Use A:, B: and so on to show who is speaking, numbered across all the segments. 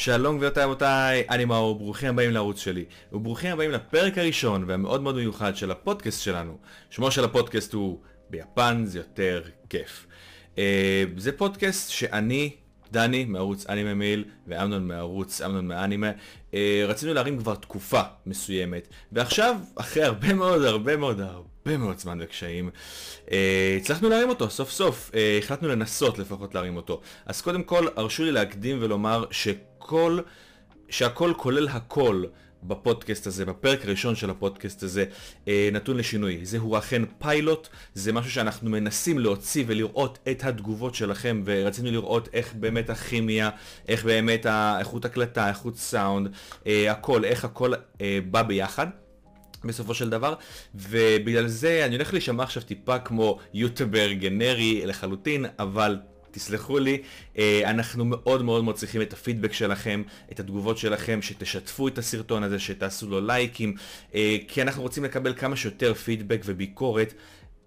A: שלום גבירותיי רבותיי, אני מאור, ברוכים הבאים לערוץ שלי, וברוכים הבאים לפרק הראשון והמאוד מאוד מיוחד של הפודקאסט שלנו. שמו של הפודקאסט הוא ביפן זה יותר כיף. אה, זה פודקאסט שאני, דני מערוץ אנימה מייל, ואמנון מערוץ אמנון מהאנימה, אה, רצינו להרים כבר תקופה מסוימת, ועכשיו, אחרי הרבה מאוד הרבה מאוד הרבה מאוד זמן וקשיים, אה, הצלחנו להרים אותו סוף סוף, אה, החלטנו לנסות לפחות להרים אותו. אז קודם כל, הרשו לי להקדים ולומר שכל, שהכל כולל הכל. בפודקאסט הזה, בפרק הראשון של הפודקאסט הזה, אה, נתון לשינוי. זהו אכן פיילוט, זה משהו שאנחנו מנסים להוציא ולראות את התגובות שלכם, ורצינו לראות איך באמת הכימיה, איך באמת האיכות הקלטה, איכות סאונד, אה, הכל, איך הכל אה, בא ביחד. בסופו של דבר, ובגלל זה אני הולך להישמע עכשיו טיפה כמו יוטבר גנרי לחלוטין, אבל תסלחו לי, אה, אנחנו מאוד מאוד מאוד צריכים את הפידבק שלכם, את התגובות שלכם, שתשתפו את הסרטון הזה, שתעשו לו לייקים, אה, כי אנחנו רוצים לקבל כמה שיותר פידבק וביקורת.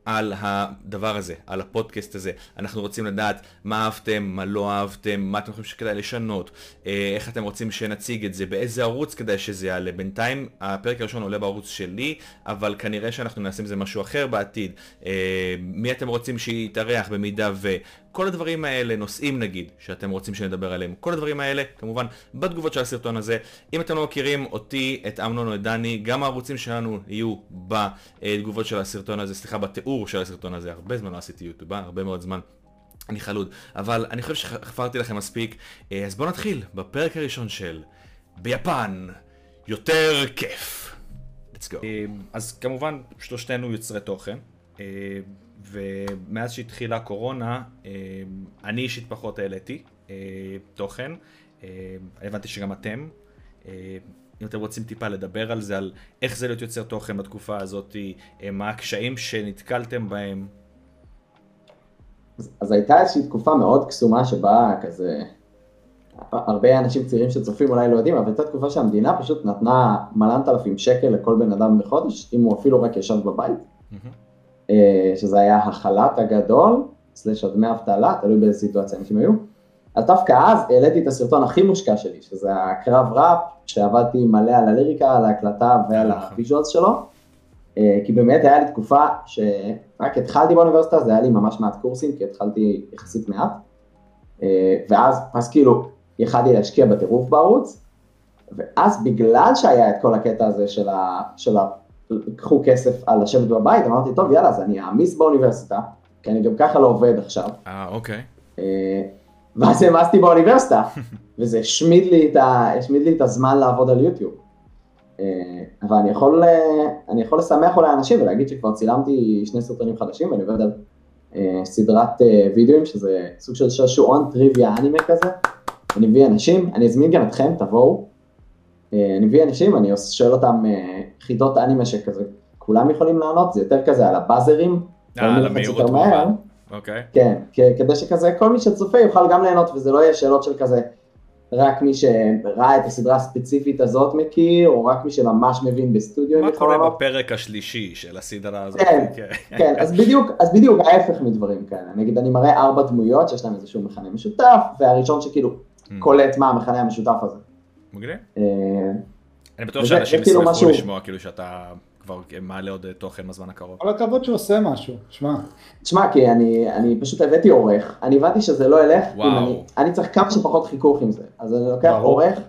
A: על הדבר הזה, על הפודקאסט הזה. אנחנו רוצים לדעת מה אהבתם, מה לא אהבתם, מה אתם חושבים שכדאי לשנות, אה, איך אתם רוצים שנציג את זה, באיזה ערוץ כדאי שזה יעלה. בינתיים הפרק הראשון עולה בערוץ שלי, אבל כנראה שאנחנו נעשה עם זה משהו אחר בעתיד. אה, מי אתם רוצים שיתארח במידה ו... כל הדברים האלה, נושאים נגיד, שאתם רוצים שנדבר עליהם, כל הדברים האלה, כמובן, בתגובות של הסרטון הזה. אם אתם לא מכירים אותי, את אמנון או את דני, גם הערוצים שלנו יהיו בתגובות של הסרטון הזה, סליחה, בתיאור של הסרטון הזה. הרבה זמן לא עשיתי יוטיוב, אה? הרבה מאוד זמן. אני חלוד, אבל אני חושב שחפרתי לכם מספיק, אה, אז בואו נתחיל בפרק הראשון של ביפן, יותר כיף. Let's go.
B: אה, אז כמובן שלושתנו יוצרי תוכן, אה, ומאז שהתחילה הקורונה, אה, אני אישית פחות העליתי אה, תוכן, אה, הבנתי שגם אתם. אה, אם אתם רוצים טיפה לדבר על זה, על איך זה להיות יוצר תוכן בתקופה הזאת, אה, מה הקשיים שנתקלתם בהם.
C: אז- אז הייתה איזושהי תקופה מאוד קסומה שבה כזה, הרבה אנשים צעירים שצופים אולי לא יודעים, אבל הייתה תקופה שהמדינה פשוט נתנה מלנת אלפים שקל לכל בן אדם בחודש, אם הוא אפילו רק ישב בבית,
A: Mm-hmm.
B: מהמם.
C: אה, שזה היה החל"ת הגדול, סלש הדמי אבטלה, תלוי באיזה סיטואציה אנשים היו. אז דווקא אז העליתי את הסרטון הכי מושקע שלי, שזה הקרב ראפ, שעבדתי מלא על הליריקה, על ההקלטה ועל הוויז'ואלס שלו. אה, כי באמת היה לי תקופה שרק התחלתי באוניברסיטה, זה היה לי ממש מעט קורסים, כי התחלתי יחסית מעט. אה, ואז, אז כאילו, יכלתי להשקיע בטירוף בערוץ, ואז בגלל שהיה את כל הקטע הזה של ה... של ה... קחו כסף על לשבת בבית, אמרתי, טוב, יאללה, אז אני אעמיס באוניברסיטה, כי אני גם ככה לא עובד עכשיו.
A: אה, אוקיי.
C: אה, ואז העמסתי באוניברסיטה, וזה השמיד לי, את ה... השמיד לי את הזמן לעבוד על יוטיוב. אה, אבל אני יכול, אה, אני יכול לשמח אולי אנשים ולהגיד שכבר צילמתי שני סרטונים חדשים, ואני עובד על אה, סדרת אה, וידאוים, שזה סוג של שעשועון טריוויה אנימה כזה. אני מביא אנשים, אני אזמין גם אתכם, תבואו. אה, אני מביא אנשים, אני שואל אותם אה, חידות אנימה שכזה, כולם יכולים לענות, זה יותר כזה על הבאזרים.
B: אה, על
C: אני לוחץ
B: המהירות
C: יותר מהר.
B: כמובן. אוקיי.
C: כן, כ- כדי שכזה, כל מי שצופה יוכל גם ליהנות, וזה לא יהיה שאלות של כזה, רק מי שראה את הסדרה הספציפית הזאת מכיר, או רק מי שממש מבין בסטודיו,
B: מה
C: יכול
B: קורה
C: לענות.
B: בפרק השלישי של הסדרה הזאת?
C: כן.
B: כן.
C: כן, אז בדיוק, אז בדיוק ההפך מדברים כאלה. נגיד, אני מראה ארבע דמויות שיש להם איזשהו מכנה משותף, והראשון שכאילו
B: כן.
A: Mm.
C: קולט מה המכנה המשותף הזה.
B: מגניב.
C: אה,
B: אני בטוח
C: וזה-
B: שאנשים
C: זה כאילו
B: ישמחו
C: משהו-
B: לשמוע כאילו שאתה כבר מעלה עוד אה, תוכן בזמן הקרוב.
D: כל הכבוד שהוא עושה משהו, שמע,
C: תשמע, כי אני, אני פשוט הבאתי עורך, אני הבנתי שזה לא ילך, אם
B: וואו.
C: אני, אני צריך כמה שפחות חיכוך עם זה. אז אני לוקח
D: ברור.
C: עורך,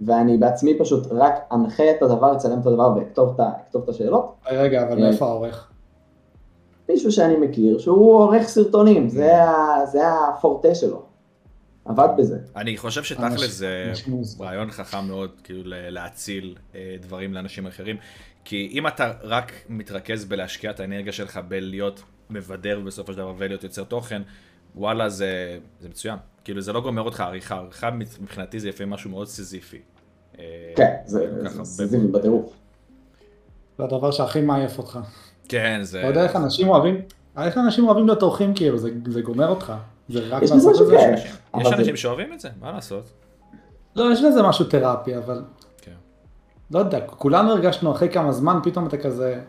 C: ואני בעצמי פשוט רק אנחה את הדבר, אצלם את הדבר ואכתוב את, ה- אכתוב את השאלות.
D: רגע, אבל
C: כן.
D: מאיפה העורך?
C: מישהו שאני מכיר, שהוא עורך סרטונים,
B: Mm.
C: זה, ה, זה הפורטה שלו. עבד בזה.
B: אני חושב שתכל'ס
A: אה.
B: זה
D: אנשים מוזרים.
B: רעיון חכם מאוד, כאילו ל- להציל אה, דברים לאנשים אחרים, כי אם אתה רק מתרכז בלהשקיע את האנרגיה שלך בלהיות מבדר בסופו של דבר ולהיות יוצר תוכן, וואלה זה זה מצוין. כאילו זה לא גומר אותך עריכה, עריכה מבחינתי זה לפעמים משהו מאוד סיזיפי. אה,
C: כן, זה
B: לוקח הרבה
C: סיזיפי
B: מאוד-
C: בטירוף.
D: זה הדבר שהכי מעייף אותך.
A: אה.
B: כן, זה...
D: אתה יודע איך אנשים אוהבים, איך אנשים אוהבים להיות עורכים כאילו, זה זה גומר אותך. זה רק
C: יש
D: לעשות
C: בזה משהו
D: את זה.
C: כיף.
B: יש
C: אבל זה-
B: אנשים שאוהבים את זה, מה לעשות?
D: לא, יש לזה משהו תרפי, אבל
B: כן.
D: לא יודע, כולנו הרגשנו אחרי כמה זמן, פתאום אתה כזה,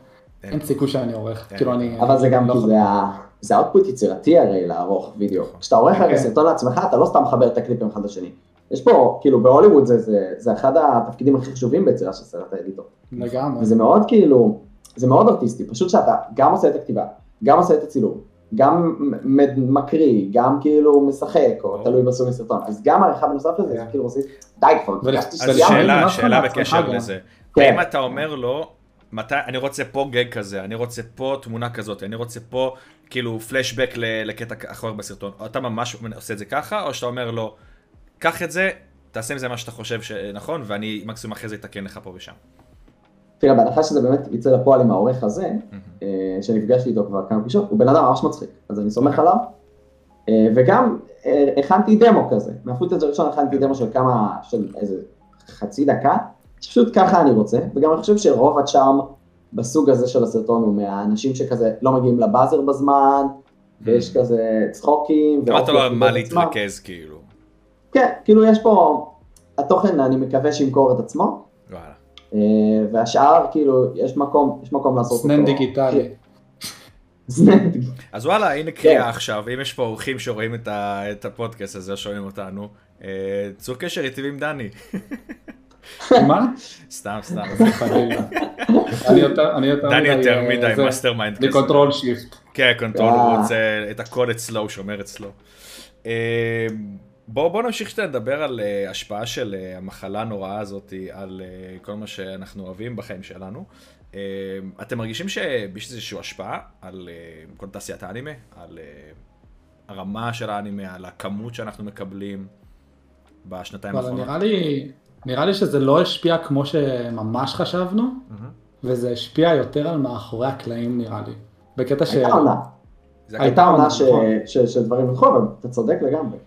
A: כן.
B: אין.
D: אין סיכוי שאני עורך.
B: אין.
D: כאילו אני...
C: אבל זה גם
D: לא
C: כי
D: יכול-
C: זה ה- זה output יצירתי הרי לערוך וידאו.
B: נכון.
C: כשאתה עורך הרי
D: כן.
C: סרטון לעצמך, אתה לא סתם מחבר את הקליפים אחד לשני. יש פה, כאילו בהוליווד זה, זה, זה אחד התפקידים הכי חשובים ביצירה של סרט האדיטור.
D: לגמרי.
C: וזה מאוד כאילו, זה מאוד ארטיסטי, פשוט שאתה גם עושה את הכתיבה, גם עושה את הצילום, גם מ- מ- מקריא, גם כאילו משחק, או תלוי בסוג הסרטון, אז גם העריכה בנוסף לזה, זה כאילו עושים, די כבר,
D: ול-
C: ביקשתי
A: אז
D: לגמרי,
C: שתסיימנו."
D: זה
A: שאלה,
D: ממש
A: שאלה
D: חלק,
A: בקשר
D: הצלחה גם.
A: לזה.
C: כן.
A: האם אתה אומר לו, מתי, אני רוצה פה גג כזה, אני רוצה פה תמונה כזאת, אני רוצה פה כאילו פלשבק ל- לקטע אחר בסרטון, אתה ממש עושה את זה ככה, או שאתה אומר לו, קח את זה, תעשה עם זה מה שאתה חושב שנכון, ואני מקסימום אחרי זה אתקן לך פה ושם.
C: תראה, בהנחה שזה באמת יצא לפועל עם העורך הזה, אה, שנפגשתי איתו כבר כמה פגישות, הוא בן אדם ממש מצחיק, אז אני סומך עליו. אה, וגם אה, הכנתי דמו כזה, מהפוטג' הראשון הכנתי דמו של כמה, של איזה חצי דקה, שפשוט ככה אני רוצה, וגם אני חושב שרוב הצ'ארם בסוג הזה של הסרטון הוא מהאנשים שכזה לא מגיעים לבאזר בזמן,
A: Mm. Mm-hmm.
C: ויש כזה צחוקים.
A: אמרת לו לא על
C: ואופי
A: מה
C: עצמם.
A: להתרכז, כאילו.
C: כן, כאילו יש פה, התוכן אני מקווה שימכור את עצמו,
A: וואלה.
C: אה, והשאר כאילו יש מקום, יש מקום לעשות
D: סנן דיגיטלי.
C: סנן דיגיטלי.
A: אז וואלה, הנה קריאה
C: כן.
A: עכשיו, אם יש פה אורחים שרואים את ה- את הפודקאסט הזה, שומעים אותנו, אה, צור קשר איתי ועם דני.
D: מה?
A: סתם, סתם.
D: חלילה. אני יותר אני יותר
A: דני יותר
D: אה,
A: מדי
D: זה,
A: מאסטר מיינד כזה.
D: בקונטרול שיפט.
A: כן, קונטרול, הוא
C: אה.
A: רוצה את הכל אצלו, הוא שומר אצלו. אה, בואו בוא נמשיך שאתה נדבר על אה, השפעה של אה, המחלה הנוראה הזאת, על אה, כל מה שאנחנו אוהבים בחיים שלנו. אה, אתם מרגישים שיש איזושהי השפעה על אה, כל תעשיית האנימה? על אה, הרמה של האנימה, על הכמות שאנחנו מקבלים בשנתיים
D: אבל
A: האחרונות?
D: נראה לי, נראה לי שזה לא השפיע כמו שממש חשבנו,
A: מהמם.
D: וזה השפיע יותר על מאחורי הקלעים נראה לי. בקטע ש...
C: הייתה עונה,
A: זה
D: הייתה
C: הייתה עונה ש-
D: נכון.
C: ש- שדברים הלכו, אבל אתה צודק לגמרי.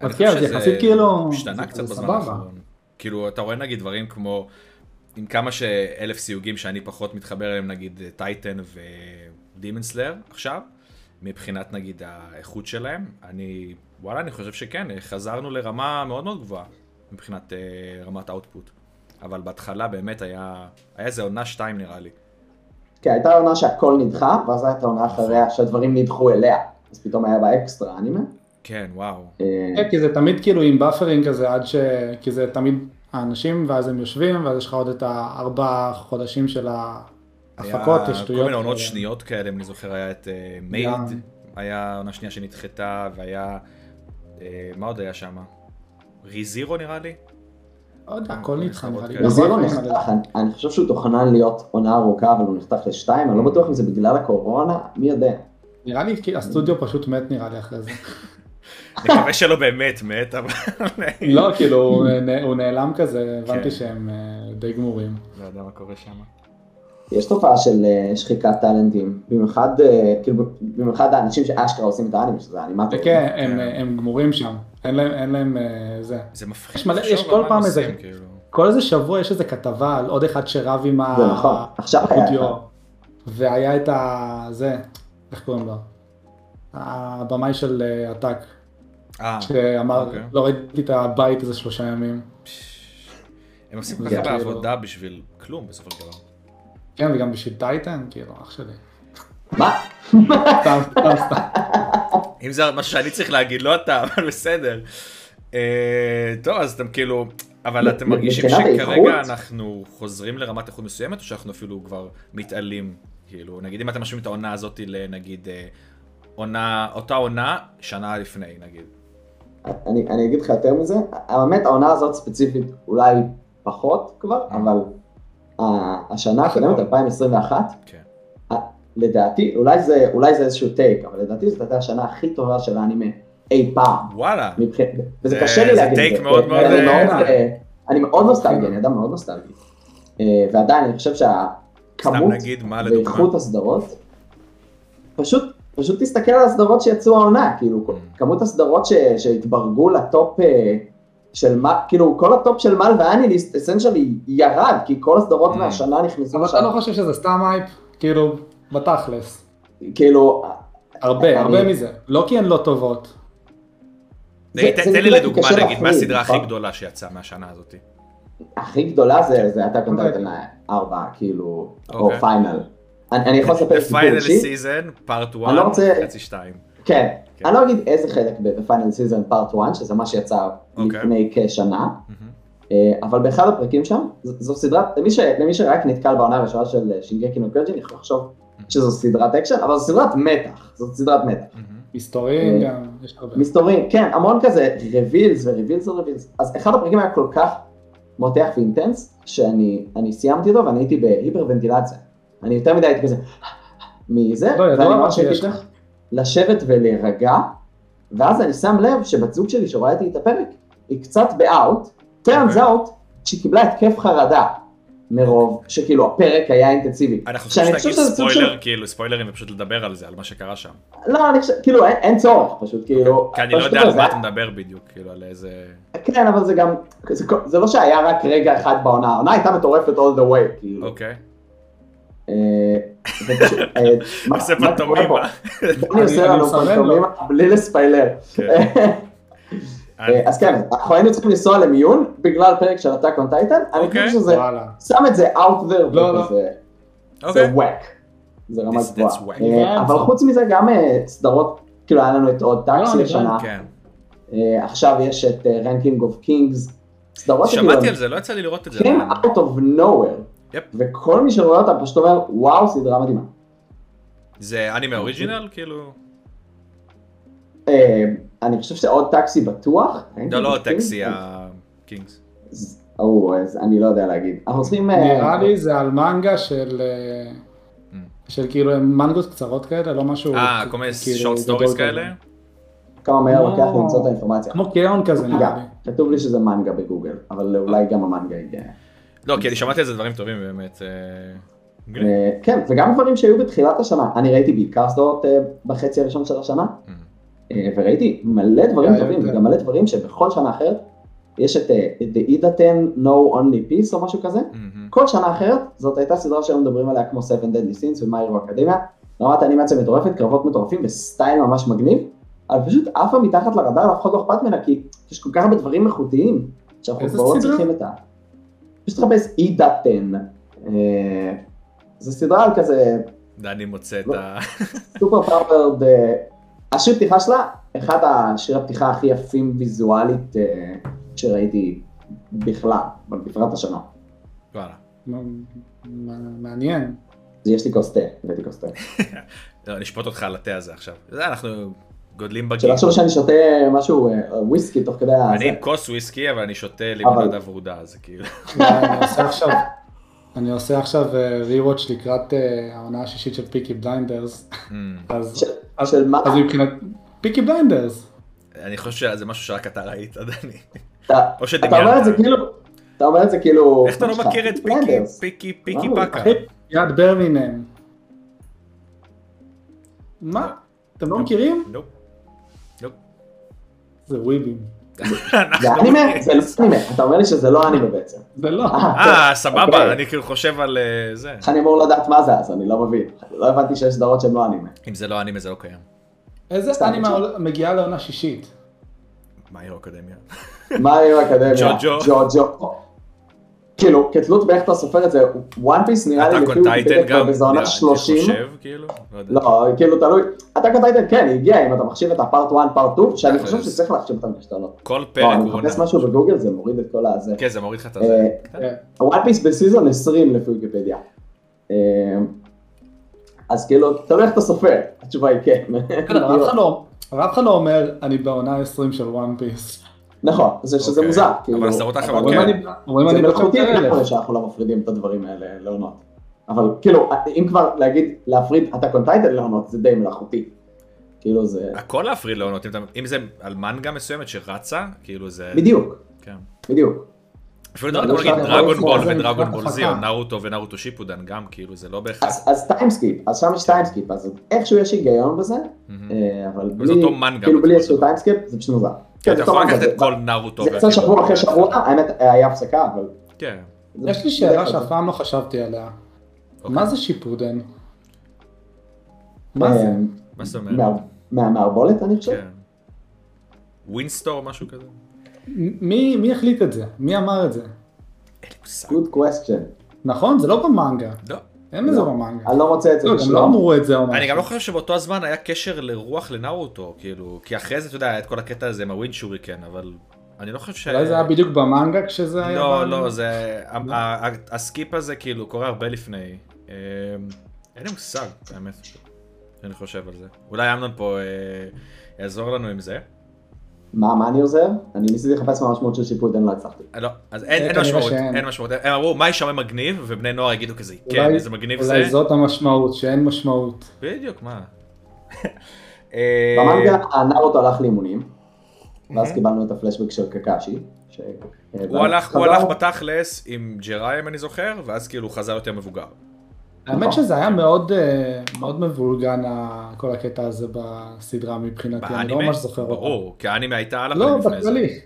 A: אני
D: אז
A: חושב
D: כן, אז
A: שזה
D: יחסית כאילו-
A: השתנה
D: זה
A: קצת
D: כבר
A: בזמן
D: סבבה.
A: האחרון. כאילו, אתה רואה נגיד דברים כמו, עם כמה שאלף סיוגים שאני פחות מתחבר אליהם, נגיד אה, טייטן ודימון סלאר עכשיו, מבחינת נגיד האיכות שלהם, אני, וואלה, אני חושב שכן, אה, חזרנו לרמה מאוד מאוד גבוהה, מבחינת אה, רמת האוטפוט. אבל בהתחלה באמת היה, היה איזה עונה שתיים נראה לי.
C: כן, הייתה עונה שהכל נדחה, ואז הייתה עונה
D: נכון.
C: אחריה שהדברים נדחו אליה. אז פתאום היה בה אקסטרה אנימה.
A: כן, וואו.
C: אה,
D: כן, כי זה תמיד כאילו עם באפרינג כזה עד ש... כי זה תמיד האנשים ואז הם יושבים ואז יש לך עוד את הארבע חודשים של ההפקות,
A: היה
D: השטויות.
A: כל מיני עונות
D: האלה.
A: שניות כאלה, אם אני זוכר, היה את אה, מייד,
D: גם.
A: היה עונה שנייה שנדחתה, והיה... אה, מה עוד היה שם? ריזירו נראה לי?
D: לא יודע, הכל נדחה נראה לי.
A: כן.
C: רזירו
D: אבל-
C: נחתך, אני- לא אני חושב שהוא תוכנן להיות עונה ארוכה, אבל הוא נחתך לשתיים, אני לא בטוח אם זה בגלל הקורונה, מי יודע.
D: נראה לי כי הסטודיו פשוט מת נראה לי אחרי זה.
A: נקווה שלא באמת מת, אבל...
D: לא, כאילו הוא נ- הוא נעלם כזה, הבנתי
A: כן.
D: שהם אה, די גמורים.
A: לא יודע מה קורה שם.
C: יש תופעה של אה, שחיקת טאלנטים, במיוחד, אה, כאילו, במיוחד האנשים שאשכרה עושים את האנימה, שזה האנימטור.
D: וכן, אה, הם-
A: כן.
D: הם גמורים שם, אין להם- אין להם אה, זה.
A: זה מפחיד.
D: יש מלא-
A: לחשוב
D: יש
A: על
D: כל
A: מה
D: פעם
A: הם
D: איזה-
A: עושים, כאילו.
D: כל איזה שבוע יש איזה כתבה על עוד אחד שרב עם ה...
C: זה נכון, עכשיו היה
D: הודיו.
C: אחד.
D: והיה את ה... זה, איך קוראים לו? הבמאי של אה, עתק,
A: אה,
D: שאמר,
A: אוקיי.
D: לא ראיתי את הבית איזה שלושה ימים.
A: הם עושים כל כך
C: זה
A: הרבה
D: כאילו-
A: עבודה בשביל כלום בסופו של דבר.
D: כן, וגם בשביל טייטן, כאילו, אח שלי.
C: מה?
D: סתם, סתם, סתם.
A: אם זה מה שאני צריך להגיד, לא אתה, אבל בסדר. אה, טוב, אז אתם כאילו, אבל אתם
C: מ-
A: מרגישים
C: מבחינת
A: שכרגע
C: האיכות?
A: אנחנו חוזרים לרמת איכות מסוימת, או שאנחנו אפילו כבר מתעלים, כאילו, נגיד אם אתם משווים את העונה הזאת לנגיד אה, עונה, אותה עונה שנה לפני, נגיד.
C: אני, אני אגיד לך יותר מזה, האמת העונה הזאת ספציפית אולי פחות כבר,
A: אה.
C: אבל ה- השנה הקודמת, 2021,
A: כן.
C: ה- לדעתי, אולי זה, אולי זה איזשהו טייק, אבל לדעתי זאת הייתה השנה הכי טובה של האנימה אי פעם,
A: וואלה,
C: מבחינת, וזה
A: זה-
C: קשה לי
A: אה, זה
C: להגיד את
A: טייק
C: זה,
A: מאוד
C: כי
A: מאוד,
C: אני
A: אה,
C: מאוד, אה, אני מאוד נוסטלגי, אני אדם מאוד נוסטלגי, אה, ועדיין אני חושב
A: סתם
C: שהכמות
A: נגיד מה לדוגמה.
C: ואיכות הסדרות, פשוט, פשוט תסתכל על הסדרות שיצאו העונה, כאילו,
A: Mm.
C: כמות הסדרות ש, שהתברגו לטופ אה, של מה, כאילו, כל הטופ של מל ואניליסט, אסנצ'לי ירד, כי כל הסדרות
A: Mm.
C: מהשנה נכנסו
D: אבל אתה
C: עכשיו,
D: לא חושב שזה סתם אייפ? כאילו, בתכלס.
C: כאילו, אני-
D: הרבה, הרבה מזה. לא כי הן לא טובות.
A: נגיד,
C: זה-
A: תן
C: זה
A: לי
C: נקודה
A: לדוגמה,
C: שקשה
A: נגיד, מה
C: להחליט,
A: הסדרה הכי
C: נכון?
A: גדולה שיצאה מהשנה הזאת?
C: הכי גדולה זה, זה אתה
D: אוקיי.
C: קונטרטן ארבע, כאילו, או
A: אוקיי.
C: פיינל. אני, אני יכול לספר
A: The
C: סיפור
A: Final
C: אישי,
A: Season, Part
C: אני לא
A: 1,
C: רוצה-
A: חצי 2.
C: כן. אני לא אגיד איזה חלק בפיינל סיזון פארט 1, שזה מה שיצא
E: אוקיי.
C: לפני כשנה, אה, אבל באחד הפרקים שם, ז- זו סדרת, למי, ש, למי שרק נתקל בעונה הראשונה של אה, שינגקי נו קוג'ין, יכול לחשוב שזו סדרת אקשן, אבל זו סדרת מתח, זאת סדרת מתח.
D: מסתורים
C: אה,
D: גם, יש הרבה.
C: מסתורים, כן, המון כזה רווילס ורווילס ורווילס. אז אחד הפרקים היה כל כך מותח ואינטנס, שאני אני סיימתי אותו ואני הייתי בהיפרוונטילציה. אני יותר מדי הייתי כזה מזה,
D: לא, ידוע
C: ואני
D: מה
C: ממש הייתי
D: שיש לך.
C: צריך לשבת ולהירגע, ואז אני שם לב שבת זוג שלי שרואה איתי את הפרק, היא קצת באאוט, טרנס
D: אוקיי.
C: אאוט, שהיא קיבלה התקף חרדה מרוב שכאילו הפרק היה אינטנסיבי.
A: אנחנו
C: שאני
A: חושבים
C: חושב
A: שתגיד
C: שזה סוג של-
A: ספוילר, כאילו ספוילרים ופשוט לדבר על זה, על מה שקרה שם.
C: לא, אני חושב, כאילו אין- אין צורך פשוט, כאילו.
A: כי אני לא
C: פשוט
A: יודע על
C: זה
A: מה
C: היה-
A: אתה מדבר בדיוק, כאילו על איזה...
C: כן, אבל זה גם, זה, זה לא שהיה רק רגע אחד בעונה, העונה הייתה מטורפת all the way, כאילו.
A: אוקיי.
C: אה, זה פשוט, אה, מה-
A: עושה
C: מה קורה
A: פנטומימה.
C: פה? דני עושה
D: אני-
C: לנו
D: אני מסמן לו.
C: פנטומימה בלי לספיילר.
A: כן. אני-
C: אה, אז כן, אנחנו היינו צריכים לנסוע למיון בגלל פרק של הטאק און טייטן, אני
A: אוקיי.
C: חושב שזה
D: וואלה.
C: שם את זה out there,
D: לא,
C: וכזה-
D: לא.
A: אוקיי.
C: אה, זה וואק. זה רמה
A: That's- that's
C: גבוהה.
A: whack.
C: אה, אבל חוץ מזה גם אה, סדרות, כאילו היה לנו את עוד טאקסי
D: לא, אני
C: השנה,
A: כן.
C: אה, עכשיו יש את רנקינג אוף קינגס, סדרות
A: שמעתי על זה, לא יצא לי לראות את זה.
C: כאילו- כן,
A: אבל-
C: out of nowhere.
A: יפ.
C: וכל מי שרואה אותה פשוט אומר, וואו, סדרה מדהימה.
A: זה אנימה אוריג'ינל, כאילו?
C: אה, אני חושב שעוד טקסי בטוח.
A: לא,
C: אה,
A: לא טקסי, הקינגס.
C: אז- או, אז אני לא יודע להגיד. אנחנו צריכים... אה,
D: נראה לי זה על מנגה של... אה,
A: Mm.
D: של כאילו הם מנגות קצרות כאלה, לא משהו...
A: אה, כל מיני
D: כאילו
A: שורט
D: גדול
A: סטוריס
C: לא-
D: כזה.
A: כאלה?
C: כמה מהר
D: כמו-
C: לוקח למצוא את האינפורמציה.
D: כמו קיון כזה נראה
C: גם,
D: לי.
C: כתוב לי שזה מנגה בגוגל, אבל אולי גם המנגה הגיעה.
A: לא, כי אני שמעתי על זה דברים טובים באמת. אה, מגניב.
C: אה, כן, וגם דברים שהיו בתחילת השנה. אני ראיתי בעיקר סדרות אה, בחצי הראשון של השנה,
A: אה,
C: אה, וראיתי מלא דברים
D: היה
C: טובים,
D: יותר.
C: וגם מלא דברים שבכל שנה אחרת, יש את אה, The Idaten No Only Peace או משהו כזה,
A: אה,
C: כל שנה אחרת, זאת הייתה סדרה שהיום מדברים עליה כמו 7 Deadly Sins ומה אירוע אקדמיה, רמת אנימציה מטורפת, קרבות מטורפים וסטייל ממש מגניב, אבל פשוט עפה מתחת לרדאר, אף אחד לא אכפת ממנה, כי יש כל כך הרבה דברים איכותיים, שאנחנו
D: איזה
C: כבר לא
D: סדרה?
C: צריכים את ה... פשוט תחפש אי דתן. אה, זו סדרה על כזה
A: דני מוצא את
C: לא.
A: ה...
C: סופר פאוורד, אה, השיר פתיחה שלה, אחד השיר הפתיחה הכי יפים ויזואלית אה, שראיתי בכלל, אבל בפרט השנה.
A: וואלה.
D: מ- מ- מעניין.
C: אז יש לי כוס תה, הבאתי כוס תה.
A: לא, נשפוט אותך על התה הזה עכשיו. זה אנחנו גודלים בגיל.
C: שלא יחשבו שאני שותה משהו, אה, וויסקי תוך כדי ה...
A: אני עם כוס וויסקי, אבל אני שותה לימונדה ורודה, זה כאילו.
D: אני עושה עכשיו... אני עושה עכשיו ריוואץ' לקראת אה, העונה השישית של פיקי בליינדרס,
A: אה,
D: אז
C: של- של מה?
D: אז מבחינת... פיקי בליינדרס.
A: אני חושב שזה משהו שרק אתה ראית, דני.
C: אתה
A: או
C: אתה אומר את זה
A: שדמיינת.
C: כאילו... אתה אומר את זה כאילו...
A: איך אתה לא
C: שלך,
A: מכיר את פיקי,
C: בלנדרס.
A: פיקי, פיקי
C: וואו,
A: פקה?
D: אחי, יד ברמינם. מה? אתם לא מכירים?
A: נופ.
D: זה וויבים.
C: זה
A: אנחנו-
C: אנימה? זה לא אנימה. אתה אומר לי שזה לא אנימה בעצם.
D: זה לא.
A: אה, סבבה,
C: אוקיי.
A: אני כאילו חושב על אה, זה.
C: איך אני אמור לדעת מה זה אז? אני לא מבין. לא הבנתי שיש סדרות שהן לא אנימה.
A: אם זה לא אנימה זה לא קיים.
D: איזה
C: סתם,
D: אנימה
C: ג'ו.
D: עול- מגיעה לעונה שישית?
A: מה הירו אקדמיה?
C: מה היו אקדמיה?
A: ג'ו-ג'ו.
C: ג'ו-ג'ו. כאילו, כתלות באיך אתה סופר את זה, וואן פיס נראה לי
A: אתה
C: לפי
A: קונטייטן
C: ויקיפדיה כבר
A: גם?
C: באיזה עונה
A: נראה,
C: 30.
A: אני חושב, כאילו? לא יודע.
C: לא, כאילו תלוי. אתה קונטייטן כן, היא הגיעה, אם אתה מחשיב את הפארט 1, פארט 2, שאני
A: תכלס.
C: חושב שצריך להחשיב אותם לשתי עונות.
A: כל פרק
C: לא, אני
A: הוא עונה.
C: מחפש משהו בגוגל, זה מוריד את כל הזה.
A: כן, זה מוריד לך את הזה.
C: אה, הוואן פיס בסיזון 20 לפי ויקיפדיה. אה, אז כאילו, תלוי איך אתה סופר, התשובה היא כן.
D: כן, אבל אף אחד לא- אבל אף אחד לא אומר, אני בעונה 20 של וואן פיס.
C: נכון, זה שזה
A: אוקיי.
C: מוזר.
A: אבל
C: כאילו,
A: הסדרות
C: אבל
A: האחרות,
C: אם
A: כן.
C: אני-
D: אומרים,
C: זה לא
D: אני לא
C: מלאכותי
D: בקונטר אלף.
C: לגמרי שאנחנו לא מפרידים את הדברים האלה לעונות. אבל כאילו, אם כבר להגיד להפריד את הקונטייטל לעונות, זה די מלאכותי. כאילו זה,
A: הכל להפריד לעונות, אם אתה- אם זה על מנגה מסוימת שרצה, כאילו זה...
C: בדיוק,
A: כן.
C: בדיוק.
A: אפילו אתה
C: לא
A: יכול להגיד
C: שאתה
A: דרגון
C: יכול
A: בול
D: לספור, זה
A: ודרגון
D: נקרא
A: בול זי, או
D: הפקה.
A: נרוטו ונרוטו שיפודן גם, כאילו זה לא בהכרח...
C: אז- אז טיימסקיפ, אז שם יש טיימסקיפ, אז איכשהו יש היגיון בזה,
A: מהמם.
C: אה, אבל
A: אבל זה
C: בלי,
A: אותו מנגה.
C: כאילו בלי
A: בצורה
C: איזשהו
A: הזאת.
C: טיימסקיפ, זה פשוט מוזר.
A: כן,
C: כן,
A: אתה
C: זה
A: יכול
C: סתם
A: לקחת
C: כזה.
A: את כל נרוטו.
C: זה יצא
A: והכאילו-
C: שבוע אחרי שבוע, האמת היה הפסקה, אבל...
A: כן.
C: זה-
D: יש לי שאלה
C: זה-
D: שאף פעם לא חשבתי עליה.
A: אוקיי.
D: מה זה שיפודן? מה זה?
C: אה,
A: מה זאת אומרת?
C: מה- מה- מהמערבולת אני חושב?
A: כן. ווינסטור משהו כזה?
D: מי מי החליט את זה? מי אמר את זה?
A: אין לי מושג.
C: Good question.
D: נכון? זה לא במנגה.
A: לא.
D: אין לזה במנגה.
C: אני לא רוצה את זה
D: לא, גם לא אמרו את זה או משהו.
A: אני גם לא חושב שבאותו הזמן היה קשר לרוח לנאוטו, כאילו, כי אחרי זה, אתה יודע, היה את כל הקטע הזה עם הווינד שוריקן, אבל אני לא חושב ש...
D: אולי זה היה בדיוק במנגה כשזה היה...
A: לא,
D: ב-
A: לא, זה... ה- ה- ה- הסקיפ הזה כאילו קורה הרבה לפני. אה, אין לי מושג, האמת, אני חושב על זה. אולי אמנון פה אה, יעזור לנו עם זה.
C: מה, מה אני עוזר? אני ניסיתי לחפש מה המשמעות של שיפוט, אני לא הצלחתי.
A: אה, לא, אז אין, אין
D: כנראה
A: משמעות,
D: שאין.
A: אין משמעות. הם אמרו, מה יישמע מגניב, ובני נוער יגידו כזה, כן,
D: אולי-
A: איזה מגניב זה.
D: אולי זאת המשמעות, שאין משמעות.
A: בדיוק, מה. אה,
C: במנגה נאוטו הלך לאימונים, ואז קיבלנו את הפלשבק של קקשי. ש- אה,
A: הוא הלך, הוא
C: חזר-
A: הלך בתכלס עם ג'ראי אם אני זוכר, ואז כאילו הוא חזר יותר מבוגר.
C: נכון.
D: האמת שזה היה מאוד אה, מאוד מבולגן ה- כל הקטע הזה בסדרה מבחינתי, אני לא ממש זוכר אותו.
A: ברור, כי האנימה הייתה הלך
D: לא,
A: לפני זה.
D: בכללי,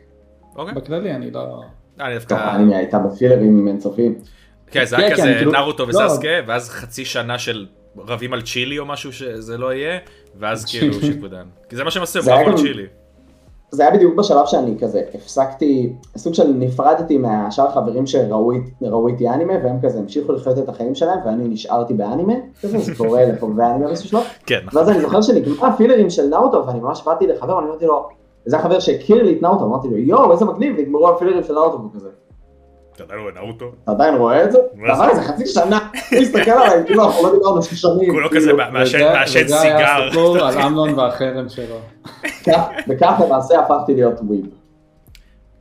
A: אוקיי,
D: בכללי אני לא...
A: אני
C: טוב,
A: דווקא...
C: האנימה הייתה בפילרים אינסופיים.
A: כן, זה
D: כן,
A: היה
D: כן,
A: כזה
D: כאילו-
A: נרוטו
D: לא.
A: וססקה, ואז חצי שנה של רבים על צ'ילי או משהו שזה לא יהיה, ואז כאילו
D: צ'ילי.
A: שיפודן. כי זה מה שהם עשו, הם
C: זה היה
A: רבו על
C: גם-
A: צ'ילי.
D: כאילו-
C: זה היה בדיוק בשלב שאני כזה הפסקתי, סוג של נפרדתי מהשאר החברים שראו אית- ראו איתי אנימה, והם כזה המשיכו לחיות את החיים שלהם, ואני נשארתי באנימה, כזה זה קורה לחובבי אנימה באיזשהו שלב,
A: כן, נכון.
C: ואז אני זוכר שנגמר הפילרים של נאוטו, ואני ממש באתי לחבר, אני אמרתי לו, זה החבר שהכיר לי את נאוטו, אמרתי לו, יואו, איזה מגניב, נגמרו הפילרים של נאוטו, והוא כזה,
A: אתה יודע, הוא נרוטו.
C: אתה עדיין רואה את זה?
A: מה
C: אבל זה חצי שנה, הוא הסתכל עליי, כאילו, אנחנו לא דיברנו שש שנים,
A: כולו
C: כאילו,
A: כזה מה- מעשן
D: וזה-
A: מעשן
D: וזה היה
A: סיגר.
D: הסיפור על אמנון והחרם שלו.
C: כך- וכך למעשה הפכתי להיות וויב.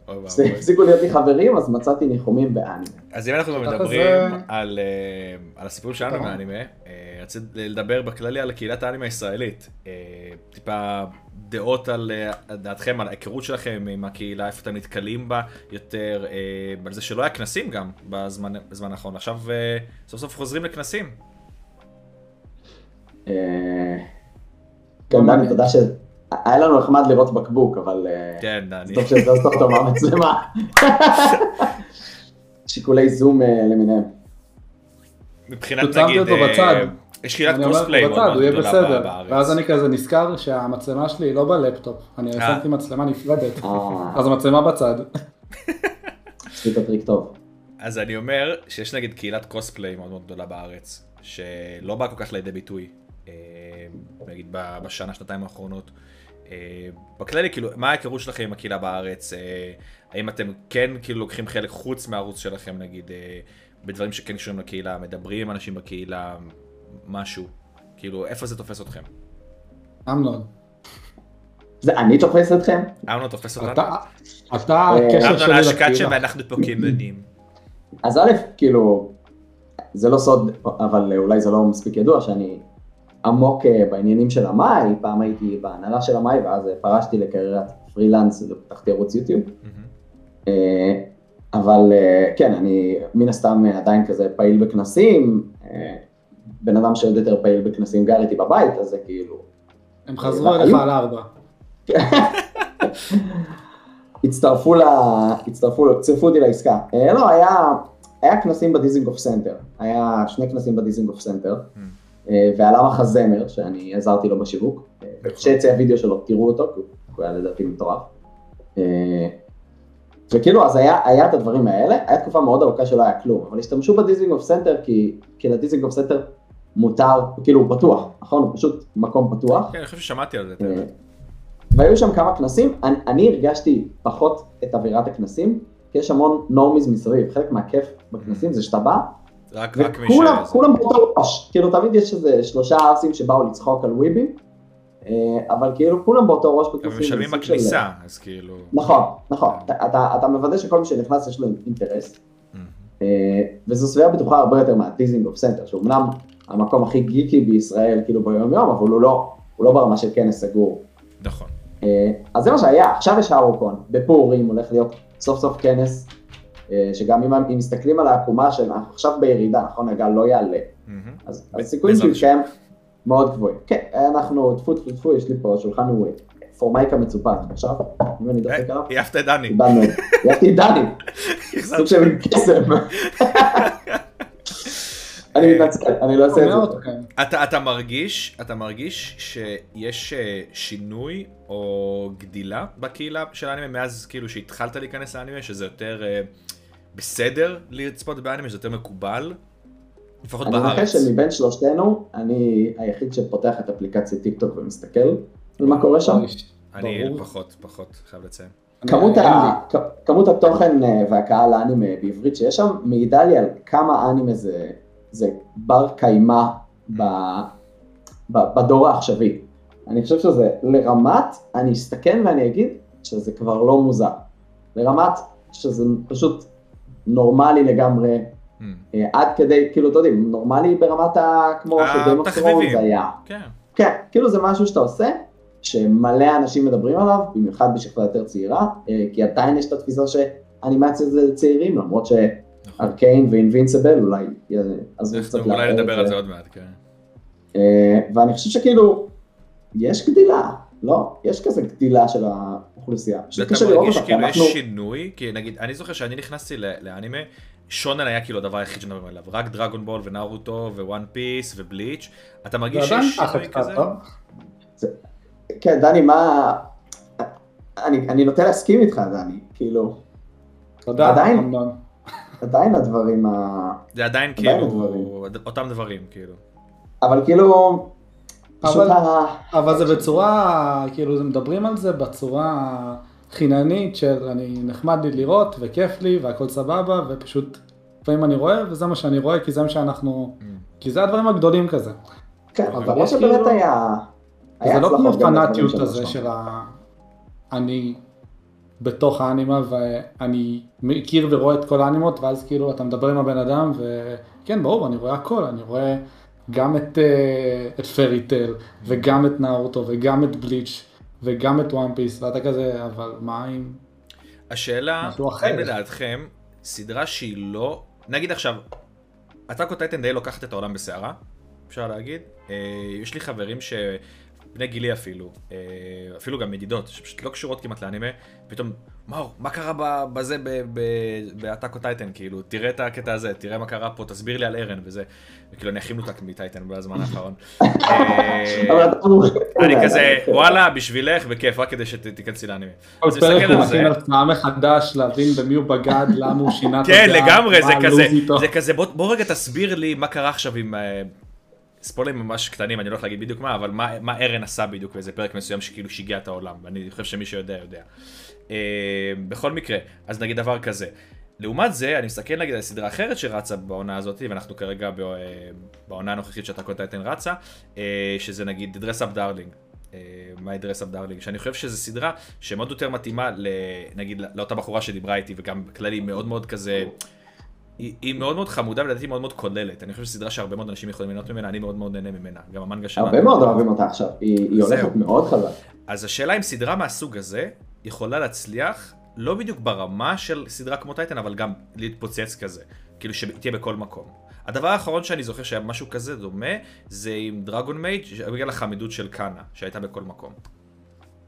A: אוי ואבוי.
C: כשהפסיקו להיות לי חברים, אז מצאתי ניחומים באנימה.
A: אז אם אנחנו כבר
D: ככה
A: מדברים
D: זה-
A: על, אה, על הסיפור שלנו
D: טוב.
A: מהאנימה, אה, רציתי לדבר בכללי על קהילת האנימה הישראלית. אה, טיפה דעות על אה, על דעתכם, על ההיכרות שלכם עם הקהילה, איפה אתם נתקלים בה יותר, אה, על זה שלא היה כנסים גם בזמן, בזמן האחרון. עכשיו אה, סוף סוף חוזרים לכנסים.
C: אה, כן, דני, תודה ש... היה לנו נחמד לראות בקבוק, אבל אה,
A: כן,
C: זה
A: דני.
C: טוב שהזזת אותו מהמצלמה. שיקולי זום אה, למיניהם.
A: מבחינת
D: שמתי
A: נגיד,
D: אותו
A: אה,
D: בצד.
A: יש קהילת
D: אני אומר
A: קוספליי
D: לו
A: מאוד
D: בצד, הוא
A: מאוד
D: יהיה
A: גדולה ב-
D: בסדר. ואז
A: בארץ.
D: אני כזה נזכר שהמצלמה שלי היא לא בלפטופ, אני
A: אה?
D: שמתי מצלמה נפרדת.
C: אה,
D: אז המצלמה בצד.
C: עשית טריק טוב.
A: אז אני אומר שיש נגיד קהילת קוספליי מאוד מאוד גדולה בארץ, שלא באה כל כך לידי ביטוי, אה, נגיד ב- בשנה, שנתיים האחרונות. אה, בכללי, כאילו, מה ההיכרות שלכם עם הקהילה בארץ? אה, האם אתם כן כאילו לוקחים חלק חוץ מהערוץ שלכם, נגיד, אה, בדברים שכן קשורים לקהילה, מדברים עם אנשים בקהילה, משהו? כאילו, איפה זה תופס אתכם?
D: אמנון,
C: זה אני תופס אתכם?
A: אמנון תופס אותנו?
D: אתה אתה
C: אה,
D: הקשר
A: אה? אמנון
D: שלי
A: אשכד
D: לקהילה.
A: שאנחנו פה כילדים.
C: אז א', כאילו, זה לא סוד, אבל אולי זה לא מספיק ידוע, שאני עמוק אה, בעניינים של המאי, פעם הייתי בהנהלה של המאי, ואז אה, פרשתי לקריירת פרילנס ופתחתי ערוץ יוטיוב.
A: מהמם.
C: אה, אבל אה, כן, אני מן הסתם אה, עדיין כזה פעיל בכנסים, אה, בן אדם שעוד יותר פעיל בכנסים גר איתי בבית, אז זה כאילו...
D: הם חזרו אליך על ארבע.
C: הצטרפו ל... הצטרפו, ל- צירפו אותי לעסקה. אה, לא, היה, היה כנסים בדיזינגוף סנטר, היה שני כנסים בדיזינגוף סנטר,
A: Mm.
C: אה, ועלה מחזמר, שאני עזרתי לו בשיווק, אה,
A: נכון.
C: כשיצא הוידאו שלו, תראו אותו, כי הוא- הוא היה לדעתי מטורף. אה, וכאילו, אז היה, היה את הדברים האלה, היה תקופה מאוד ארוכה שלא היה כלום, אבל השתמשו בדיזינגוף סנטר, כי, כי לדיזינגוף סנטר מותר, כאילו, הוא פתוח, נכון? הוא פשוט מקום פתוח.
A: כן, אני חושב ששמעתי על זה.
C: אה, והיו שם כמה כנסים, אני, אני הרגשתי פחות את אווירת הכנסים, כי יש המון נורמיז מסביב, חלק מהכיף בכנסים זה שאתה בא,
A: רק רק מי ש...
C: וכולם, אה, כולם באותו ראש, כאילו תמיד יש איזה שלושה ארסים שבאו לצחוק על וויבים, אה, אבל כאילו כולם באותו ראש
A: הם
C: בכנסים. זה
A: משלמים
C: סוג של-
A: בכניסה, אז כאילו...
C: נכון, נכון, אתה, אתה, אתה מוודא שכל מי שנכנס יש לו אינטרס, אה, וזו סביבה בטוחה הרבה יותר מהדיזינגוף סנטר, שאומנם המקום הכי גיקי בישראל כאילו ביום יום, אבל הוא לא, הוא לא ברמה של כנס סגור.
A: נכון.
C: אה, אז זה מה שהיה, עכשיו יש האורקון, בפורים הולך להיות סוף סוף כנס, אה, שגם אם, אם מסתכלים על העקומה של אנחנו עכשיו בירידה, נכון, הגל לא יעלה,
A: מהמם.
C: אז
A: ב-
C: הסיכויים
A: בעזרת
C: שהוא יתקיים מאוד גבוהים. כן, אנחנו, טפו טפו טפו, יש לי פה, השולחן הוא אה, פורמייקה מצופת, עכשיו, אם אני דופק עליו,
A: אה, העפת את דני.
C: איבדנו את זה, יפתי דני, סוג של קסם. אני מתנצל, אני לא אעשה
D: שומע
C: את זה.
D: אותו, כן.
A: אה, אתה, אתה מרגיש, אתה מרגיש שיש אה, שינוי או גדילה בקהילה של האנימה מאז כאילו שהתחלת להיכנס לאנימה, שזה יותר אה, בסדר לצפות באנימה, שזה יותר מקובל? לפחות
C: אני מבקש
A: בארץ.
C: שמבין שלושתנו, אני היחיד שפותח את אפליקציית טיקטוק ומסתכל על מה קורה שם.
A: אני
D: ברור.
A: פחות, פחות, חייב לציין.
C: כמות,
D: אין
C: ה...
D: לי.
C: כ- כמות התוכן אה, והקהל האנימה בעברית שיש שם מעידה לי על כמה אנימה זה, זה בר קיימא
D: Mm.
C: ב... ב... בדור העכשווי. אני חושב שזה לרמת, אני אסתכן ואני אגיד שזה כבר לא מוזר. לרמת שזה פשוט נורמלי לגמרי,
A: Mm.
C: אה, עד כדי, כאילו, אתה יודעים, נורמלי ברמת ה... כמו
D: אה,
C: שגיים אוף
A: התחביבים.
C: ת'רונס היה.
A: כן.
C: כן, כאילו זה משהו שאתה עושה, שמלא אנשים מדברים עליו, במיוחד בשכבה יותר צעירה, אה, כי עדיין יש את התפיסה שאנימציה זה לצעירים, למרות
A: נכון.
C: שארקיין ואינבינסיבל אולי אה, עזרו קצת
A: אנחנו אולי
C: לערער
A: נדבר על
C: את
A: זה עוד מעט, כן.
C: אה, ואני חושב שכאילו, יש גדילה, לא? יש כזה גדילה של האוכלוסייה. פשוט
A: ואתה
C: קשה לראות
A: מרגיש
C: אותה, כי
A: כאילו יש
C: אנחנו...
A: שינוי, כי נגיד, אני זוכר שאני נכנסתי ל- לאנימה, שונן היה כאילו הדבר היחיד שמדברים עליו, רק דרגון בול ונארוטו ווואן פיס ובליץ', אתה
D: זה
A: מרגיש
D: עדיין
A: שיש
D: ככה
A: שינוי
D: קצת,
A: כזה?
C: אה,
D: לא?
C: כן, דני, מה... אני, אני נוטה להסכים איתך, דני, כאילו,
D: תודה.
C: עדיין?
D: אמנון.
C: עדיין הדברים ה...
A: זה עדיין
C: עדיין
A: כאילו, אותם דברים כאילו.
C: אבל כאילו, פשוט
D: אבל-
C: ה...
D: אבל זה בצורה, כאילו, זה מדברים על זה בצורה חיננית של אני נחמד לי לראות וכיף לי והכל סבבה ופשוט לפעמים אני רואה וזה מה שאני רואה כי זה מה שאנחנו,
A: Mm.
D: כי זה הדברים הגדולים כזה.
C: כן,
A: אבל
C: אבל לא
D: יש
C: שבאמת
D: כאילו-
C: היה...
D: זה
C: היה
D: לא
C: הצלחות
D: כמו
C: גם לדברים
D: פנאטיות
C: שלו
D: הזה
C: שם.
D: של ה... אני בתוך האנימה ואני מכיר ורואה את כל האנימות ואז כאילו אתה מדבר עם הבן אדם וכן ברור אני רואה הכל אני רואה גם את, אה, את פרי טל וגם את נאוטו וגם את בליץ' וגם את וואן פיס ואתה כזה אבל מה עם
A: השאלה,
D: משהו אחר.
A: האם לדעתכם, סדרה שהיא לא, נגיד עכשיו, אתה קוטייטן די לוקחת את העולם בסערה, אפשר להגיד, אה, יש לי חברים ש... בני גילי אפילו, אה, אפילו גם ידידות, שפשוט לא קשורות כמעט לאנימה, פתאום, מאור, מה קרה ב- בזה ב- ב- באטאקו טייטן, כאילו, תראה את הקטע הזה, תראה מה קרה פה, תסביר לי על ארן וזה, וכאילו, אני הכי מנותק מטייטן בזמן האחרון. אה,
C: אבל אתה מומחה.
A: אני כזה, וואלה, בשבילך, בכיף, רק כדי שתיכנסי לאנימה.
D: כל
A: אז
D: פרק
A: מסתכל
D: הוא
A: על זה.
D: מכין הרצאה מחדש להבין במי הוא בגד למה הוא שינה את
A: כן,
D: הדעה,
A: לגמרי, זה
D: מה הלו"ז
A: כזה,
D: איתו.
A: זה כזה, בוא, בוא רגע תסביר לי מה קרה עכשיו עם... אה, ספוילרים ממש קטנים, אני לא הולך להגיד בדיוק מה, אבל מה, מה ארן עשה בדיוק באיזה פרק מסוים שכאילו שיגע את העולם, ואני חושב שמי שיודע יודע. אה, בכל מקרה, אז נגיד דבר כזה. לעומת זה, אני מסתכל נגיד על סדרה אחרת שרצה בעונה הזאת, ואנחנו כרגע ב, אה, בעונה הנוכחית שאתה קוטע אתן רצה, אה, שזה נגיד דרס אפ דארלינג. אה, My Dress Up Darling, שאני חושב שזו סדרה שמאוד יותר מתאימה, ל- נגיד, לאותה בחורה שדיברה איתי, וגם בכללי מאוד מאוד כזה, היא, היא מאוד מאוד חמודה ולדעתי מאוד מאוד כוללת. אני חושב שזו סדרה שהרבה מאוד אנשים יכולים ליהנות ממנה, אני מאוד מאוד נהנה ממנה. גם המנגה שלנו.
C: הרבה מאוד אוהבים אותה עכשיו, היא היא
A: זהו.
C: הולכת מאוד חזק.
A: אז השאלה אם סדרה מהסוג הזה יכולה להצליח, לא בדיוק ברמה של סדרה כמו טייטן, אבל גם להתפוצץ כזה. כאילו שתהיה בכל מקום. הדבר האחרון שאני זוכר שהיה משהו כזה דומה, זה עם דרגון מייד, ש- בגלל החמידות של קאנה, שהייתה בכל מקום.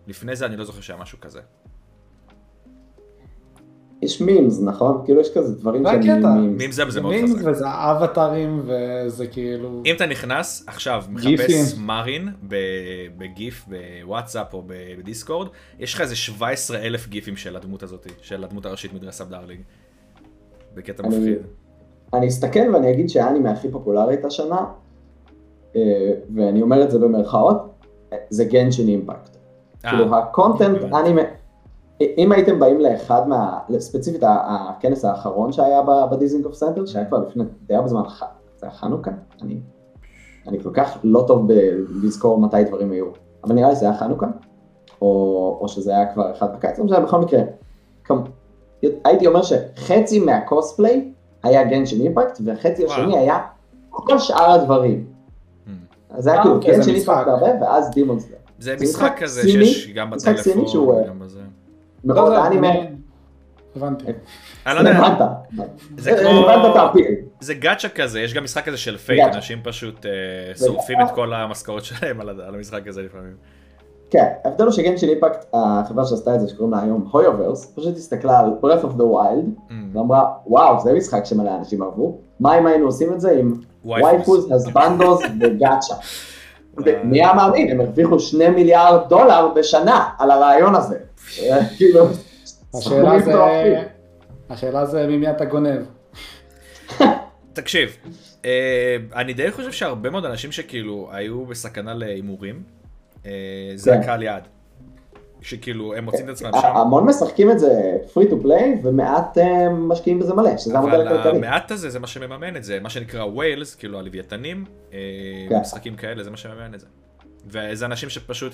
A: לפני זה אני לא זוכר שהיה משהו כזה.
C: יש מימס, נכון? כאילו יש כזה דברים
D: מה
C: שהם
D: הקטע?
C: מימס.
A: מים זה זה
D: זה
A: מאוד
D: מינס
A: חזק.
D: וזה אבטרים וזה כאילו...
A: אם אתה נכנס עכשיו,
D: גיפים.
A: מחפש מרין ב- בגיף, בוואטסאפ או ב- בדיסקורד, יש לך איזה 17 אלף גיפים של הדמות הזאת, של הדמות הראשית מדרס אפ דארלינג. בקטע
C: אני-
A: מפחיד.
C: אני אסתכל ואני אגיד שהאנימה הכי פופולרית השנה, אה, ואני אומר את זה במרכאות, אה, זה גנשין אימפקט.
A: אה,
C: כאילו הקונטנט,
A: הבנתי.
C: אני, אם הייתם באים לאחד מה, ספציפית ה- הכנס האחרון שהיה ב- בדיזינגוף סנטר, שהיה כבר לפני די הרבה זמן, ח- זה היה חנוכה, אני, אני כל כך לא טוב בלזכור מתי דברים היו, אבל נראה לי שזה היה חנוכה, או, או שזה היה כבר אחד בקיץ, לא משנה, בכל מקרה, כמ, הייתי אומר שחצי מהקוספליי היה גנשין אימפקט, והחצי
A: וואו.
C: השני היה כל שאר הדברים.
A: Mm.
C: אז זה היה
D: אה,
C: כאילו
D: אוקיי, זה
C: גנשין
D: משחק.
C: אימפקט הרבה, ואז דימון סלאר.
A: זה
C: זה
A: משחק
C: משחק
A: כזה
C: סיני,
A: שיש גם
C: משחק סיני
A: בטלפון,
C: שהוא, אה,
A: גם בזה.
C: מאוד
D: לא, זה-
C: אנימה.
D: הבנתי.
A: אני לא יודע,
C: הבנת, אה,
A: זה
C: הבנת אוקיי. את
A: כמו...
C: האפיל.
A: זה גאצ'ה כזה, יש גם משחק כזה של פייט,
C: גאצ'ה.
A: אנשים פשוט אה, שורפים את כל המשכורת שלהם על ה- על המשחק הזה לפעמים.
C: כן, ההבדל הוא שגנשין אימפקט, החברה שעשתה את זה שקוראים לה היום הויוברס, פשוט הסתכלה על breath of the wild,
A: Mm.
C: ואמרה, וואו, זה משחק שמלא אנשים אהבו, מה אם היינו עושים את זה עם
A: וייפוס.
C: וייפוז, הזבנדוז וגאצ'ה.
A: וואי.
C: מי היה מאמין, הם הרוויחו שני מיליארד דולר בשנה על הרעיון הזה. אה, כאילו,
D: השאלה
C: סכומים
D: זה,
C: מטורפים.
D: השאלה זה ממי אתה גונב.
A: תקשיב, אה, אני די חושב שהרבה מאוד אנשים שכאילו היו בסכנה להימורים, אה, זה
C: כן. אה,
A: הקהל יעד. שכאילו הם מוצאים את עצמם שם,
C: המון משחקים את זה free to play ומעט אה, משקיעים בזה מלא, שזה המודל
A: אבל
C: הכלכלי.
A: המעט הזה זה מה שמממן את זה, מה שנקרא ווילס, כאילו הלוויתנים, אה,
C: כן.
A: משחקים כאלה, זה מה שמממן את זה. וזה אנשים שפשוט,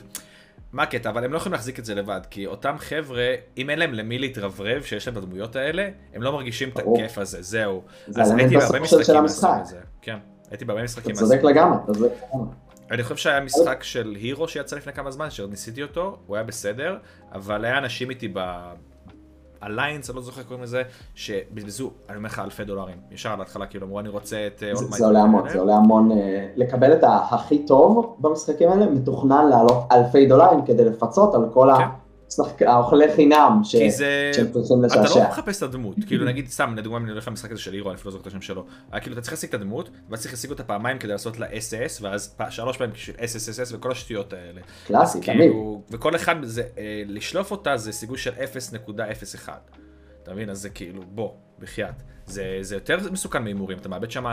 A: מה הקטע, אבל הם לא יכולים להחזיק את זה לבד, כי אותם חבר'ה, אם אין להם למי להתרברב, שיש להם את הדמויות האלה, הם לא מרגישים את
C: ברור.
A: הכיף הזה, זהו.
C: זה
A: אז
C: אלמנט
A: הייתי בהרבה
C: בסוף של-
A: משחקים
C: של המשחק.
A: מהסוג הזה. כן, הייתי בהרבה משחקים
C: אתה
A: מהסוג
C: צודק לגמרי, אתה צודק לגמרי.
A: אני חושב שהיה משחק של הירו שיצא לפני כמה זמן, שניסיתי אותו, הוא היה בסדר, אבל היה אנשים איתי ב... אליינס, אני לא זוכר איך קוראים לזה, שבזבזו, אני אומר לך, אלפי דולרים. ישר להתחלה, כאילו, אמרו, אני רוצה את... אה,
C: זה-
A: All Might
C: זה עולה המון,
A: האלה."
C: זה עולה המון, אה, לקבל את הכי טוב במשחקים האלה, מתוכנן לעלות אלפי דולרים כדי לפצות על כל
A: כן.
C: השחק- האוכלי חינם ש-
A: כי זה...
C: שהם
A: אתה
C: צריכים לשעשע.
A: לא מחפש את הדמות, כאילו נגיד סתם, לדוגמה, אני הולך למשחק הזה של הירו, אני אפילו לא זוכר את השם שלו, היה כאילו אתה צריך להשיג את הדמות, ואז צריך להשיג אותה פעמיים כדי לעשות לה אס-אס, ואז פ- שלוש פעמים של אס-אס-אס וכל השטויות האלה.
C: קלאסי, תמיד.
A: כאילו, וכל אחד, זה, אה, לשלוף אותה זה סיכוי של 0.01. אתה מבין? אז זה כאילו, בוא, בחייאת. זה, זה יותר מסוכן מהימורים, אתה מאבד שם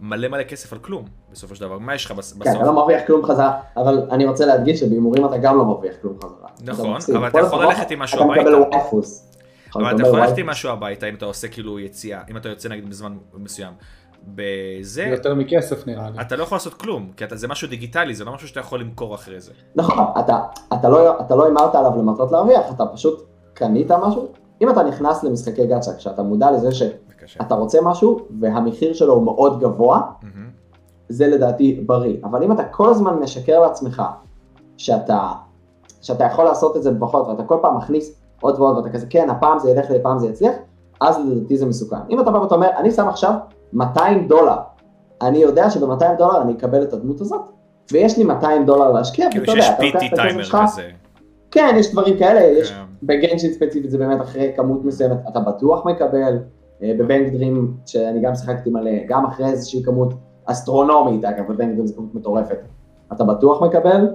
A: מלא מלא כסף על כלום, בסופו של דבר. מה יש לך בס- בסוף?
C: כן, אתה לא מרוויח כלום חזרה, אבל אני רוצה להדגיש שבהימורים אתה גם לא מרוויח כלום חזרה.
A: נכון,
C: אתה מפסיד.
A: אבל אתה
C: כל
A: יכול
C: הזמן
A: ללכת עם משהו
C: אתה
A: הביתה.
C: מקבל וייפוס.
A: אבל אתה
C: מקבל
A: יכול ללכת
C: וייפוס.
A: עם משהו הביתה אם אתה עושה כאילו יציאה, אם אתה יוצא נגיד בזמן מסוים. בזה,
D: יותר מכסף נראה לי.
A: אתה לא יכול לעשות כלום, כי אתה, זה משהו דיגיטלי, זה לא משהו שאתה יכול למכור אחרי זה.
C: נכון, אתה- אתה לא- אתה לא הימרת עליו למטרות להרוויח, אתה פשוט קנית משהו. אם אתה נכנס למשחקי גאצ'ה, כשאתה מודע לזה שאתה
A: בבקשה.
C: רוצה משהו והמחיר שלו הוא מאוד גבוה,
A: מהמם.
C: זה לדעתי בריא. אבל אם אתה כל הזמן משקר לעצמך שאתה, שאתה יכול לעשות את זה בפחות, ואתה כל פעם מכניס עוד ועוד, ואתה כזה, כן, הפעם זה ילך לי, הפעם זה יצליח, אז לדעתי זה מסוכן. אם אתה בא ואתה אומר, אני שם עכשיו 200 דולר, אני יודע שב-200 דולר אני אקבל את הדמות הזאת, ויש לי 200 דולר להשקיע,
A: כאילו
C: ואתה
A: שיש
C: יודע, אתה לוקח
A: PT
C: את הכסף
A: טיימר
C: שלך,
A: כזה.
C: כן, יש דברים כאלה, יש
A: כן.
C: בגנשין ספציפית זה באמת אחרי כמות מסוימת אתה בטוח מקבל, אה, בבנק דרים שאני גם שיחקתי מלא, גם אחרי איזושהי כמות אסטרונומית, אגב בבנק דרים זו כמות מטורפת, אתה בטוח מקבל,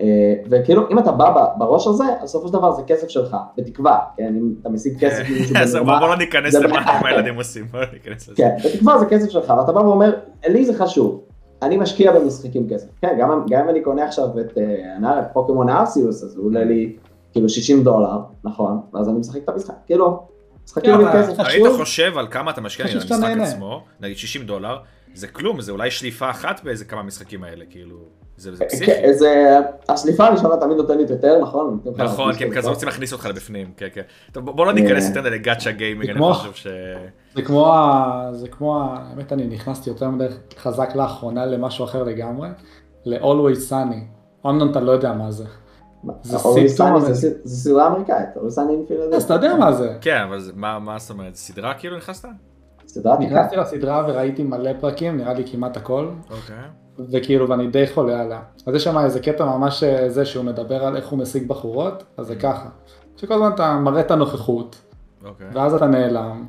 C: אה, וכאילו אם אתה בא ב- בראש הזה, אז בסופו של דבר זה כסף שלך, בתקווה, כן, אם אתה משיג כסף ממישהו
A: אז בוא
C: בנורמה,
A: בוא לא ניכנס
C: זה
A: למה
C: בעיה.
A: הילדים עושים, בוא לא ניכנס לזה.
C: כן, בתקווה זה כסף שלך, ואתה בא ואומר, לי זה חשוב. אני משקיע במשחקים כסף. כן, גם, גם אם אני קונה עכשיו את אה, הנער, את פוקימון ארסיוס, אז הוא עולה לי כאילו 60 דולר, נכון, ואז אני משחק את המשחק. כאילו, משחקים
D: כן,
C: עם
D: אבל
C: כסף
A: היית
C: חשוב,
A: חושב על כמה אתה משקיע
D: חושב
A: על
D: שאתה
A: המשחק
D: נהנה.
A: עצמו, נגיד 60 דולר, זה כלום, זה אולי שליפה אחת באיזה כמה משחקים האלה, כאילו, זה זה פסיכי.
C: כן, זה, השליפה הראשונה תמיד נותנת יותר, נכון? נותנים לך
A: נכון,
C: להכניס
A: כי הם
C: יותר.
A: כזה רוצים להכניס אותך לבפנים, כן, כן. טוב, בוא- בוא לא ניכנס
C: אה.
A: יותר מדי לגאצ'ה גיימינג, אני
D: כמו-
A: חושב ש...
D: זה כמו, ה- זה כמו, ה- האמת אני נכנסתי יותר מדי חזק לאחרונה למשהו אחר לגמרי, ל-Always Sunny. אמנון אתה לא יודע מה זה. זה
C: אורי
D: סימפטום,
C: סאני,
D: אבל-
C: זה ס- זה סדרה אמריקאית, אוריסני אינפילד.
D: אז אתה יודע מה זה.
A: כן, אבל זה- מה מה זאת אומרת, סדרה כאילו נכנסת?
C: סדרה עתיקה.
D: נכנסתי לסדרה וראיתי מלא פרקים, נראה לי כמעט הכל,
A: אוקיי.
D: וכאילו, ואני די חולה עליה. אז יש שם איזה קטע ממש אה, זה שהוא מדבר על איך הוא משיג בחורות, אז זה ככה. שכל הזמן אתה מראה את הנוכחות,
A: אוקיי.
D: ואז אתה נעלם,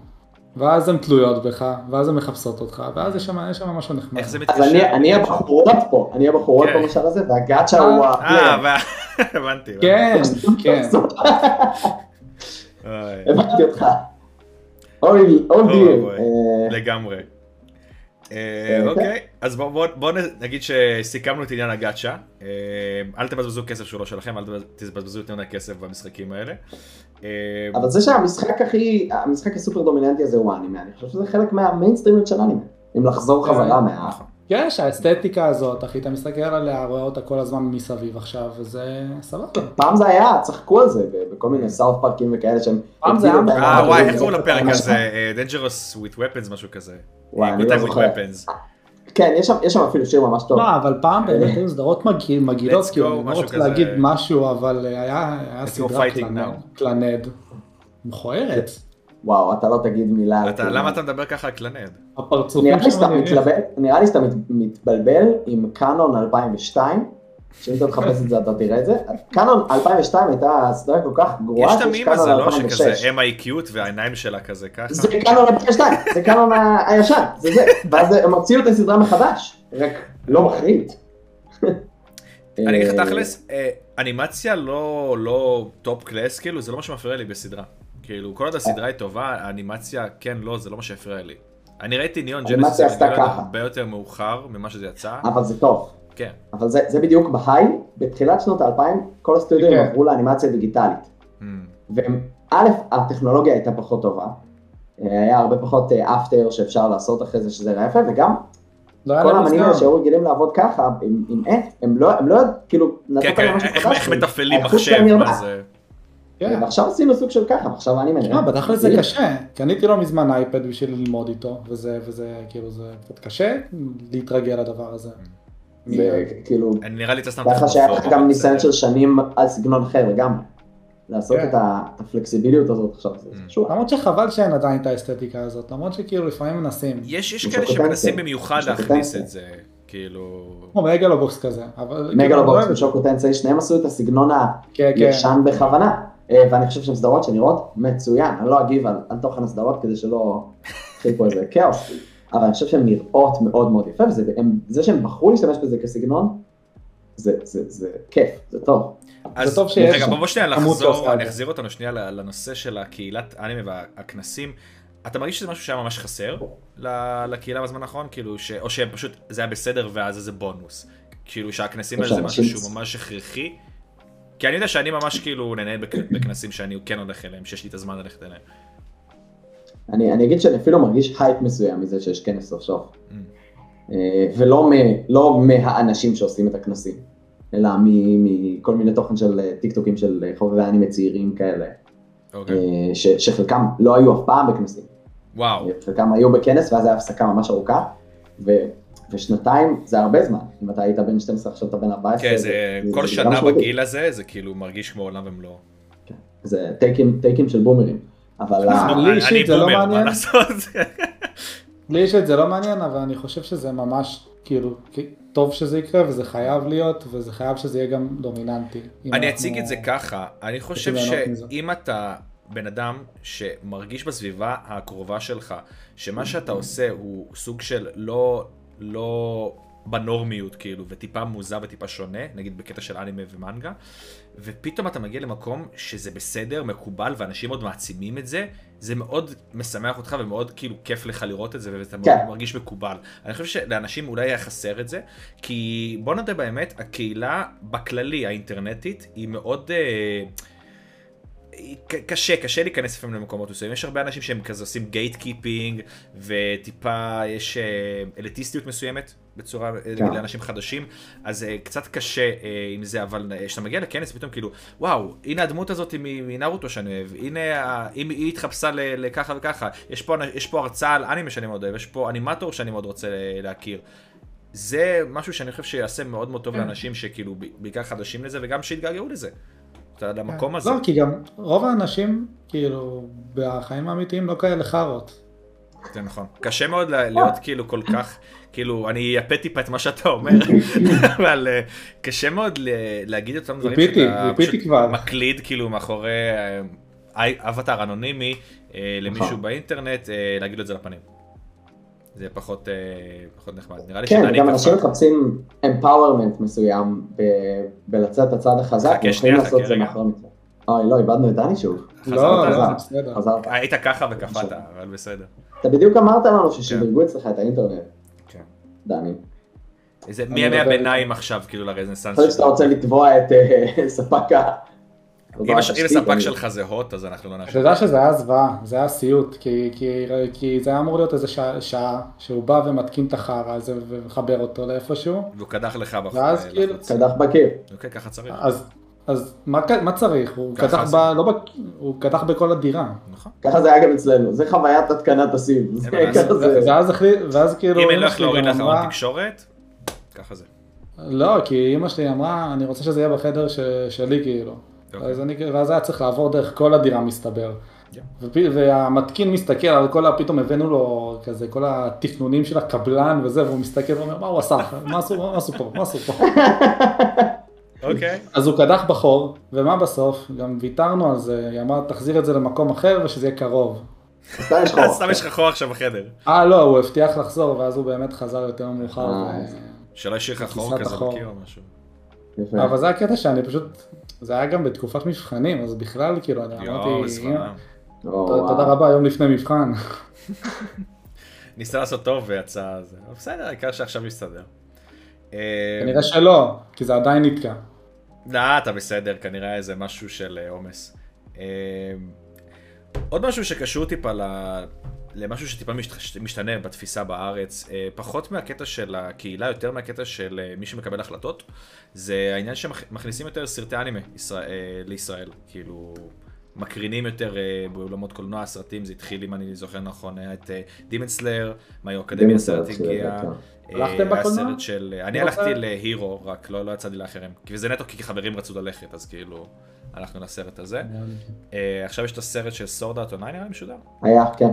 D: ואז הן תלויות בך, ואז הן מחפשות אותך, ואז יש שם יש שם משהו נחמד.
A: איך זה מתקשר?
C: אז אני- אני הבחורות פה, אני הבחורות
A: כן.
C: במשל הזה, והגאצ'ה הוא ה...
A: אה, ו- הבנתי.
D: כן, כן.
A: אוי,
C: הבנתי אותך. אוי, אוי,
A: אוי.
C: אה,
A: לגמרי. אה,
C: אה,
A: אוקיי, אז בואו נגיד שסיכמנו את עניין הגאצ'ה. אה, אל תבזבזו כסף שהוא לא שלכם, אל תבזבזו יותר מדי כסף במשחקים האלה. אה,
C: אבל זה שהמשחק הכי, המשחק הסופר דומיננטי הזה הוא האנימה, אני חושב שזה חלק מהמיינסטרימיות של האנימה. אם לחזור חזרה מה...
A: נכון.
D: כן, שהאסתטיקה הזאת, אחי, אתה מסתכל עליה, רואה אותה כל הזמן מסביב עכשיו, וזה סבבה.
C: פעם זה היה, צחקו על זה ב- בכל מיני סאוף פארקים וכאלה שהם...
D: פעם זה היה-
C: הגדילו את
A: כן. אה
C: ה-
A: וואי,
C: את
A: איך קוראים
C: ה-
A: לפרק
C: את ה-
A: הזה? אה, Dangerous with Weapons, משהו כזה.
C: וואי, אני לא
A: Good Time with
C: זוכר.
A: Weapons.
C: כן, יש שם- יש שם אפילו שיר ממש טוב.
D: לא, אבל פעם באמת היו סדרות מגעיל- מגעילות,
A: אה, Let's go,
D: כאילו, אני לא
A: משהו
D: רוצה
A: כזה.
D: להגיד משהו, אבל אה, היה היה
A: go
D: סדרה
A: fighting
D: קלנד- קלנד. מכוערת.
C: וואו, אתה לא תגיד מילה. על
A: אתה-
C: זה.
A: למה אתה מדבר ככה על קלנד?
D: הפרצופים
C: נראה לי שאתה
D: נראים-
C: מתלבט- נראה לי שאתה מת- מתבלבל עם קאנון 2002. שאם אתה מחפש את זה אתה תראה את זה. קאנון 2002 הייתה סדרה כל כך
A: יש
C: גרועה
A: את המים הזה, לא? שכזה, אמה היא קיוט והעיניים שלה כזה ככה.
C: זה קאנון 2002, זה קאנון ה- הישן, זה זה, ואז הם הוציאו את הסדרה מחדש, רק לא מחריד.
A: אני אגיד לך
C: אה,
A: תכלס, אה, אנימציה לא, לא טופ קלאס, כאילו זה לא מה שמפריע לי בסדרה. כאילו כל עוד הסדרה היא טובה, האנימציה כן לא, זה לא מה שהפריע לי. אני ראיתי ניאון
C: האנימציה
A: ג'נסיס
C: עשתה ככה. אה,
A: הרבה יותר מאוחר ממה שזה יצא.
C: אבל זה טוב.
A: כן.
C: אבל זה, זה בדיוק בהיי, בתחילת שנות האלפיים, כל הסטודיו
D: כן.
C: עברו לאנימציה דיגיטלית.
A: Mm.
C: וא', הטכנולוגיה הייתה פחות טובה. אה, היה הרבה פחות אפטר שאפשר לעשות אחרי זה שזה נראה יפה, וגם
D: לא
A: אה,
D: היה
C: כל
D: להם
C: האמנים האלה
D: מוסכם.
C: שהיו רגילים לעבוד ככה, עם- עם איך, הם לא, הם לא, כאילו,
A: כן,
C: נתת
A: כן,
C: להם משהו
A: איך-
C: חדש,
A: איך
C: הם-
A: מתפעלים
C: האיכות
A: מחשב, אה,
C: שלהם ירדה.
A: מה זה?
D: כן.
C: ועכשיו עשינו סוג של ככה, עכשיו האנים
D: אה, בתכל'ס זה קשה, קניתי לא מזמן אייפד בשביל ללמוד איתו, וזה, וזה, כאילו, זה קצת קשה להתרגל לדבר הזה.
C: זה כאילו,
A: אני לא נראה לי אתה סתם...
C: ככה שהיה לך
A: פרופסור,
C: גם
A: אבל
C: ניסיון של
A: בסדר.
C: שנים על סגנון אחר לגמרי. לעשות
D: כן.
C: את ה- את הפלקסיביליות הזאת עכשיו, זה
A: Mm.
C: חשוב.
D: למרות שחבל שאין עדיין את האסתטיקה הזאת, למרות שכאילו לפעמים מנסים.
A: יש יש
C: יש
A: כאלה
C: לו
A: שמנסים
C: פוטנציה.
A: במיוחד
C: יש לו
A: להכניס
C: פוטנציה.
A: את זה, כאילו...
D: כמו מגלובוקס כזה, אבל... כאילו,
C: מגלובוקס
D: לא-
C: ושוקוטנסי, שניהם עשו את הסגנון
D: כן, כן.
C: הישן בכוונה, אה, ואני חושב שהן סדרות שנראות מצוין, אני לא אגיב על, על תוכן הסדרות כדי שלא יתחיל פה איזה כאוס, אבל אני חושב שהן נראות מאוד מאוד יפה, וזה שהם בחרו להשתמש בזה כסגנון, זה, זה, זה כיף, זה טוב.
A: אז
D: טוב שיש לא
A: רגע,
D: שם.
A: בוא שנייה
D: עמוד
A: נחזור,
D: באוסטרליה.
A: אני אחזיר אותנו שנייה ל- לנושא של הקהילת האנימה והכנסים. אתה מרגיש שזה משהו שהיה ממש חסר ל- לקהילה בזמן האחרון? כאילו, ש- או שפשוט זה היה בסדר ואז זה בונוס. כאילו שהכנסים
C: יש
A: האלה זה משהו
C: אנשים-
A: שהוא ממש הכרחי. כי אני יודע שאני ממש כאילו נהנה בכ- בכנסים שאני כן הולך אליהם, שיש לי את הזמן ללכת אליהם.
C: אני, אני אגיד שאני אפילו מרגיש הייפ מסוים מזה שיש כנס סוף סוף,
A: Mm.
C: אה, ולא מ, לא מהאנשים שעושים את הכנסים, אלא מ- מכל מיני תוכן של אה, טיקטוקים של אה, חובבי אנימה צעירים כאלה,
A: אוקיי.
C: אה, ש, שחלקם לא היו אף פעם בכנסים.
D: אה,
A: וואו.
C: חלקם היו בכנס ואז הייתה הפסקה ממש ארוכה, ו, ושנתיים זה הרבה זמן, אם אתה היית בן 12 עכשיו אתה בן 14.
A: כן,
D: אה,
A: זה כל
C: גם
A: שנה
C: משמעותי.
A: בגיל הזה, זה כאילו מרגיש כמו עולם ומלואו.
C: זה טייקים, טייקים של בומרים, אבל ה-
D: אנחנו- לי
A: אני-
D: אישית
A: אני
D: זה לא
A: בומר, מה
D: מעניין.
A: לעשות?
D: לי יש את זה לא מעניין, אבל אני חושב שזה ממש, כאילו, כי- טוב שזה יקרה, וזה חייב להיות, וזה חייב שזה יהיה גם דומיננטי. אם
A: אני
D: אנחנו- כן.
A: אציג את זה ככה, אני חושב
D: ליהנות מזה.
A: שאם אתה בן אדם שמרגיש בסביבה הקרובה שלך, שמה שאתה עושה הוא סוג של לא, לא בנורמיות כאילו, וטיפה מוזר וטיפה שונה, נגיד בקטע של אנימה ומנגה, ופתאום אתה מגיע למקום שזה בסדר, מקובל, ואנשים עוד מעצימים את זה, זה מאוד משמח אותך ומאוד כאילו כיף לך לראות את זה, ואתה
C: כן.
A: מאוד מרגיש מקובל. אני חושב שלאנשים אולי היה חסר את זה, כי בוא נודה באמת, הקהילה בכללי האינטרנטית היא מאוד... אה, היא- ק- קשה, קשה להיכנס לפעמים למקומות מסוימים. יש הרבה אנשים שהם כזה עושים גייט קיפינג, וטיפה יש אה, אליטיסטיות מסוימת, בצורה, אה, נגיד, לאנשים חדשים, אז אה, קצת קשה אה, עם זה, אבל אה, כשאתה מגיע לכנס, פתאום כאילו, וואו, הנה הדמות הזאת מ- מנרוטו שאני אוהב, הנה, ה- אם היא התחפשה ל- לככה וככה, יש פה, אנ- יש פה הרצאה על אנימה שאני מאוד אוהב, יש פה אנימטור שאני מאוד רוצה אה, להכיר. זה משהו שאני חושב שיעשה מאוד מאוד טוב לאנשים שכאילו ב- בעיקר חדשים לזה וגם שיתגעגעו לזה. אתה- למקום הזה.
D: לא, כי גם רוב האנשים, כאילו, בחיים האמיתיים לא כאלה חארות.
A: זה נכון. קשה מאוד לה- להיות כאילו כל כך, כאילו, אני אייפה טיפה את מה שאתה אומר, אבל אה, קשה מאוד ל- להגיד אותם דברים
D: ריפיתי,
A: שאתה
D: ריפיתי כבר.
A: מקליד כאילו מאחורי אה, אי- אבטאר אנונימי אה, למישהו
C: נכון.
A: באינטרנט, אה, להגיד לו את זה לפנים. זה פחות אה, פחות נחמד. נראה לי
C: כן,
A: שדני
C: וגם אנשים
A: כפה.
C: מחפשים empowerment מסוים ב- בלצאת הצד
A: חכה
C: החזק, הם יכולים
A: שנייה,
C: לעשות
A: חכה
C: את זה
A: רגע.
C: מאחורי מצווה. אוי, לא, איבדנו את דני שוב.
A: חזרת,
D: לא,
A: חזרת.
D: לא, בסדר.
C: חזרת.
A: היית ככה וקפאת, אבל בסדר.
C: אתה בדיוק אמרת לנו ששדרגו אצלך את האינטרנט,
A: כן.
C: דני.
A: זה
D: אני
A: מימי
D: מדבר
A: הביניים עכשיו, כאילו, לרנסאנס.
C: יכול להיות שאתה
A: שלנו.
C: רוצה לתבוע את אה, ספק ה...
A: אם הש- אם
C: התשתית,
A: הספק
C: אני-
A: שלך זה הוט, אז אנחנו לא
D: אתה
A: נאשר.
D: יודע שזה היה זוועה, זה היה סיוט, כי, כי, כי זה היה אמור להיות איזה שעה, שעה שהוא בא ומתקין את החרא הזה ומחבר אותו לאיפשהו,
A: והוא קדח לך בחוץ. אה,
D: ואז כאילו- אה.
C: קדח בקיר.
A: אוקיי, ככה צריך.
D: אז, אז מה, ק- מה צריך? הוא
A: ככה
D: קדח,
A: זה.
D: ב, לא ב, הוא קדח בכל הדירה.
A: נכון.
C: ככה זה היה גם אצלנו, זה חוויית התקנת הסיב. זה
A: מה לעשות,
C: ככה זה-
D: ואז, החליט, ואז כאילו...
A: אם אין
D: אמא
A: לך
D: שלי
A: להוריד
D: גם אמרה-
A: לאחרון תקשורת, ככה זה.
D: לא, כי אמא שלי אמרה, אני רוצה שזה יהיה בחדר ש... שלי כאילו.
A: אוקיי. כן.
D: אז אני, ואז היה צריך לעבור דרך כל הדירה מסתבר.
A: Yeah.
D: ופ... והמתקין מסתכל על כל ה... פתאום הבאנו לו כזה, כל התכנונים של הקבלן וזה, והוא מסתכל ואומר, מה הוא עשה? מה עשו, מה עשו פה? מה עשו פה?
A: אוקיי.
D: אז הוא קדח בחור, ומה בסוף? גם ויתרנו על זה, היא אמרה, תחזיר את זה למקום אחר ושזה יהיה קרוב.
C: סתם יש
A: אז סתם
C: חור.
A: יש לך חור עכשיו בחדר.
D: אה, לא, הוא הבטיח לחזור, ואז הוא באמת חזר יותר מאוחר.
C: אה,
D: ו-
C: איזה
A: שלא ישאיר לך חור
D: כיסת
A: כזה
D: החור.
A: בקיר או משהו. כן.
C: יפה.
D: אבל זה הקטע שאני פשוט, זה היה גם בתקופת מבחנים, אז בכלל, כאילו, אני
A: יואו,
D: אמרתי,
A: זוועה.
C: או,
D: "תודה-
C: וואו.
A: כן.
D: תודה רבה, יום לפני מבחן.
A: ניסה לעשות טוב ויצא זה. אבל בסדר, העיקר שעכשיו מסתדר. אה,
D: כנראה שלא, כי זה עדיין נתקע.
A: לא, אתה בסדר, כנראה איזה משהו של אה, עומס. אה, עוד משהו שקשור טיפה ל... למשהו שטיפה משת- משתנה בתפיסה בארץ, אה, פחות מהקטע של הקהילה, יותר מהקטע של אה, מי שמקבל החלטות, זה העניין שמכניסים יותר סרטי אנימה ישראל, אה, לישראל, כאילו מקרינים יותר אה, באולמות קולנוע, סרטים, זה התחיל אם אני זוכר נכון, היה את דימן סלאר, מאיו
C: כן,
A: אקדמיה סרט הגיע, אה,
D: הלכתם בקולנוע?
A: הסרט של... אה, אני
D: לא
A: הלכתי
D: אתה?
A: להירו, רק לא לא יצא לי לאחרים. כי זה נטו כי חברים רצו ללכת, אז כאילו, הלכנו לסרט הזה. אה, עכשיו יש את הסרט של סורדאט אונליין, נראה לי משודר.
C: היה, כן.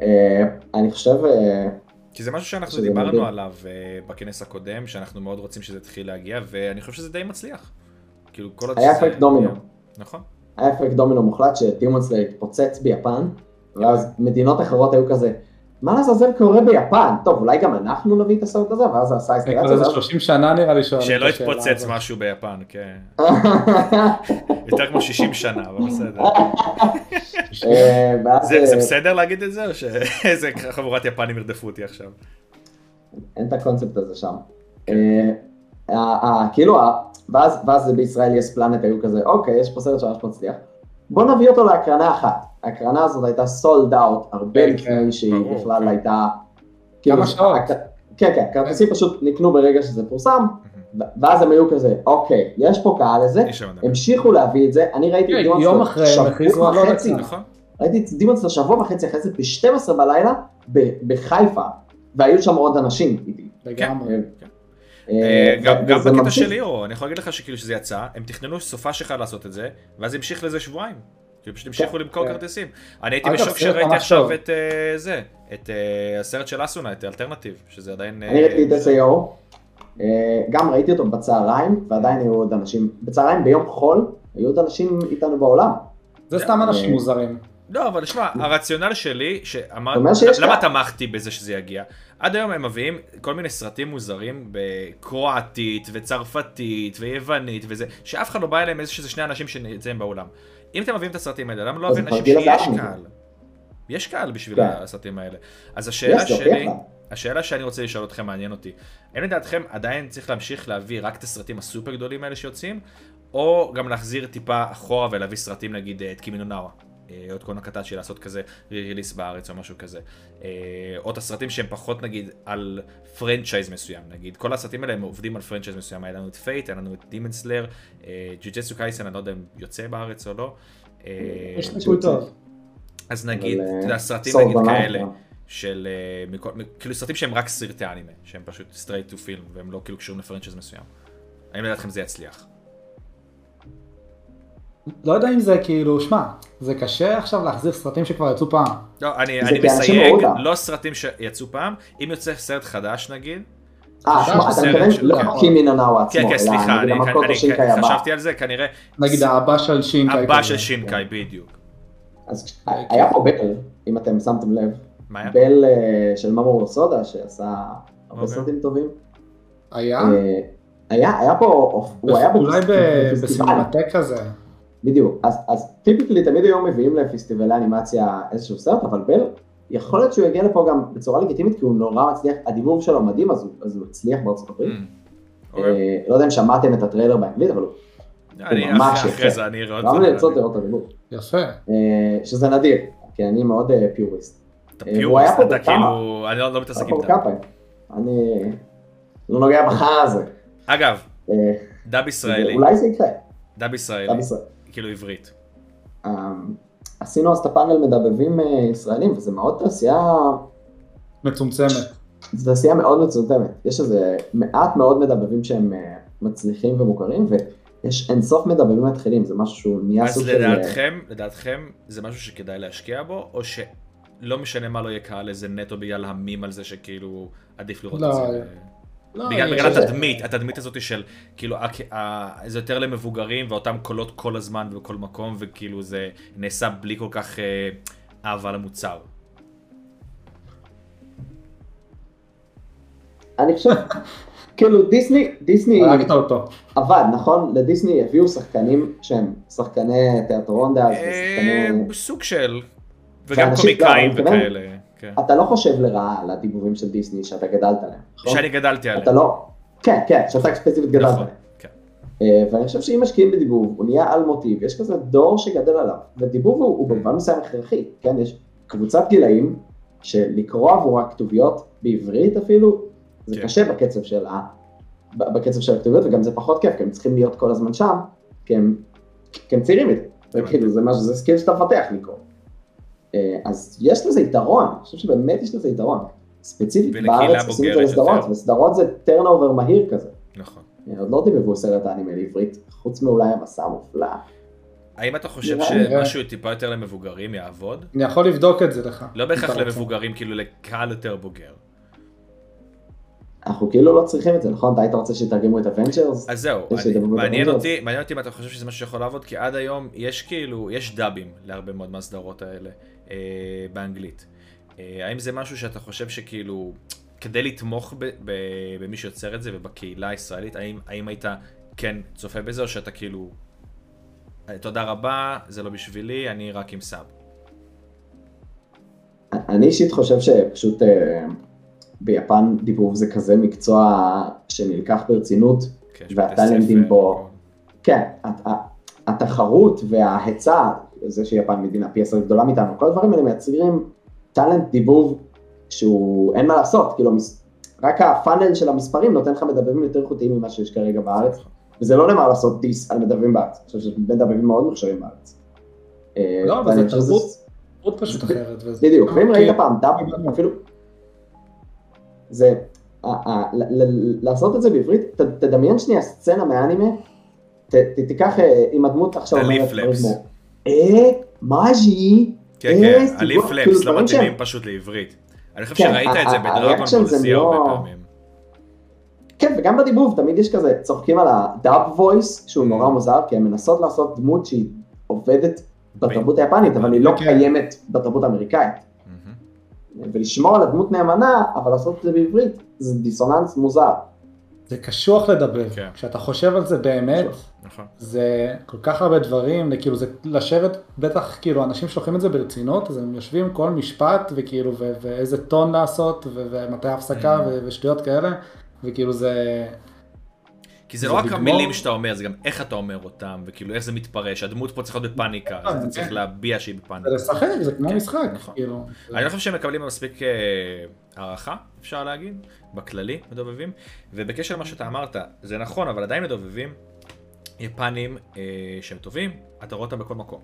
C: אה, אני חושב, אה,
A: כי זה משהו שאנחנו
C: שזה
A: דיברנו
C: מדהים.
A: עליו אה, בכנס הקודם, שאנחנו מאוד רוצים שזה יתחיל להגיע, ואני חושב שזה די מצליח. כאילו, כל עוד
C: היה
A: שזה-
C: אפקט דומינו.
A: נכון.
C: היה אפקט דומינו מוחלט שטימון סלייר התפוצץ ביפן, ואז מדינות אחרות היו כזה, מה לעזאזל קורה ביפן? טוב, אולי גם אנחנו נביא את הסרט הזה, ואז זה עשה
D: זה כבר איזה
C: איסטרציה.
D: 30 שנה נראה לי שואלים
A: שלא
D: את השאלה
A: יתפוצץ
D: הזאת.
A: משהו ביפן, כן. יותר כמו 60 שנה, אבל בסדר.
D: אה,
C: אה,
A: זה זה בסדר להגיד את זה, או שאיזה חבורת יפנים ירדפו אותי עכשיו?
C: אין את הקונספט הזה שם.
D: כן.
C: אה, ה- ה- כאילו, ה- ואז ואז בישראל יש פלנט, היו כזה, אוקיי, יש פה סרט שממש מצליח. בוא נביא אותו להקרנה אחת. ההקרנה הזאת הייתה סולד אאוט הרבה
D: כן,
C: לפני שהיא
A: ברור,
C: בכלל
A: כן.
C: הייתה...
D: כמה שעות.
C: הק- כן, כן, כרטיסים פשוט נקנו ברגע שזה פורסם, ו- ואז הם היו כזה, אוקיי, יש פה קהל לזה,
A: איש המדבר.
C: המשיכו להביא את זה, אני ראיתי
D: כן,
C: את דימון
D: יום
C: סלאר
D: אחרי הם
C: שבוע
D: הכריזו על עוד
C: וחצי,
D: הצעה.
A: נכון.
C: ראיתי את דימון סלאר שבוע וחצי אחרי זה ב-12 בלילה ב- בחיפה, והיו שם עוד אנשים איתי.
D: לגמרי.
A: אה, גם
C: ו-
A: גם
C: וזה
A: בקטע
C: ממשיך.
A: של ליאור, אני יכול להגיד לך שכאילו שזה יצא, הם תכננו סופש אחד לעשות את זה, ואז המשיך לזה שבועיים. כאילו פשוט המשיכו למכור
D: כן.
A: כרטיסים. אני הייתי
D: אגב,
A: בשוק
D: סרט
A: שראיתי
D: ממש
A: עכשיו
D: טוב.
A: את אה, זה, את אה, הסרט של אסונה, את אלטרנטיב, שזה עדיין...
C: אני
A: אה,
C: ראיתי את SAO, אה, גם ראיתי אותו בצהריים, ועדיין היו עוד אנשים, בצהריים ביום חול, היו עוד אנשים איתנו בעולם.
D: זה סתם אנשים מוזרים.
A: לא, אבל שמע, הרציונל שלי, שאמר,
C: אומר שיש
A: למה
C: כאן-
A: תמכתי בזה שזה יגיע? עד היום הם מביאים כל מיני סרטים מוזרים בקרואטית וצרפתית ויוונית וזה, שאף אחד לא בא אליהם איזה שזה שני אנשים שנמצאים באולם. אם אתם מביאים את הסרטים האלה, למה לא
C: אז
A: להביא אנשים
C: מגיע
A: שיש
C: לארבע.
A: קהל? יש קהל בשביל
C: כן.
A: הסרטים האלה. אז השאלה
C: יש, זה הוכיח
A: שלי,
C: לנו.
A: השאלה שאני רוצה לשאול אתכם מעניין אותי. האם לדעתכם עדיין צריך להמשיך להביא רק את הסרטים הסופר גדולים האלה שיוצאים, או גם להחזיר טיפה אחורה ולהביא סרטים נגיד אה, את קימינו נאווה, אה, עוד קונה קטאצ'י לעשות כזה ריליס בארץ או משהו כזה, אה, או את הסרטים שהם פחות נגיד על פרנצ'ייז מסוים, נגיד כל הסרטים האלה הם עובדים על פרנצ'ייז מסוים, היה לנו את פייט, היה לנו את דימן סלאר, ג'וג'צו קייסן, אני לא יודע אם יוצא בארץ או לא, אה,
D: יש סיכוי טוב.
A: אז נגיד,
C: אבל, אה,
A: אתה יודע, סרטים
C: סול
A: נגיד
C: בלייב,
A: כאלה.
C: אה.
A: של אה, מכל, מ- כאילו סרטים שהם רק סרטי אנימה, שהם פשוט סטרייט טו פילם, והם לא כאילו קשורים לפרנצ'ז מסוים. האם לדעתכם זה יצליח?
D: לא יודע אם זה כאילו, שמע, זה קשה עכשיו להחזיר סרטים שכבר יצאו פעם.
A: לא, אני,
C: זה
A: אני
C: כי אנשים ראו
A: מסייג,
C: אותם.
A: לא סרטים שיצאו פעם, אם יוצא סרט חדש נגיד,
C: אה,
D: זה
C: שמע,
D: הסרט
C: אתה מתכוון
A: של-
C: לא
A: כן.
C: קימי ננאו עצמו,
A: כן כן סליחה, אני,
C: נגיד
A: אני,
C: המכות או שינקאי
A: אני
C: הבא. כן.
A: חשבתי על זה, כנראה,
D: נגיד הבא של שינקאי.
A: הבא
D: כזה.
A: של שינקאי בדיוק.
C: אז כש- היה פה בל, אם אתם שמתם לב,
A: מה היה?
C: בל אה, של ממור סודה, שעשה הרבה
A: אוקיי.
C: סרטים טובים.
D: היה?
C: אה, היה היה פה, הוא היה
D: כן? אולי ב-
C: בפסטיבל.
D: בסינמטק כזה.
C: בדיוק, אז, אז טיפיקלי תמיד היו מביאים לפסטיבלי אנימציה איזשהו סרט, אבל בל, יכול להיות שהוא יגיע לפה גם בצורה לגיטימית, כי הוא נורא מצליח, הדימום שלו מדהים, אז הוא, אז הוא הצליח בארצות הברית.
A: Mm, אוקיי.
C: אה, לא יודע אם שמעתם את הטריילר באנגלית, אבל הוא
A: אני
C: ממש
A: אחרי-
C: יפה.
A: אחרי זה אני אראה
C: גרם לי לרצות
A: עוד
C: לראות את הדימום,
D: יפה.
C: אה, שזה נדיר, כי אני מאוד אה, פיוריסט.
A: אתה
C: אה, הוא היה
A: פיורס,
C: פה אה,
A: אתה
C: בכמה.
A: כאילו, אני לא לא מתעסק עם
C: פה
A: דם.
C: כפיים. אני לא נוגע בחרא הזה.
A: אגב,
C: אה,
A: דב ישראלי,
C: אולי זה יקרה,
A: דב
C: אתה
A: ישראלי,
C: בישראל.
A: כאילו עברית.
C: אה, עשינו אז את הפאנל מדבבים אה, ישראלים, וזה מאוד תעשייה
D: מצומצמת.
C: זו תעשייה מאוד מצומצמת. יש איזה מעט מאוד מדבבים שהם אה, מצליחים ומוכרים, ויש אינסוף מדבבים מתחילים, זה משהו שהוא נהיה סוג
A: אז
C: של... אה,
A: לדעתכם, לדעתכם זה משהו שכדאי להשקיע בו, או שלא משנה מה לא יהיה קהל לזה נטו בגלל המים על זה שכאילו עדיף לראות את
D: לא,
A: זה.
D: לא,
A: בגלל
D: אני-
A: בגלל
C: שזה-
A: התדמית, התדמית הזאת של כאילו הק- ה- זה יותר למבוגרים ואותם קולות כל הזמן ובכל מקום וכאילו זה נעשה בלי כל כך אה, אהבה למוצר.
C: אני חושב, כאילו דיסני, דיסני
D: הרגת אה, אותו.
C: עבד, נכון? לדיסני הביאו שחקנים שהם שחקני תיאטרון דאז,
A: אה,
C: ושחקני...
A: סוג של, וגם
C: ואנשים- לא,
A: קומיקאים
C: אני מתכוון-
A: וכאלה. כן.
C: אתה לא חושב לרעה על הדיבובים של דיסני שאתה גדלת עליהם, נכון?
A: שאני גדלתי עליהם.
C: אתה לא... כן, כן, שאתה ספציפית גדלת
A: נכון,
C: עליהם.
A: כן.
C: אה, ואני חושב שאם משקיעים בדיבוב, הוא נהיה על מוטיב, יש כזה דור שגדל עליו, ודיבוב הוא, הוא
A: Mm.
C: במובן מסוים הכרחי, כן, יש קבוצת גילאים שלקרוא עבורה כתוביות, בעברית אפילו, זה
A: כן.
C: קשה בקצב של, ה, ב- בקצב של הכתוביות, וגם זה פחות כיף, כי הם צריכים להיות כל הזמן שם, כי הם, כי הם צעירים מדי, זה
A: הבנתי.
C: כאילו, זה משהו, זה סקיל שאתה מפתח לקרוא. אה, אז יש לזה יתרון, אני חושב שבאמת יש לזה יתרון. ספציפית
A: ולקהילה
C: בארץ עושים את זה
A: בוגרת
C: לסדרות,
A: יותר.
C: וסדרות זה טרנאובר מהיר כזה.
A: נכון.
C: עוד לא דיבבו סרט האנימה לעברית, חוץ מאולי המסע המופלא.
A: האם אתה חושב
C: נראה
D: לי, כן.
A: שמשהו טיפה יותר למבוגרים יעבוד?
D: אני יכול לבדוק את זה לך.
A: לא בהכרח
D: אם אתה רוצה.
A: למבוגרים, כאילו לקהל יותר בוגר.
C: אנחנו כאילו לא צריכים את זה, נכון? אתה היית רוצה שיתרגמו את אבנג'רס?
A: אז זהו,
C: יש
A: אני-
C: את הדמות
A: מעניין
C: הזאת.
A: אותי, מעניין אותי אם אתה חושב שזה משהו שיכול לעבוד, כי עד היום יש כאילו, יש דאבים להרבה מאוד מהסדרות האלה אה, באנגלית. אה, האם זה משהו שאתה חושב שכאילו, כדי לתמוך ב- ב- במי שיוצר את זה ובקהילה הישראלית, האם, האם היית כן צופה בזה, או שאתה כאילו, "אה, תודה רבה, זה לא בשבילי, אני רק עם סאב.
C: אני אישית חושב שפשוט אה, ביפן דיבוב זה כזה מקצוע שנלקח ברצינות.
A: כן, יש
C: ואתה
A: בתי
C: לומדים
A: ספר,
C: בו. כן, הת- ה- התחרות וההיצע, זה שיפן מדינה פי עשר גדולה מאיתנו, כל הדברים האלה מייצרים טאלנט דיבוב שהוא, אין מה לעשות, כאילו, המס- רק הפאנל של המספרים נותן לך מדבבים יותר איכותיים ממה שיש כרגע בארץ.
A: נכון.
C: וזה לא למה לעשות דיס על מדבבים בארץ, אני חושב שיש מדבבים מאוד מוכשרים בארץ. אה,
D: לא, אבל
C: ואני
D: זה
C: חושב שזה-
D: תרבות. עוד פשוט אחרת. וזה-
C: בדיוק, כן, ואם
D: אוקיי.
C: ראית פעם דאב, אפילו... זה... ה- ה- ל- ל- לעשות את זה בעברית, ת- תדמיין שנייה סצנה מהאנימה, ת- ת- תיקח אה, אם הדמות עכשיו
A: הליף
C: אומרת דברים
A: פלאפס.
C: כמו, אה, מאז'י,
A: כן,
C: אה,
A: כן,
C: סיפור-
A: הליף
C: כאילו
A: פלאפס לא
C: דברים
A: מתאימים
C: שהם-
A: פשוט לעברית. אני חושב
C: כן,
A: שראית
C: ה-
A: את זה
C: ה-
A: בדרגון
C: הריאקשן זה
A: בולסי הרבה
C: לא-
A: פעמים.
C: כן, וגם בדיבוב, תמיד יש כזה, צוחקים על הדאב וויס, שהוא נורא מוזר, כי הן מנסות לעשות דמות שהיא עובדת בתרבות היפנית, אבל היא לא
D: כן.
C: קיימת בתרבות האמריקאית.
A: מהמם.
C: ולשמור על הדמות נאמנה, אבל לעשות את זה בעברית, זה דיסוננס מוזר.
D: זה קשוח לדבר.
A: כן.
D: כשאתה חושב על זה באמת,
A: נכון.
D: זה כל כך הרבה דברים, כאילו זה לשבת, בטח כאילו אנשים שולחים את זה ברצינות, אז הם יושבים כל משפט וכאילו ו- ואיזה טון לעשות ו- ומתי
A: Mm.
D: ההפסקה ו- ושטויות כאלה, וכאילו זה,
A: כי זה
D: זה
A: לא רק
D: לגמור-
A: המילים שאתה אומר, זה גם איך אתה אומר אותם, וכאילו איך זה מתפרש. הדמות פה צריכה להיות בפאניקה, אז אתה צריך להביע שהיא בפאניקה.
D: זה לשחק, זה כמו
A: כן,
D: משחק,
A: נכון.
D: כאילו.
A: אני לא חושב שהם מקבלים מספיק אה, הערכה, אפשר להגיד, בכללי, מדובבים. ובקשר למה שאתה אמרת, זה נכון, אבל עדיין מדובבים, יפנים אה, שהם טובים, אתה רואה אותם בכל מקום.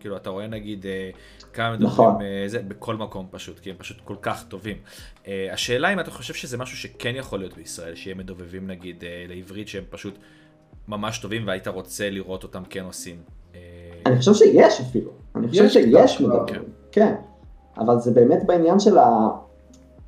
A: כאילו, אתה רואה נגיד אה, כמה מדובבים,
C: נכון.
A: אה, זה, בכל מקום פשוט, כי הם פשוט כל כך טובים. אה, השאלה אם אתה חושב שזה משהו שכן יכול להיות בישראל, שיהיה מדובבים נגיד אה, לעברית שהם פשוט ממש טובים והיית רוצה לראות אותם כן עושים. אה,
C: אני חושב שיש אפילו, אני חושב
D: יש
C: שיש
D: כבר,
C: מדברים,
A: כן.
C: כן. אבל זה באמת בעניין של ה...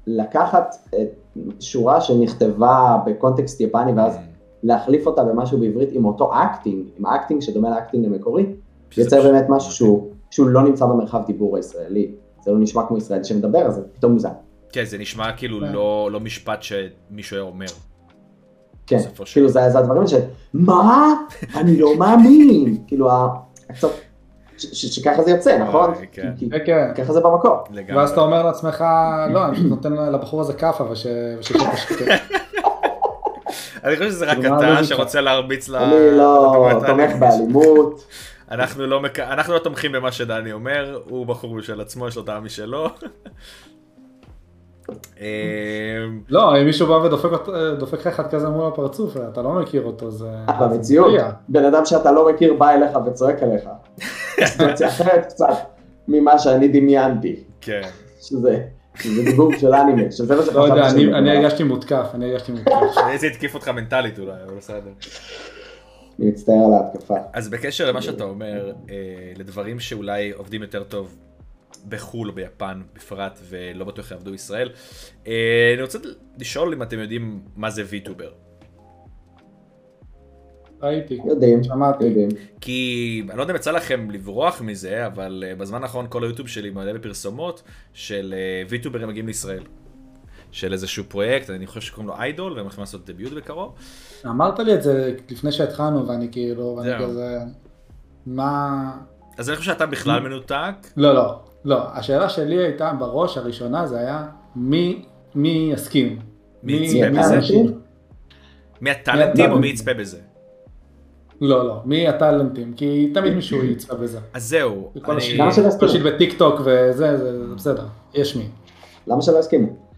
C: לקחת את שורה שנכתבה בקונטקסט יפני ואז
A: Mm.
C: להחליף אותה במשהו בעברית עם אותו אקטינג, עם אקטינג שדומה לאקטינג המקורי,
A: שזה
C: יוצר
A: פשוט
C: באמת
A: מדהים.
C: משהו שהוא, שהוא לא נמצא במרחב דיבור הישראלי. זה לא נשמע כמו ישראלי שמדבר, אז זה פתאום מוזר.
A: כן, זה נשמע כאילו
D: כן.
A: לא, לא משפט שמישהו היה אומר.
C: כן,
A: בסופו של
C: כאילו זה זה הדברים של, מה? אני לא מאמין. כאילו, ה- הקצת, ש- ש- שככה זה יוצא, נכון?
A: אוי, כן.
C: כי- כי-
D: כן, כן.
C: ככה זה במקור.
A: לגמרי.
D: ואז אתה אומר לעצמך, לא, אני פשוט נותן לבחור הזה כאפה וש... כן. וש-
A: אני חושב שזה רק
D: כאילו, מה
A: אתה
D: הלוגיקה?
A: שרוצה להרביץ ל...
C: אני לא
A: לדמויות
C: תומך
A: האלה.
C: באלימות,
A: אנחנו לא, מק... אנחנו לא תומכים במה שדני אומר, הוא בחור משל עצמו, יש לו טעם משלו. אמ,
D: לא, אם מישהו בא ודופק אות- דופק לך אחד כזה מול הפרצוף, אתה לא מכיר אותו, זה... זה
C: במציאות.
D: מפריע.
C: בן אדם שאתה לא מכיר בא אליך וצועק עליך. סיטואציה אחרת קצת ממה שאני דמיינתי,
A: כן,
C: שזה שזה דיבוב של אנימה, שזה מה
D: לא יודע,
C: שחשבתי
D: אני-
C: שאני
D: אני
C: מדבר.
D: הרגשתי מותקף, אני הרגשתי מותקף.
A: זה התקיף אותך מנטלית אולי, אבל בסדר.
C: אני מצטער על ההתקפה.
A: אז בקשר למה שאתה אומר, אה, לדברים שאולי עובדים יותר טוב בחו"ל או ביפן בפרט, ולא בטוח יעבדו בישראל, אה, אני רוצה לשאול אם אתם יודעים מה זה VTuber.
D: ראיתי,
C: יודעים,
D: שמעתי.
C: יודעים.
A: כי אני לא יודע אם יצא לכם לברוח מזה, אבל אה, בזמן האחרון כל היוטיוב שלי מלא בפרסומות של אה, ויטוברים מגיעים לישראל. של איזשהו פרויקט, אני חושב שקוראים לו איידול, והם הולכים לעשות דביוט בקרוב.
D: אמרת לי את זה לפני שהתחלנו, ואני כאילו, ואני
A: זהו.
D: כזה... מה...
A: אז אני חושב שאתה בכלל מנותק,
D: לא, לא. לא, השאלה שלי הייתה בראש הראשונה זה היה מי, מי יסכים.
A: מי יצפה
D: מי
A: בזה?
D: האנשים?
A: מי הטאלנטים או
D: הטאלנטים?
A: מי יצפה בזה?
D: לא, לא, מי הטאלנטים, כי תמיד מישהו יצפה בזה.
A: אז זהו.
D: כל
A: אני-
D: השאלה
C: למה שלא
D: פשוט
C: יסכימו?
D: בטיק טוק וזה, זה זה בסדר, יש מי.
C: למה שלא יסכימו?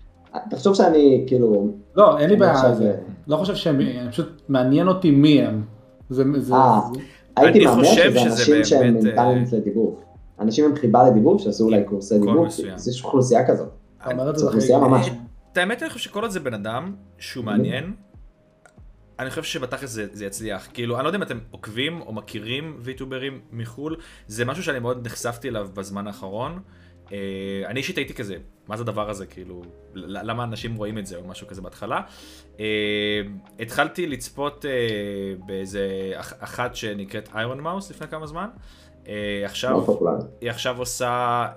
C: תחשוב שאני, כאילו,
D: לא, אין לי
C: אני
D: בעיה
C: עכשיו,
D: עם זה.
C: אה,
D: לא חושב שהם, אני פשוט מעניין אותי מי הם. זה, זה,
C: אה.
D: זה-
C: הייתי
A: אני
C: מהמר
A: חושב
C: שזה
A: שזה
C: אנשים שהם
A: באמת, אה,
C: עם טאלנט לדיבור. אנשים עם חיבה לדיבור שעשו אולי קורסי
A: קול
C: דיבור,
A: מסוים.
C: אז יש אוכלוסייה כזאת.
D: אתה אומר את זה
C: זו
D: אחרי-
C: אוכלוסייה ממש.
A: את האמת אני חושב שכל עוד זה בן אדם שהוא מעניין, אני חושב שבתכלס זה, זה יצליח. כאילו, אני לא יודע אם אתם עוקבים או מכירים ויטוברים מחו"ל, זה משהו שאני מאוד נחשפתי אליו בזמן האחרון. אה, אני אישית הייתי כזה, מה זה הדבר הזה, כאילו, ל- למה אנשים רואים את זה או משהו כזה בהתחלה. אה, התחלתי לצפות אה, באיזה אח- אחת שנקראת איירון מאוס לפני כמה זמן. אה, עכשיו
C: מאוד לא פופולרית.
A: היא עכשיו עושה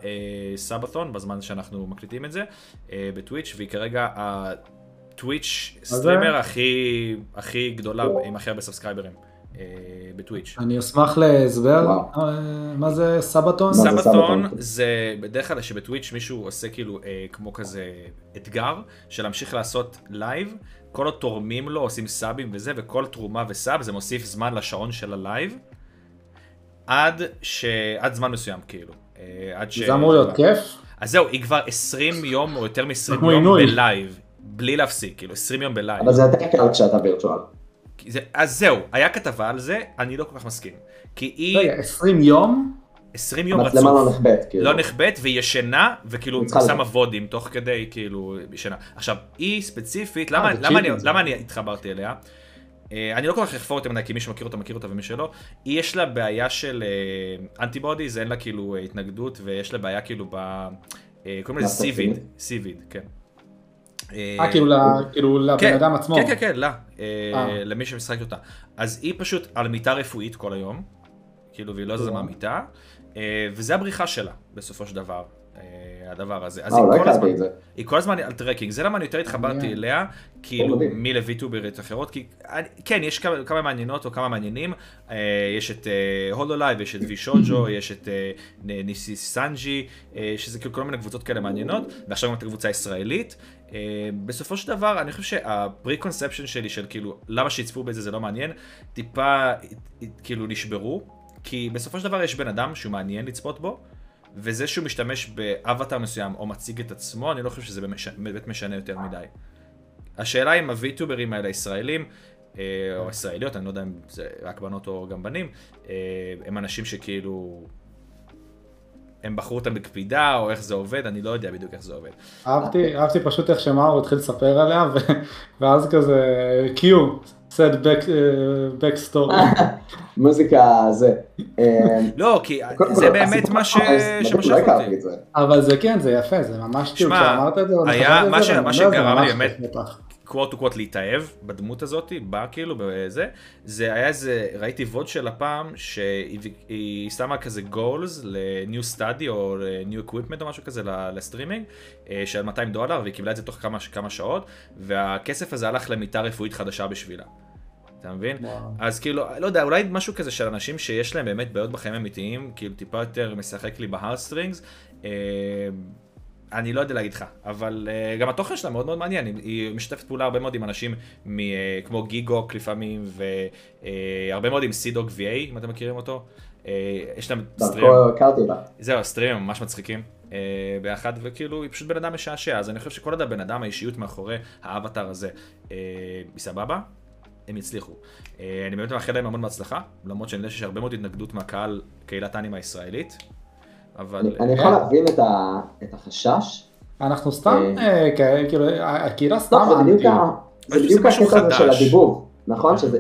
A: אה, סבתון בזמן שאנחנו מקליטים את זה אה, בטוויץ' והיא כרגע הטוויץ'
D: זה?
A: סטרימר הכי הכי גדולה עם הכי הרבה סאבסקייברים אה, בטוויץ'.
D: אני אשמח להסבר,
C: וואו.
D: אה, מה זה סבתון?
C: מה זה סבתון?
A: סבתון זה בדרך כלל שבטוויץ' מישהו עושה כאילו אה, כמו כזה אתגר של להמשיך לעשות לייב, כל התורמים לו עושים סאבים וזה, וכל תרומה וסאב זה מוסיף זמן לשעון של הלייב, עד, ש... עד זמן מסוים כאילו. אה, עד ש...
D: זה אמור להיות כן? כיף?
A: אז זהו, היא כבר 20 יום או יותר מ-20
D: כמו
A: יום
D: עינוי.
A: בלייב, בלי להפסיק, כאילו 20 יום בלייב.
C: אבל זה יותר קל כשאתה וירטואל.
A: כי זה... אז זהו, היה כתבה על זה, אני לא כל כך מסכים. כי היא
D: רגע, 20 יום?
A: 20 יום רצוף.
C: המצלמה לא נחבאת, כאילו.
A: לא נחבאת והיא ישנה וכאילו
C: היא צריכה
A: שמה
C: לזה.
A: וודים תוך כדי כאילו ישנה. עכשיו היא ספציפית,
D: אה,
A: למה,
D: זה
A: למה, אני,
D: צ'ילינג.
A: למה אני התחברתי אליה? אה, אני לא כל כך אחפור יותר מדי כי מי שמכיר אותה מכיר אותה ומי שלא. היא יש לה בעיה של אנטיבודיז, אין לה כאילו אה, התנגדות ויש לה בעיה כאילו ב... אה, קוראים לזה סיביד,
C: הסרטינית?
A: סיביד, כן.
D: אה, כאילו ל- כאילו לבן
A: כן,
D: אדם עצמו.
A: כן, כן, כן, לה, אה,
D: אה.
A: למי שמשחקת אותה. אז היא פשוט על מיטה רפואית כל היום, כאילו, והיא לא זזה
D: אה.
A: מהמיטה, אה, וזה הבריחה שלה, בסופו של דבר, אה, הדבר הזה. אז
C: אה,
A: היא
C: לא
A: כל הזמן,
C: הכרתי את זה.
A: היא כל הזמן על טרקינג, זה למה אני יותר התחברתי
D: מעניין.
A: אליה, כאילו,
C: מדהים.
A: מלוויטוברית אחרות, כי, אני- כן, יש כמה- כמה מעניינות או כמה מעניינים, אה, יש את הולו לייב, יש את וישוג'ו, יש את אה, נ- ניסי סנג'י, אה, שזה כאילו כל מיני קבוצות כאלה מעניינות, ועכשיו גם את הקבוצה הישראלית. אה, בסופו של דבר, אני חושב שהפרי-קונספשן שלי של כאילו, למה שיצפו בזה זה לא מעניין, טיפה אה, כאילו נשברו, כי בסופו של דבר יש בן אדם שהוא מעניין לצפות בו, וזה שהוא משתמש באבטר מסוים או מציג את עצמו, אני לא חושב שזה באמת משנה- באמת משנה יותר מדי. השאלה אם הוויטוברים האלה ישראלים, אה, או ישראליות, אני לא יודע אם זה רק בנות או גם בנים, אה, הם אנשים שכאילו... הם בחרו אותם בקפידה, או איך זה עובד, אני לא יודע בדיוק איך זה עובד.
D: אהבתי, אהבתי פשוט איך שמאור התחיל לספר עליה, ו- ואז כזה, קיו, said back, אה, back story.
C: מוזיקה זה. אה,
A: לא, כי
C: קודם כל,
A: זה באמת
C: הסיפור
A: מה ש...
C: אז בטח
A: שמשך
C: לא
A: אותי.
C: הכרתי את זה.
D: אבל זה כן, זה יפה, זה ממש כאילו,
A: שמע,
D: כשאמרת את זה, אני
A: היה-
D: חשבתי על
A: מה
D: זה,
A: ש-
D: ואני
A: מה
D: אומר, זה
A: שגרם לי
D: ממש
A: באמת-
D: כיף בטח.
A: קוואט טו קוואט להתאהב בדמות הזאת, בא כאילו בזה, זה היה איזה, ראיתי ווד שלה פעם, שהיא היא שמה כזה goals ל-new study או ל-new equipment או משהו כזה ל- לסטרימינג, אה, של 200 דולר, והיא קיבלה את זה תוך כמה, כמה שעות, והכסף הזה הלך למיטה רפואית חדשה בשבילה. אתה מבין?
D: וואו.
A: אז כאילו, לא יודע, אולי משהו כזה של אנשים שיש להם באמת בעיות בחיים אמיתיים, כאילו טיפה יותר משחק לי בהרסטרינגס. אה, אני לא יודע להגיד לך, אבל אה, גם התוכן שלה מאוד מאוד מעניין, היא- היא משתפת פעולה הרבה מאוד עם אנשים מ, אה, כמו גיגוק לפעמים, והרבה מאוד עם סידוק VA, אם אתם מכירים אותו. אה, יש להם סטרים, לא
C: דרכו לא הכרתי אותה.
A: זהו, הסטרימים ממש מצחיקים אה, ביחד, וכאילו, היא פשוט בן אדם משעשע, אז אני חושב שכל עוד הבן אדם, האישיות מאחורי האבטר הזה, אה, היא סבבה, הם יצליחו. אה, אני באמת מאחל להם המון בהצלחה, למרות שאני יודע שיש הרבה מאוד התנגדות מהקהל, קהילת האנימה הישראלית, אבל...
C: אני- אני יכול
D: אה.
C: להבין את ה- את החשש.
D: אנחנו סתם, אה, כ- כאילו, הקהילה סתם
C: לא, זה בדיוק
D: אנטי.
C: ה- זה
A: אבל זה
C: בדיוק
A: משהו
C: הקטע הזה של
A: חדש.
C: הדיבור. נכון?
A: אה.
C: שזה...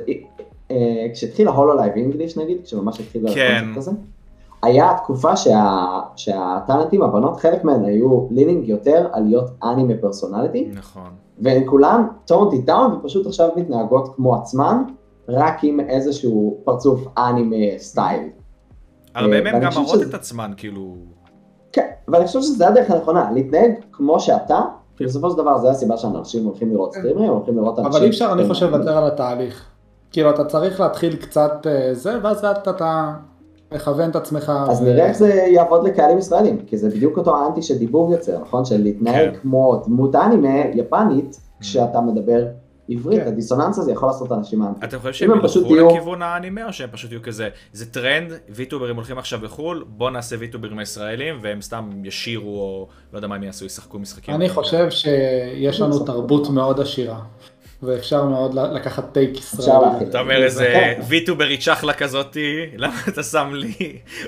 C: אה, כשהתחיל ההולולייב אינגליש נגיד, כשממש התחיל
A: כן.
C: הקונספט הזה, היה תקופה שה- שהטאלנטים, הבנות, חלק מהן היו לינינג יותר על להיות אנימה פרסונליטי,
A: נכון.
C: והן כולן טורנטי טאון ופשוט עכשיו מתנהגות כמו עצמן, רק עם איזשהו פרצוף אנימה סטייל.
A: הרבה
C: אה,
A: מהם
C: ואני
A: גם
C: חושב
A: מראות
C: שזה-
A: את עצמן, כאילו...
C: כן, ואני חושב שזו הדרך הנכונה, להתנהג כמו שאתה, כי בסופו של דבר זו הסיבה שאנשים הולכים לראות סטרימרים, הולכים לראות אנשים.
D: אבל אי אפשר,
C: כן.
D: אני חושב, לוותר על התהליך. כאילו, אתה צריך להתחיל קצת אה, זה, ואז לאט אתה לכוון את עצמך.
C: אז
D: ו-
C: נראה איך זה יעבוד לקהלים ישראלים, כי זה בדיוק אותו האנטי שדיבור יוצר, נכון? של להתנהג
A: כן.
C: כמו דמות אנימה יפנית, כשאתה מדבר עברית,
D: כן.
C: הדיסוננס הזה יכול לעשות אנשים אנטי.
A: אתם חושבים
C: אם
A: שהם
C: הם פשוט
A: ילכו
C: יהיו-
A: לכיוון האנימה או שהם פשוט יהיו כזה, זה טרנד, ויטוברים הולכים עכשיו לחו"ל, בוא נעשה ויטוברים ישראלים והם סתם ישירו או לא יודע מה הם יעשו, ישחקו משחקים.
D: אני חושב שיש לנו תרבות מאוד עשירה, ואפשר מאוד ל- לקחת טייק
C: אפשר
D: ישראלי.
C: להכיל.
A: אתה אומר איזה
C: כן.
A: ויטוברית שחלה כזאתי, למה אתה שם לי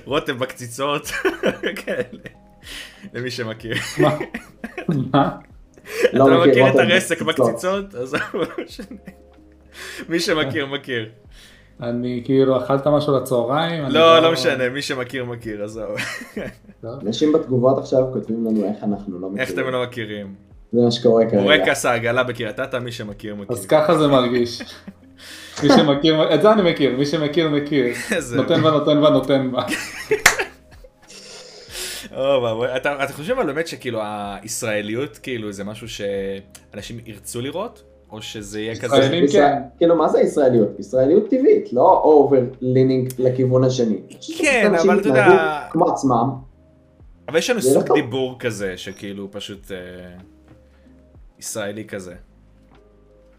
A: רותם בקציצות? כאלה. למי שמכיר.
D: מה? מה?
A: אתה לא מכיר את
C: רותם
A: הרסק
C: בקציצות.
A: בקציצות? אז לא משנה. מי שמכיר, מכיר.
D: אני כאילו אכלת משהו לצהריים? אני לא?
A: לא, לא משנה, מי שמכיר, מכיר, אז זהו.
C: אנשים בתגובות עכשיו כותבים לנו איך אנחנו לא
A: איך
C: מכירים.
A: אתם לא מכירים?
C: זה מה שקורה כרגע.
A: בורקס העגלה בקריית אתא, מי שמכיר, מכיר.
D: אז ככה זה מרגיש. מי שמכיר, את זה אני מכיר, מי שמכיר מכיר.
A: איזה-
D: נותן בה, נותן בה, נותן בה.
A: או, ואבוי. אתה אתה חושב אבל באמת שכאילו הישראליות, כאילו זה משהו שאנשים ירצו לראות? או שזה יהיה כזה...
D: ישראלים
C: ישראל-
D: כן.
C: כאילו מה זה ישראליות? ישראליות טבעית, לא אובר לינינג לכיוון השני.
A: כן,
C: אנשים
A: אבל אתה יודע-
C: התנהגו כמו עצמם,
A: אבל יש לנו
C: זה לא
A: סוג
C: טוב.
A: דיבור כזה, שכאילו הוא פשוט אה, ישראלי כזה.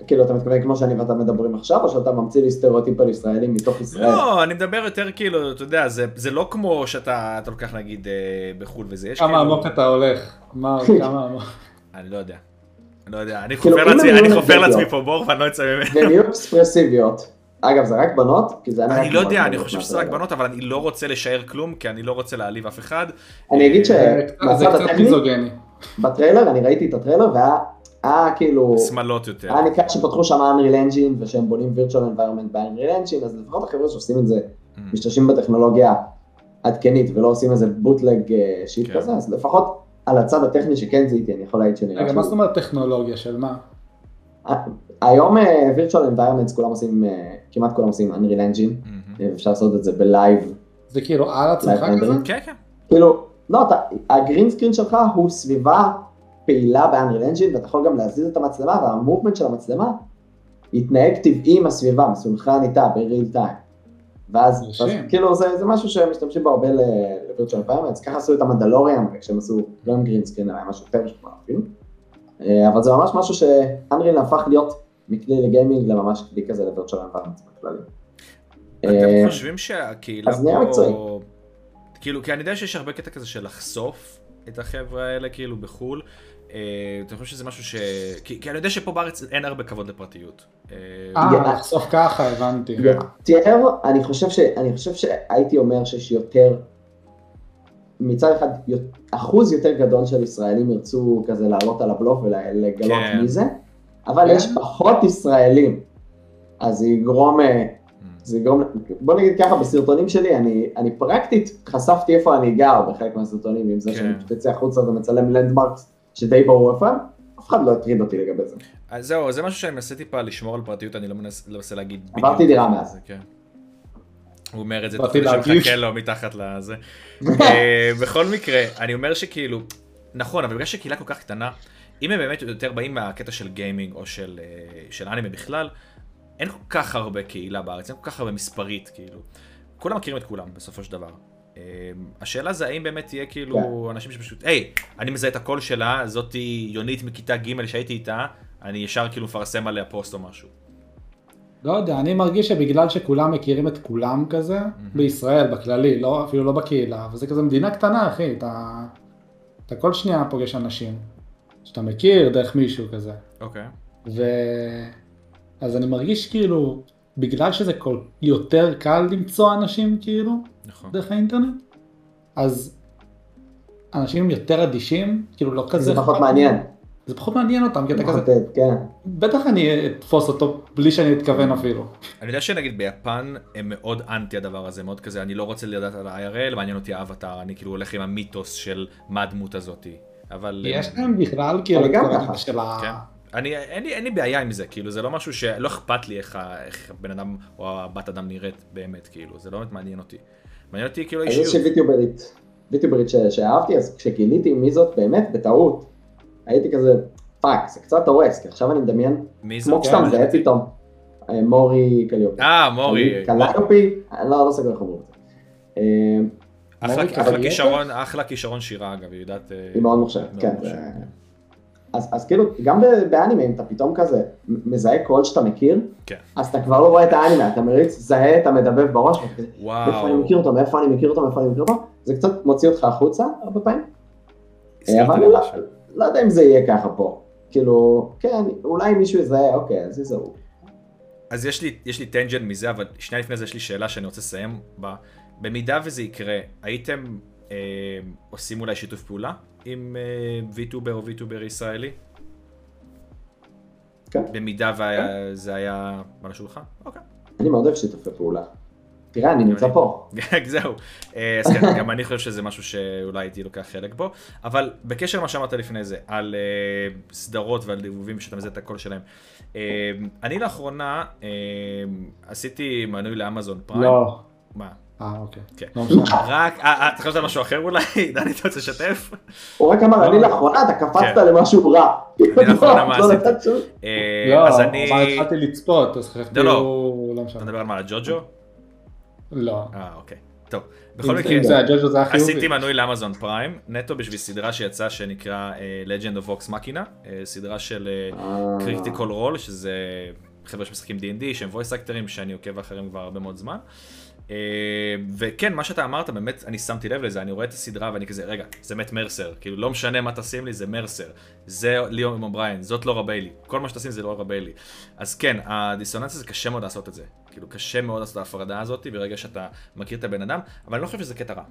C: כאילו אתה מתכוון כמו שאני ואתה מדברים עכשיו, או שאתה ממציא לי סטריאוטיפ על ישראלים מתוך ישראל?
A: לא, אני מדבר יותר כאילו, אתה יודע, זה- זה לא כמו שאתה אתה לוקח נגיד אה, בחו"ל וזה, יש
D: כמה
A: כאילו...
D: עמוק אתה הולך. מה, כמה עמוק.
A: אני לא יודע. אני לא יודע, אני
C: כאילו,
A: חופר
C: אם
A: לעצמי-
C: הם היו
A: אני חופר
C: נורבגיות.
A: לעצמי פה בור ואני לא אצא ממנו.
C: והן יהיו אקספרסיביות. אגב, זה רק בנות, כי זה היה
A: אני
C: רק אה,
A: לא
C: בנות,
A: יודע, אני
C: בנות,
A: חושב
C: בנות,
A: שזה רק
C: בנות.
A: בנות, אבל אני לא רוצה לשער כלום, כי אני לא רוצה להעליב אף אחד. אה,
C: אני אגיד ש-
D: זה קצת- זה
C: מהצד
D: קצת
C: הטכני?
D: מיזוגני.
C: בטריילר, אני ראיתי את הטריילר, והיה היה כאילו...
A: שמאלות יותר.
C: היה ניכר שפתחו שם Unreal Engine, ושהם בונים virtual environment ב-Unreal Engine, אז לפחות החבר'ה שעושים את זה,
A: Mm.
C: משתמשים בטכנולוגיה עדכנית, ולא עושים איזה בוטלג אה, שיט
A: כן.
C: כזה, אז לפחות על הצד הטכני שכן זיהיתי, אני יכול לא להגיד שנראה
D: רגע,
C: שהוא-
D: מה זאת אומרת טכנולוגיה של מה?
C: היום אה, virtual environments כולם עושים, אה, כמעט כולם עושים Unreal Engine.
A: מהמם.
C: אפשר לעשות את זה בלייב.
D: זה כאילו על עצמך
C: אולי
D: כזה?
C: בנדרים?
A: mm. כן, כן.
C: כאילו, לא, אתה, הגרין סקרין שלך הוא סביבה פעילה באנריל אנג'ין, ואתה יכול גם להזיז את המצלמה, והמובמנט של המצלמה יתנהג טבעי עם הסביבה, מסונכרן איתה ב-real time. ואז,
D: מרשים.
C: ואז כאילו זה, זה משהו שמשתמשים בו הרבה לווירטואל פיימנטס, ככה עשו את המנדלוריאן, כשהם עשו לא עם גרין סקרין, אלא עם משהו יותר משמעותי אפילו. אה, אבל זה ממש משהו שאנריל הפך להיות מכלי לגיימינג לממש כלי כזה לווירטואל פיימנטס בכללי. אה,
A: אתם חושבים שהקהילה
C: אז נהיה מקצועי.
A: פה... כאילו, כי אני יודע שיש הרבה קטע כזה של לחשוף את החבר'ה האלה, כאילו, בחו"ל. אה, אתם חושבים שזה משהו ש... כי כי אני יודע שפה בארץ אין הרבה כבוד לפרטיות. אה,
D: אה,
C: ידע.
D: לחשוף ככה, הבנתי.
C: יותר, אני חושב, ש, אני חושב שהייתי אומר שיש יותר, מצד אחד, יו- אחוז יותר גדול של ישראלים ירצו כזה לעלות על הבלוף ולגלות
A: כן.
C: כן. מי זה, אבל
D: כן.
C: יש פחות ישראלים. אז זה יגרום, אה, זה יגרום, בוא נגיד ככה, בסרטונים שלי, אני, אני פרקטית חשפתי איפה אני גר בחלק מהסרטונים, עם זה
A: כן.
C: שאני פשוט יוצא החוצה ומצלם לנדמרקס שדי ברור איפה, הם, אף אחד לא הטריד אותי לגבי זה.
A: אז אה, זהו, זה משהו שאני מנסה טיפה לשמור על פרטיות, אני לא מנסה לא מנסה להגיד בדיוק.
C: עברתי דירה מאז.
A: זה, כן. הוא אומר את זה,
D: באתי
A: תוך כדי
D: להגיב.
A: שמחכה לו מתחת לזה. אה, בכל מקרה, אני אומר שכאילו, נכון, אבל בגלל שקהילה כל כך קטנה, אם הם באמת יותר באים מהקטע של גיימינג או של, אה, של אנימה בכלל, אין כל כך הרבה קהילה בארץ, אין כל כך הרבה מספרית, כאילו. כולם מכירים את כולם, בסופו של דבר. אה, השאלה זה האם באמת תהיה כאילו אנשים שפשוט, היי, אני מזהה את הקול שלה, זאתי יונית מכיתה ג' שהייתי איתה, אני ישר כאילו מפרסם עליה פוסט או משהו.
D: לא יודע, אני מרגיש שבגלל שכולם מכירים את כולם כזה, בישראל, בכללי, לא, אפילו לא בקהילה, וזה כזה מדינה קטנה, אחי, אתה, אתה כל שנייה פוגש אנשים, שאתה מכיר דרך מישהו כזה.
A: אוקיי.
D: ו... אז אני מרגיש כאילו, בגלל שזה כל... יותר קל למצוא אנשים כאילו,
A: נכון.
D: דרך האינטרנט, אז אנשים יותר אדישים, כאילו לא כזה...
C: זה פחות
D: אכפת-
C: מעניין.
D: זה פחות מעניין אותם, כי אתה כזה,
C: פחות, אה, כן.
D: בטח אני אתפוס אותו בלי שאני אתכוון אפילו.
A: אני יודע שנגיד ביפן הם מאוד אנטי הדבר הזה, מאוד כזה, אני לא רוצה לדעת על ה-IRL, מעניין אותי האבטאר, אני כאילו הולך עם המיתוס של מה הדמות הזאתי. אבל...
D: יש להם בכלל כאילו
C: אני גם
D: את כל
C: ככה.
D: הקטע של
A: כן.
D: ה...
A: אני, אין, לי, אין לי בעיה עם זה, כאילו, זה לא משהו שלא אכפת לי איך, ה- איך הבן אדם או הבת אדם נראית באמת, כאילו, זה לא באמת מעניין אותי. מעניין אותי כאילו
C: אז יש
A: האישיות.
C: וידאוברית, וידאוברית ש- שאהבתי, אז כשגיליתי מי זאת באמת, בטעות, הייתי כזה, פאק, זה קצת הורס, כי עכשיו אני מדמיין,
A: מי זה?
C: כמו כשאתה מזהה פתאום, אה, מורי קליופי.
A: אה, מורי.
C: קליופי, לא, לא סגור איך אומרים את זה. אה,
A: אחלה-
C: מורית,
A: אחלה
C: אבל יש
A: כישרון- אחלה כישרון שירה אגב, היא יודעת... אה,
C: היא מאוד מוכשרת, כן.
A: מוכשרת,
C: זה- אז, אז כאילו, גם ב- באנימה, אם אתה פתאום כזה מזהה קול שאתה מכיר,
A: כן.
C: אז אתה כבר לא רואה את האנימה, אתה מריץ, זהה, אתה מדבב בראש, ואתה כזה, מאיפה אני
A: וואו.
C: מכיר אותו, מאיפה אני מכיר אותו, מאיפה אני מכיר אותו, זה קצת מוציא אותך החוצה הרבה פעמים.
A: הזכרת
C: אבל
A: לי
C: לא-
A: משהו.
C: לא יודע אם זה יהיה ככה פה. כאילו, כן, אולי מישהו יזהה, אוקיי, אז זה הוא.
A: אז יש לי, יש לי טנג'נט מזה, אבל שנייה לפני זה יש לי שאלה שאני רוצה לסיים בה. במידה וזה יקרה, הייתם אה, עושים אולי שיתוף פעולה עם אה, ויטובר או ויטובר ישראלי?
C: כן.
A: במידה וזה היה על השולחן? אוקיי.
C: אני מאוד אוהב שיתופי פעולה. תראה, אני נמצא פה.
A: רק זהו. אה, אז כן, גם אני חושב שזה משהו שאולי הייתי לוקח חלק בו. אבל בקשר למה שאמרת לפני זה, על אה, סדרות ועל דיבובים שאתה מזהה את הקול שלהם. אה, אני לאחרונה אה, עשיתי מנוי לאמזון פריים.
D: לא.
A: מה?
D: אה, אוקיי.
A: כן.
D: לא משנה.
A: רק, אה, אה, אתה חושב על משהו אחר אולי? דני, אתה רוצה לשתף?
C: הוא רק אמר, אני לאחרונה, אתה קפצת
A: לא, כן.
C: למשהו רע.
A: לאחרונה, מה
C: לא
A: עשיתי?
C: נתת שום-
A: אה,
D: לא,
A: אז אני...
D: אבל התחלתי לצפות, אז חשבתי,
A: לא, לא.
D: הוא- לא
A: אתה
D: משנה.
A: מדבר על מה, על ג'וג'ו?
D: לא.
A: אה, אוקיי. טוב. בכל
D: אם זה-
A: מקרה,
D: אם זה הג'וג'ו זה היה חיובי.
A: עשיתי מנוי לאמזון פריים, נטו בשביל סדרה שיצאה שנקרא אה, Legend of Vox Machina, אה, סדרה של
C: אה.
A: קריטיקול רול, שזה חבר'ה שמשחקים D&D, שהם voice actors שאני עוקב אחריהם כבר הרבה מאוד זמן. אה, וכן, מה שאתה אמרת, באמת, אני שמתי לב לזה, אני רואה את הסדרה ואני כזה, רגע, זה מת מרסר, כאילו לא משנה מה תשים לי, זה מרסר, זה ליאום אובריין, זאת לורה ביילי, כל מה שתשים זה לורה ביילי. אז כן, הדיסוננס הזה קשה מאוד לעשות את זה, כאילו קשה מאוד לעשות את ההפרדה הזאת, ברגע שאתה מכיר את הבן אדם, אבל אני לא חושב שזה קטע רע.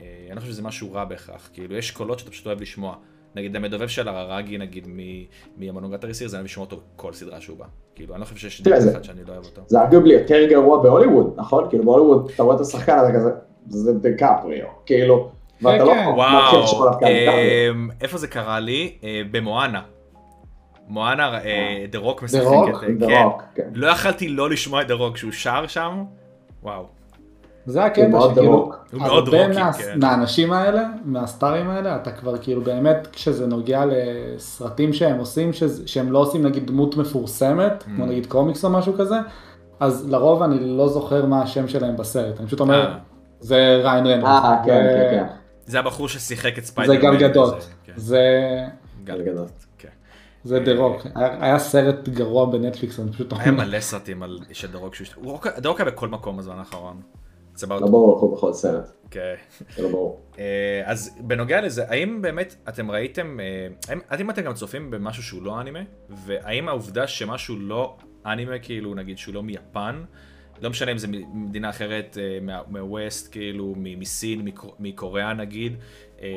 A: אה, אני לא חושב שזה משהו רע בהכרח, כאילו יש קולות שאתה פשוט אוהב לשמוע. נגיד המדובב של הררגי, נגיד מ- מהמנוגטרי סיר, זה אני אוהב לשמוע אותו כל סדרה שהוא בא. כאילו, אני לא חושב שיש
C: תראה,
A: דרך
C: זה-
A: אחת שאני לא אוהב אותו.
C: זה אגב יותר גרוע בהוליווד, נכון? כאילו בהוליווד אתה רואה את השחקן הזה כזה, זה דקפריו, כאילו, ואתה
D: כן,
C: לא
D: כן.
C: מתחיל לשאול
A: וואו,
C: אף אחד דקפריו.
A: אמ, איפה זה קרה לי? אה, במואנה. מואנה, אה, דה רוק משחק
D: רוק?
A: את...
C: The
A: אה, כן.
C: Rock, כן.
A: לא יכלתי לא לשמוע את דה רוק כשהוא שר שם. וואו. כן,
D: זה
C: הוא
D: הקטע
C: מאוד
D: שכאילו,
C: רוק.
A: הוא מאוד
D: הרבה
A: רוקי,
D: מה-
A: כן.
D: מהאנשים האלה, מהסטארים האלה, אתה כבר כאילו באמת, כשזה נוגע לסרטים שהם עושים, שזה- שהם לא עושים נגיד דמות מפורסמת,
A: Mm.
D: כמו נגיד קומיקס או משהו כזה, אז לרוב אני לא זוכר מה השם שלהם בסרט, אני פשוט אומר,
A: אה.
D: זה ריין רנדס.
C: אה, כן,
D: זה-
C: כן, כן.
A: זה הבחור ששיחק את
D: זה
A: ספיידרמן.
D: גל גדות,
A: וזה, כן.
D: זה-
A: גל גדות. כן.
D: זה דה רוק, היה היה סרט גרוע בנטפליקס, אני פשוט
A: היה
D: אומר,
A: מלא סרטים על של דה רוק שהוא... הוא רוק- דה רוק היה בכל מקום בזמן האחרון. סבבה.
C: לא ברור, הלכו בכל סרט,
A: כן.
C: זה לא ברור.
A: אה, אז בנוגע לזה, האם באמת אתם ראיתם, אה, האם- האם אתם גם צופים במשהו שהוא לא אנימה? והאם העובדה שמשהו לא אנימה, כאילו נגיד שהוא לא מיפן, לא משנה אם זה מדינה אחרת, אה, מה- מהווסט, כאילו מ- מסין, מקור- מקוריאה נגיד, אה,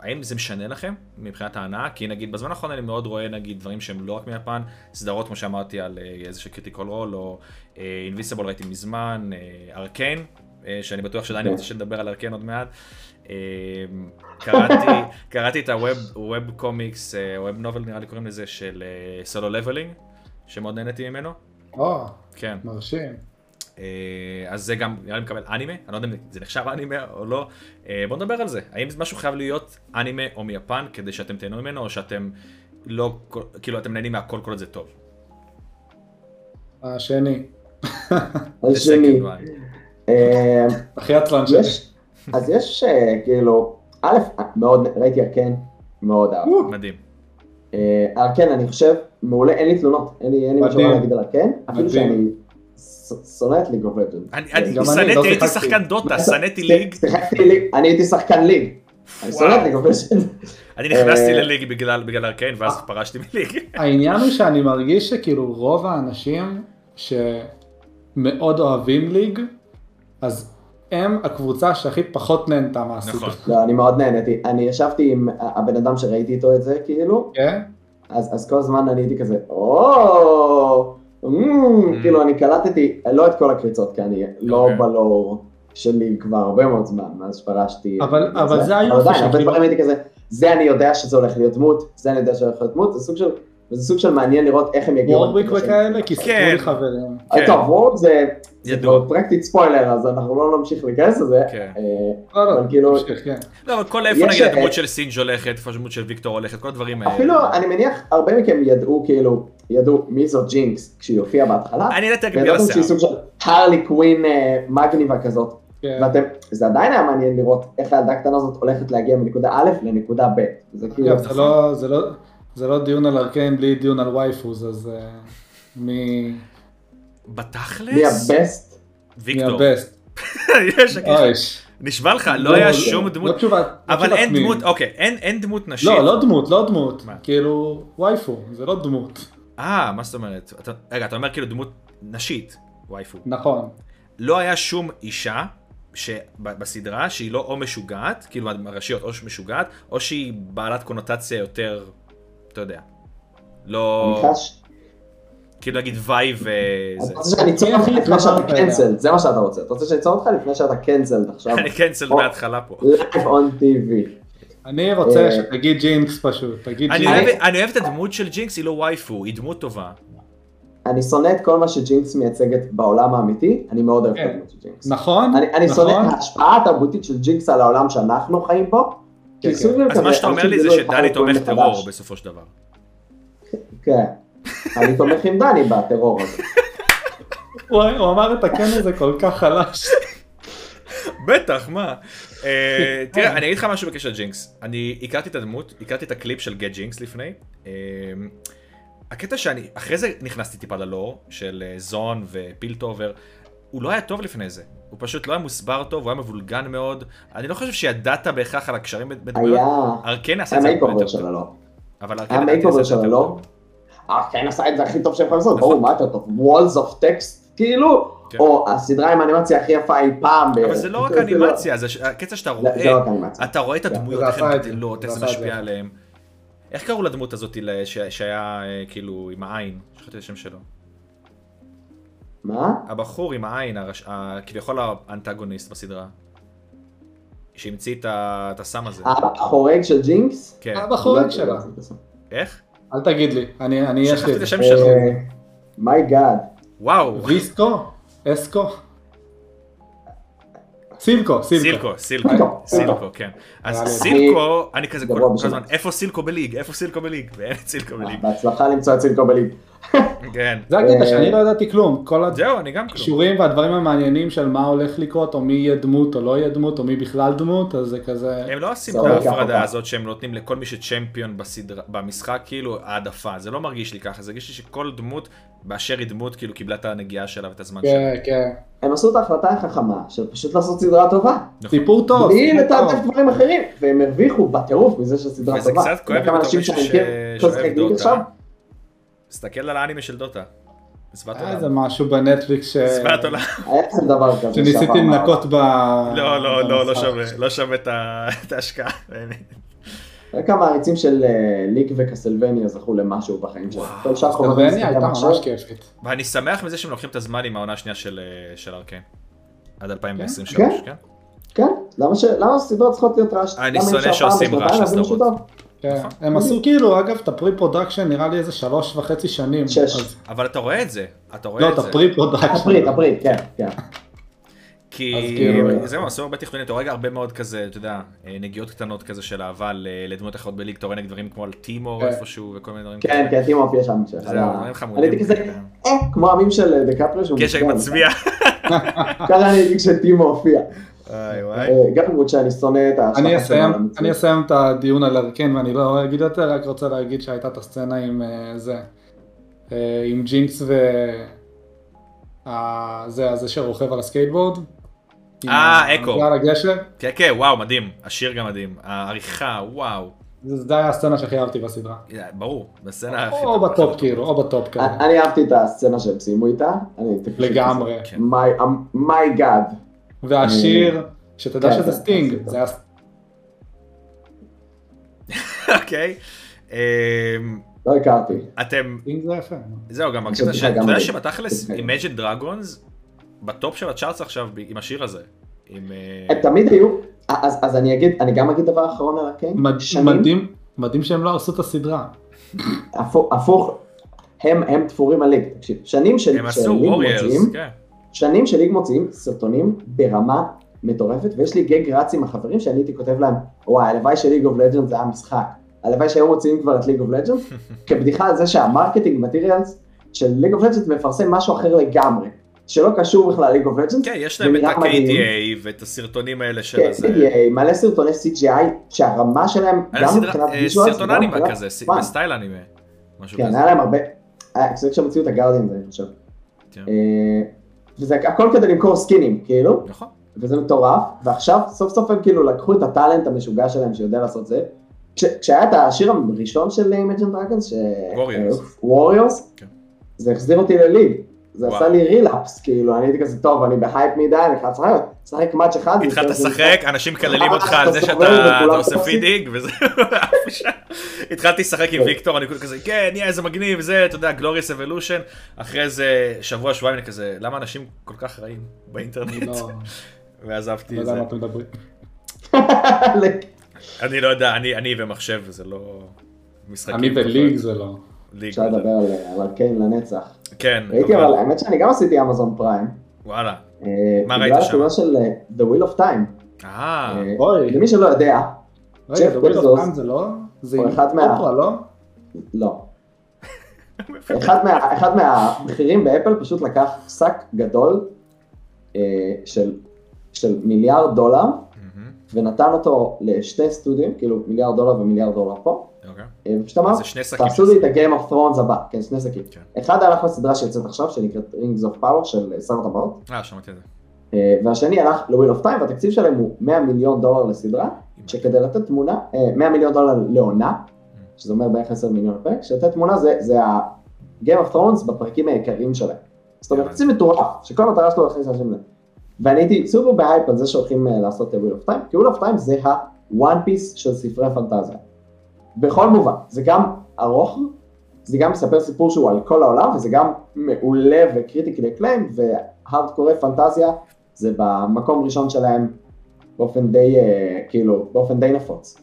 A: האם זה משנה לכם מבחינת ההנאה? כי נגיד בזמן האחרון אני מאוד רואה נגיד דברים שהם לא רק מיפן, סדרות כמו שאמרתי על אה, איזה של קריטיקול רול, או אינביסבול ראיתי מזמן, אה, ארקיין, אה, שאני בטוח שעדיין רוצה שנדבר על ארקיין עוד מעט. אה, קראתי, קראתי את הווב קומיקס, ווב נובל אה, נראה לי קוראים לזה, של סולו לבלינג, שמאוד נהניתי ממנו,
D: או,
A: כן.
D: מרשים.
A: אה, אז זה גם נראה לי מקבל אנימה, אני לא יודע אם זה נחשב אנימה או לא. אה, בוא נדבר על זה, האם זה משהו חייב להיות אנימה או מיפן כדי שאתם תהנו ממנו, או שאתם לא, כאילו אתם נהנים מהכל כל עוד זה טוב.
D: השני,
C: אז
A: זה
C: שני,
A: second one.
C: אה,
D: הכי עצלן שלי.
C: יש, אז יש אה, כאילו, א', מאוד, ראיתי ארקן, מאוד אהב.
A: מדהים.
C: אה, ארקן, אני חושב, מעולה, אין לי תלונות, אין לי אין לי משהו רע
D: מדהים.
C: להגיד על ארקן, אפילו
D: מדהים.
C: שאני ש- שונא את ליג אוף לג'נד.
A: אני אני
D: גם אני, לא
A: שנאתי, הייתי
D: שיחקתי.
A: שחקן דוטה, שנאתי ליג,
C: שיחקתי ליג, אני הייתי שחקן ליג. אני
A: וואו.
C: שונא את ליג אוף לג'נד.
A: אני נכנסתי
C: אה,
A: לליג בגלל בגלל ארקיין ואז פרשתי מליג.
D: העניין הוא שאני מרגיש שכאילו רוב האנשים שמאוד אוהבים ליג, אז הם הקבוצה שהכי פחות נהנתה מהסיפור.
A: נכון.
C: לא, אני מאוד נהניתי. אני ישבתי עם הבן אדם שראיתי איתו את זה, כאילו,
D: כן?
C: אז, אז כל הזמן אני הייתי כזה, או, אמ, כאילו אני קלטתי, לא את כל הקריצות, כי אני לא
A: Mm. אוקיי.
C: בלור שלי כבר הרבה מאוד זמן, מאז שפרשתי.
D: אבל- אבל זה היופי
C: אבל עדיין,
D: של
C: הרבה
D: כאילו-
C: דברים הייתי כזה, זה אני יודע שזה הולך להיות דמות, זה אני יודע שזה הולך להיות דמות, זה סוג של, זה סוג של מעניין לראות איך הם יגיעו.
D: וורביק וכאלה, כי סיפרו
A: כן.
D: לי חברים.
C: אה, טוב, וורביק זה, זה
A: ידוע.
C: כבר פרקטית ספוילר, אז אנחנו לא נמשיך להיכנס לזה.
A: כן.
C: אה,
D: לא, לא,
C: אבל כאילו-
D: תמשיך, כן.
A: לא, אבל כל איפה
C: יש,
A: נגיד
C: אה,
A: הדמות של סינג' הולכת, איפה הדמות של ויקטור הולכת, כל הדברים האלה.
C: אפילו, אני מניח, הרבה מכם ידעו, כאילו, ידעו מי זו ג'ינקס כשהיא הופיעה בהתחלה.
A: אני ידעתי רק בגלל
C: וידעתם שהיא
A: השיער.
C: סוג של הרלי קווין אה, מגניבה כזאת.
D: כן.
C: ואתם, זה עדיין היה מעניין לראות איך הילדה הקטנה הזאת הולכת להגיע מנקודה א' לנקודה ב'. זה כאילו...
D: אגב, זה לא- זה לא- זה לא דיון על ארקיין בלי דיון על וייפוז, אז אה, מי
C: מי
A: בתכלס?
C: הבסט?
D: מי אה,
A: ויקטור.
D: הבסט?
A: יש,
D: אוי, ש-
A: נשבע לך, לא היה
D: לא,
A: שום
D: לא
A: דמות,
D: תשובה- לא
A: אבל
D: תשובת
A: אין
D: מי.
A: דמות, אוקיי, אין- אין דמות נשית.
D: לא, לא דמות, לא דמות.
A: מה?
D: כאילו, וייפו, זה לא דמות.
A: אה, מה זאת אומרת? אתה- רגע, אתה אומר כאילו דמות נשית, וייפו.
D: נכון.
A: לא היה שום אישה ש- ב- בסדרה שהיא לא או משוגעת, כאילו הראשיות או משוגעת, או שהיא בעלת קונוטציה יותר, אתה יודע.
C: אני
A: לא,
C: חש...
A: כאילו נגיד וייב אה, וזה.
C: אתה רוצה שאני אצור
D: מי
C: אותך
D: הכי
C: לפני שאתה
D: התחברת אליו?
C: קנצלד, זה מה שאתה רוצה. אתה רוצה שאני אצור אותך לפני שאתה קנצלד עכשיו?
A: אני קנצל
C: או-
A: מההתחלה פה.
C: Live on TV.
D: אני רוצה
C: אה,
D: שתגיד ג'ינקס פשוט, תגיד
A: אני
D: ג'ינקס.
A: אוהב- אני אוהב את הדמות של ג'ינקס, היא לא וייפו, היא דמות טובה.
C: אני שונא את כל מה שג'ינקס מייצגת בעולם האמיתי, אני מאוד אוהב את
D: כן.
C: הדמות של ג'ינקס.
D: נכון?
C: אני, אני
D: נכון?
C: שונא את ההשפעה התרבותית של ג'ינקס על העולם שאנחנו חיים בו. כי
D: כן,
C: סוג
D: כן.
C: של
A: אז
C: כזה,
A: מה שאתה אומר
C: אנשים
A: לי זה
C: גילו את
A: שדני
C: הרעיון
A: תומך
C: לא מחדש.
A: טרור בסופו של דבר.
C: כן. אני תומך עם דני בטרור הזה.
D: וואי, הוא אמר את הקן הזה כל כך חלש.
A: בטח, מה? אה, תראה, אני אגיד לך משהו בקשר לג'ינקס. אני הכרתי את הדמות, הכרתי את הקליפ של גט ג'ינקס לפני. אה, הקטע שאני, אחרי זה נכנסתי טיפה ללור של אה, זון ופילטובר. הוא לא היה טוב לפני זה. הוא פשוט לא היה מוסבר טוב, הוא היה מבולגן מאוד. אני לא חושב שידעת בהכרח על הקשרים בין בין דמויות.
C: היה...
A: ארקן עשה
C: היה
A: את לא- אה, זה הרבה
C: מייקובר
A: יותר
C: של
A: טוב.
C: הלא.
A: אבל ארקן
C: היה
A: לדעתי עשה
C: מייקובר
A: את זה
C: של
A: יותר
C: הלא.
A: טוב.
C: אה, כן עשה את זה הכי טוב שהם יכולים לעשות,
A: נכון.
C: ברור, מה יותר טוב? וולס אוף טקסט, כאילו?
A: כן.
C: או הסדרה עם האנימציה הכי יפה אי פעם בערך.
A: אבל זה לא רק
C: לא-
A: אנימציה, זה ש- הקטע שאתה
C: זה זה לא
A: רואה,
C: רק אנימציה.
A: אתה רואה את הדמויות,
D: כן, זה
A: איך
D: עשה
A: הן
D: את זה,
A: גדלות,
D: זה
A: איך זה
D: עשה את
A: משפיע
D: זה.
A: עליהם. איך קראו לדמות הזאת ל- ש- שהיה אה, כאילו עם העין? שכחתי את השם שלו.
C: מה?
A: הבחור עם העין, הרש- ה- כביכול האנטגוניסט בסדרה. שהמציא את ה- את הסם
C: אה,
A: הזה.
C: החורג של ג'ינקס?
D: אה,
A: כן.
C: לא,
D: הבחורג שלה.
A: איך?
D: אל תגיד לי, אני אני יש
A: שכחתי
D: לי
A: את
D: את זה. אה,
A: השם שלו.
C: אה, מיי גאד.
A: וואו.
D: ויסקו? אסקו? סילקו, סילקו.
A: סילקו,
D: אה,
A: סילקו,
C: סילקו.
A: סילקו, כן.
D: אני-
A: אז סילקו, אני כזה כל
C: גרוע
A: כל
C: בשם.
A: הזמן, איפה סילקו בליג? איפה סילקו בליג? ואין את סילקו בליג.
C: בהצלחה למצוא את סילקו בליג.
A: כן.
D: זה הקטע
C: אה,
D: שאני לא ידעתי כלום, כל הד-
A: זהו, אני גם כלום.
D: הקישורים והדברים המעניינים של מה הולך לקרות, או מי יהיה דמות או לא יהיה דמות, או מי בכלל דמות, אז זה כזה...
A: הם לא עושים
C: זה
A: את
C: לא לוקח
A: ההפרדה
C: אותה.
A: הזאת שהם נותנים לכל מי שצ'מפיון בסדרה, במשחק, כאילו, העדפה. זה לא מרגיש לי ככה, זה הרגיש לי שכל דמות באשר היא דמות, כאילו, קיבלה את הנגיעה שלה ואת הזמן שלה.
D: כן, כן.
C: הם עשו את ההחלטה החכמה של פשוט לעשות סדרה טובה.
A: נכון.
D: סיפור טוב.
C: בלי
D: סיפור טוב.
C: לתעדף דברים אחרים, והם הרוויחו בטירוף מזה שהסדרה
A: וזה
C: טובה.
A: קצת כואב לי
C: וכמה
A: בתור
C: אנשים
A: מישהו
C: שאני כן,
A: ש-
C: מכיר, כל
A: שאוהב
C: שיחק בליג עכשיו,
A: דוטה. תסתכל על האנימה של דוטה. זוועת
D: היה איזה
A: עולם.
D: משהו בנטפליקס ש...
A: זוועת עולם.
C: היה איזה דבר כזה. שעבר
D: שניסיתי
C: מהעולם.
D: לנקות ב...
A: לא,
D: אה,
A: לא, לא, לא
D: במשחק.
A: שווה, לא שווה את ה- את ההשקעה. באמת.
C: רק המעריצים של אה, ליק וקסלווניה זכו למשהו בחיים שלהם.
A: וואו,
C: כל שאר חובבי
D: סלובניה
C: המשחקים
D: הייתה
C: עכשיו,
D: ממש כיפית.
A: ואני שמח מזה שהם לוקחים את הזמן עם העונה השנייה של אה, של ארקן. עד 2023, כן?
C: כן, למה ש- למה הסדרות צריכות להיות רעש?
A: אני שונא שעושים רעש לסדרות.
D: כן.
A: נכון.
D: הם עשו כאילו, אגב, את הפרי פרודקשן נראה לי איזה שלוש וחצי שנים.
C: שש.
D: אז-
A: אבל אתה רואה את זה, אתה רואה
D: לא,
A: את
D: את
A: זה.
D: הפרי פרודקשן.
C: תפריט, תפריט, כן, כן.
D: אז
A: כי
D: כאילו-
A: זהו, עשו הרבה תכנונים, אתה רואה הרבה מאוד כזה, אתה יודע, אה, נגיעות קטנות כזה של אהבה ל- לדמויות אחרות בליג, אתה רואה נגיד דברים כמו על טימור
D: כן.
A: איפשהו וכל מיני דברים
C: כן, כן, טימו אופי שם. שהיה-
A: זה דברים חמודים.
C: אני הייתי כזה, אה, כמו המים של אה, דקפריו שהוא
A: קשר
C: מצביע.
A: מצביע.
C: ככה אני הייתי כשטימו הופיע.
A: וואי וואי.
C: אה, גם למרות שאני שונא את ההשלכה
D: אני
C: שלו על
D: אסיים,
C: המציאות.
D: אני אסיים את הדיון על ארקן ואני לא אגיד יותר, רק רוצה להגיד שהייתה את הסצנה עם אה, זה, אה, עם ג'ינקס ו... ה- זה הזה שרוכב על הסקייטבורד. עם
A: אה,
D: ה-
A: אקו.
D: על הגשר.
A: כן כן, וואו, מדהים, השיר גם מדהים, העריכה, וואו. אה,
D: זה זה היה הסצנה שהכי אהבתי בסדרה.
A: ברור, בסצנה הכי
D: או
A: טובה.
D: בטופ כאילו, או בטופ כאילו.
C: אני אני אהבתי את הסצנה שהם סיימו איתה. אני-
D: לגמרי.
A: כן.
C: My- um, my god.
D: והשיר, שתדע
C: כן,
D: שזה
C: זה-
D: סטינג,
C: זה-
D: זה היה
A: אוקיי. אמ,
C: לא הכרתי.
A: אתם,
D: סטינג זה יפה.
A: זהו, גם
C: חושב
A: הקטע ש...
C: שזה
A: אתה
C: גם
A: יודע
C: מדהים.
A: שבתכלס,
C: כן.
A: Imagine Dragons, בטופ של הצ'ארטס עכשיו, ב- עם השיר הזה. עם... אה,
D: כן.
C: הם תמיד היו, אז אז אני אגיד, אני גם אגיד דבר אחרון על הקיין.
D: מד- מדהים, מדהים שהם לא עשו את הסדרה.
C: הפוך- הפוך, הם הם תפורים על ליג. תקשיב, שנים של
A: הם
C: של
A: עשו
C: ליג
A: ווריירס,
C: מוציאים,
A: כן.
C: שנים של ליג מוציאים סרטונים ברמה מטורפת, ויש לי גג רץ עם החברים שאני הייתי כותב להם, וואי, הלוואי שליג אוף לג'אנס היה משחק. הלוואי שהיו מוציאים כבר את ליג אוף לג'אנס, כבדיחה על זה שהמרקטינג מטריאלס של ליג אוף לג'אנס מפרסם משהו אחר לגמרי. שלא קשור בכלל לליג אוף לג'אנס.
A: כן, יש להם את ה-KDA ואת הסרטונים האלה של
C: כן,
A: הזה.
C: CGI, מלא סרטוני CGI שהרמה שלהם,
A: היה
C: גם
A: סדרה-
C: מבחינת
A: אה,
C: ויז'ואל,
A: סרטון אנימה כזה, ס- בסטייל אנימה. משהו
C: כן,
A: כזה.
C: היה להם הרבה, היה- זה כשהמציאו את הגארדיאנס, אני חושב.
A: כן.
C: אה, וזה הכל כדי למכור סקינים, כאילו.
A: נכון.
C: וזה מטורף, ועכשיו סוף סוף הם כאילו לקחו את הטאלנט המשוגע שלהם שיודע לעשות זה. כש, כשהיה את השיר הראשון של Imagine Dragons, ש...
A: Warriors.
C: Warriors,
A: כן.
C: זה החזיר אותי לליג. זה
A: וואו.
C: עשה לי רילאפס, כאילו, אני הייתי כזה, טוב, אני בהייפ מדי, אני חייב לשחק, לשחק מאץ' אחד.
A: התחלת
C: זה- זה- אה,
A: לשחק, אנשים מקללים אותך על זה
C: אתה
A: שאתה
C: סובל
A: אתה
C: וכולם
A: עושה
C: תופסים.
A: פידינג וזה... התחלתי לשחק עם ויקטור, אני כזה כזה, כן, יא, איזה מגניב, זה, אתה יודע, גלוריאס אבולושן. אחרי זה שבוע, שבועיים, אני כזה, למה אנשים כל כך רעים
D: אני
A: באינטרנט?
D: לא לא
A: ועזבתי את
D: יודע
A: זה.
D: על מה אתם מדברים.
A: אני לא יודע, אני אני ומחשב, זה לא... משחקים.
D: אני וליג זה לא.
A: ליג.
C: אפשר לדבר על על ארקיין לנצח.
A: כן,
C: ראיתי,
A: אבל-
C: אבל האמת שאני גם עשיתי אמזון פריים.
A: וואלה.
C: אה,
A: מה ראית
C: בגלל
A: שם?
C: התמונה של אה, The Wheel of Time.
A: אה,
C: אה,
D: אוי.
C: למי שלא יודע,
D: רגע,
C: ג'ף
D: The Wheel
C: בזוס.
D: of Time זה לא? זה
C: או
D: עם
C: אחד מה-
D: אופרה, לא?
C: לא. אחד, מה, אחד מהמחירים באפל פשוט לקח שק גדול אה, של, של מיליארד דולר
A: מהמם,
C: ונתן אותו לשתי סטודיו, כאילו מיליארד דולר ומיליארד דולר פה,
A: אוקיי.
C: אה, ופשוט אמר,
A: אז זה שני שקים.
C: תעשו לי את ה-game of thrones הבא, כן, שני שקים.
A: כן.
C: אחד הלך לסדרה שיוצאת עכשיו שנקראת Rings of Power של אה, שר הטבעות,
A: אה, שמעתי את זה.
C: אה, והשני הלך ל-Wheel of Time והתקציב שלהם הוא 100 מיליון דולר לסדרה, שכדי לתת תמונה, אה, 100 מיליון דולר לעונה, שזה אומר בערך 10 מיליון פרק, שלתת תמונה זה, זה ה-game of thrones בפרקים העיקריים שלהם. זאת אומרת, זה מטורף, שכל המטרה שלו להכניס אנשים לזה. ואני הייתי סופר בהייפ על זה שהולכים אה, לעשות את וויל אוף טיים, כי וויל אוף טיים זה ה-one piece של ספרי פנטזיה. בכל מובן, זה גם ארוך, זה גם מספר סיפור שהוא על כל העולם, וזה גם מעולה וקריטיקלי אקליים, והארדקורי פנטזיה זה במקום ראשון שלהם באופן די, אה, כאילו, באופן די נפוץ.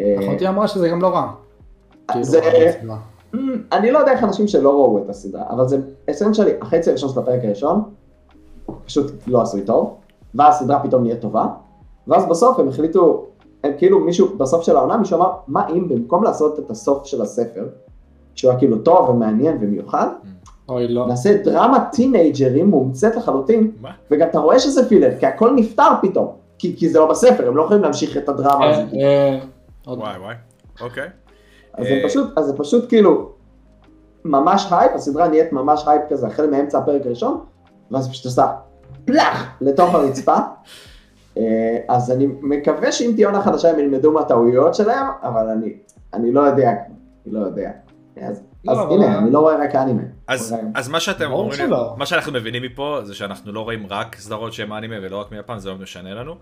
C: אה,
D: אחותי אמרה שזה גם לא רע. כאילו,
C: זה-
D: הסדרה.
C: Mm, אני לא יודע איך אנשים שלא ראו את הסדרה, אבל זה אסנצ'לי, החצי הראשון של הפרק הראשון, פשוט לא עשוי טוב, ואז הסדרה פתאום נהיית טובה, ואז בסוף הם החליטו, הם כאילו מישהו, בסוף של העונה מישהו אמר, מה אם במקום לעשות את הסוף של הספר, שהוא היה כאילו טוב ומעניין ומיוחד,
D: אוי לא.
C: נעשה דרמה טינג'רים מומצאת לחלוטין,
A: מה?
C: וגם אתה רואה שזה פילר, כי הכל נפתר פתאום, כי, כי זה לא בספר, הם לא יכולים להמשיך את הדרמה
D: אה,
C: הזאת.
D: אה, עוד-
A: וואי וואי. אוקיי.
C: אז זה
A: אה,
C: פשוט, אז זה פשוט כאילו, ממש הייפ, הסדרה נהיית ממש הייפ כזה, החל מאמצע הפרק הראשון, ואז פשוט עושה פלאח לתוך הרצפה. אה, אז אני מקווה שאם תהיה עונה חדשה הם ילמדו מהטעויות שלהם, אבל אני, אני לא יודע, אני לא יודע. אז,
D: לא,
C: אז
D: אבל-
C: הנה, אני לא רואה רק אנימה.
A: אז,
C: אולי.
A: אז מה שאתם
D: ברור
A: אומרים,
D: שלא.
A: מה שאנחנו מבינים מפה זה שאנחנו לא רואים רק סדרות שהן אנימה ולא רק מיפן, זה לא משנה לנו.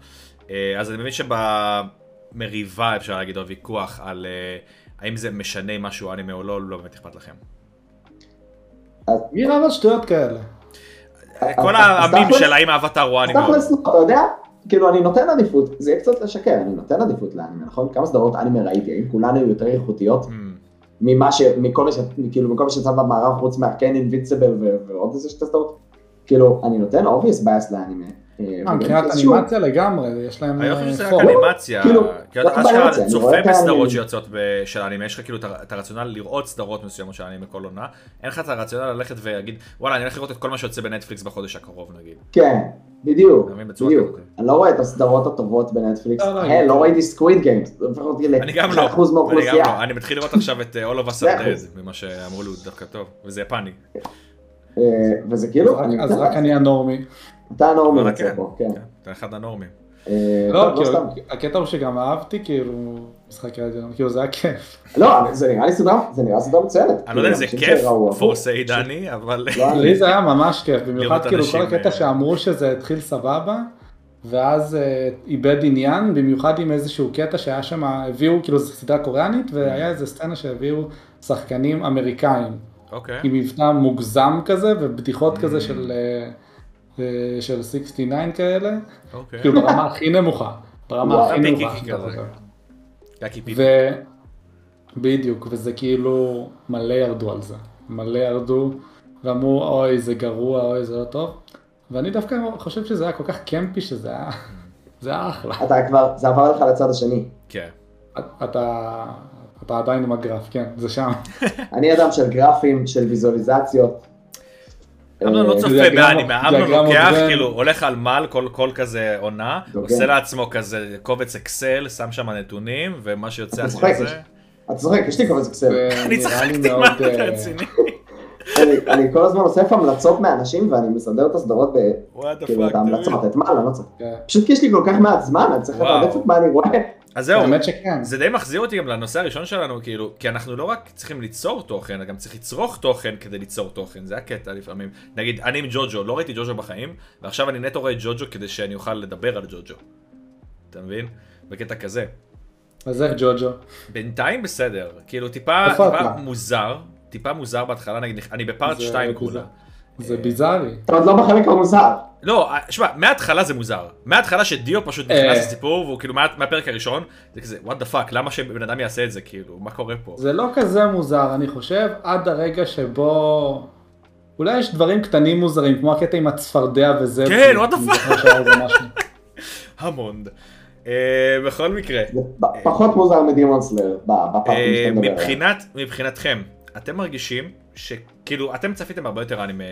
A: אה, אז אני מבין שבמריבה אפשר להגיד או ויכוח על אה, האם זה משנה אם משהו אנימה או לא, לא באמת אכפת לכם.
C: לא-
D: מי רב על שטויות כאלה?
C: כן, אז-
A: כל
C: אז- אה, אז
A: העמים
C: תכלס-
A: של האם האבטר הוא
C: אז
A: אנימה. או לא.
C: תכלס, לא, אתה יודע, כאילו אני נותן עדיפות, זה יהיה קצת לשקר, אני נותן עדיפות לאנימה, נכון? כמה סדרות אנימה ראיתי, האם כולן היו יותר איכותיות
A: אמ,
C: ממה ש... מכל מה ש... כאילו, מכל מה שיצא במערב חוץ מהקן אינביציבל ו... ועוד איזה שתי סדרות. כאילו, אני נותן אובייס בייס לאנימה. אה,
D: אה,
C: וגם
D: מבחינת
C: איזשהו-
D: אנימציה לגמרי, יש להם
A: אני לא
D: אה,
A: חושב שזה רק
D: פור.
A: אנימציה,
C: כאילו,
A: כי
C: לא
A: אתה אשכרה
C: אנימציה, אני
A: צופה
C: רואה את האנימים.
A: בסדרות שיוצאות ב- של אנימה, יש לך כאילו את ה- את הרציונל לראות סדרות מסוימות של אנימה כל עונה, אין לך את הרציונל ללכת ולהגיד, וואלה אני הולך לראות את כל מה שיוצא בנטפליקס בחודש הקרוב נגיד.
C: כן, בדיוק,
A: אתה מבין? בצורה
C: בדיוק.
A: כזאת.
C: אני לא רואה את הסדרות הטובות בנטפליקס.
D: לא, לא,
C: היי,
D: אני-
C: לא ראיתי סקוויד גיימס.
A: אני גם לא,
C: אחוז
A: אני גם
C: מהאוכלוסייה.
A: לא, אני מתחיל לראות עכשיו את אה, All of us
C: מאה
A: are
C: אחוז.
A: dead, ממה שאמרו לי הוא דווקא טוב, וזה יפני.
C: אה, וזה
D: אז
C: כאילו,
D: רק-
C: אני
D: לא, אז רק אני הנורמי.
C: אתה הנורמי
A: אבל
C: יוצא
A: כן,
C: פה, כן.
A: כן, אתה אחד הנורמים.
C: אה,
D: לא,
C: טוב,
D: כאילו,
C: סתם.
D: הקטע הוא שגם אהבתי, כאילו, משחק רדיון, כאילו זה היה כיף.
C: לא, אבל זה נראה לי סדרה, זה נראה סדרה מצוינת. כאילו,
A: אני לא יודע אם זה
C: אנשים
A: כיף,
C: שראו, אבל-
A: פורסי דני, אבל...
C: לא, אני-
D: לי זה היה ממש כיף, במיוחד
A: לראות
D: כאילו
A: אנשים,
D: כל הקטע
A: אה,
D: שאמרו שזה התחיל סבבה, ואז אה, איבד עניין, במיוחד עם איזשהו קטע שהיה שם, הביאו, כאילו זו סדרה קוריאנית,
A: אה.
D: והיה איזה סצנה שהביאו שחקנים אמריקאים,
A: אוקיי.
D: עם מבטא מוגזם כזה, ובדיחות כזה של... אה, אה, של 69 כאלה,
A: אוקיי.
D: כאילו ברמה הכי נמוכה, ברמה
C: וואו.
D: הכי נמוכה.
A: אה, פיקיקי
D: שאתה
A: כזה.
D: זוכר.
A: יאקי פיפי.
D: ו... בדיוק, וזה כאילו, מלא ירדו על זה. מלא ירדו, ואמרו, אוי, זה גרוע, אוי, זה לא טוב. ואני דווקא חושב שזה היה כל כך קמפי, שזה היה, זה היה אחלה.
C: אתה כבר, זה עבר לך לצד השני.
A: כן.
D: אתה, אתה עדיין עם הגרף, כן, זה שם.
C: אני אדם של גרפים, של ויזואליזציות.
A: אמנון לא צופה
D: דיאגרמה-
A: באנימה, אמנון
D: דיאגרמות
A: לוקח,
D: בין-
A: כאילו, הולך על מל כל כל כזה עונה,
C: דוגן.
A: עושה לעצמו כזה קובץ אקסל, שם שם נתונים, ומה שיוצא
C: אתה
A: אחרי
C: צוחק,
A: זה.
C: אתה צוחק, יש לי אה, קובץ אקסל.
A: אני צחקתי, מה אתה
D: אה,
A: רציני?
C: אני- אני כל הזמן אוסף המלצות מאנשים ואני מסדר את הסדרות, ב-
A: וואט דה
C: כאילו,
A: פאק.
C: את ההמלצות, את מה, אני לא צריך.
D: כן.
C: פשוט כי יש לי כל כך מעט זמן, אני צריך
A: וואו.
C: לתעדף את מה אני רואה.
A: אז זהו,
D: האמת שכן.
A: זה די מחזיר אותי גם לנושא הראשון שלנו, כאילו, כי אנחנו לא רק צריכים ליצור תוכן, אלא גם צריך לצרוך תוכן כדי ליצור תוכן, זה הקטע לפעמים. נגיד, אני עם ג'וג'ו, לא ראיתי ג'וג'ו בחיים, ועכשיו אני נטו רואה את ג'וג'ו כדי שאני אוכל לדבר על ג'וג'ו. אתה מבין? בקטע כזה.
D: אז איך ג'וג'ו?
A: בינתיים בסדר, כאילו טיפה,
D: איפה
A: טיפה
D: אתה?
A: מוזר, טיפה מוזר בהתחלה, נגיד, אני בפארט
D: זה
A: 2
D: מוזר.
A: כולה.
D: זה ביזארי.
C: אתה עוד לא בחלק המוזר.
A: לא, שמע, מההתחלה זה מוזר. מההתחלה שדיו פשוט
D: אה.
A: נכנס לסיפור, והוא כאילו מה- מהפרק הראשון, זה כזה, וואט דה פאק, למה שבן אדם יעשה את זה, כאילו, מה קורה פה?
D: זה לא כזה מוזר, אני חושב, עד הרגע שבו... אולי יש דברים קטנים מוזרים, כמו הקטע עם הצפרדע וזה.
A: כן, what the
D: אני זוכר שהיה איזה משהו.
A: המונד. אה, בכל מקרה,
C: זה פ- פחות מוזר מדימון סלאר, ב- בפארטים
A: אה,
C: שאתה מדבר עליהם.
A: מבחינת, מבחינתכם, אתם מרגישים שכאילו, אתם צפיתם הרבה יותר אנימה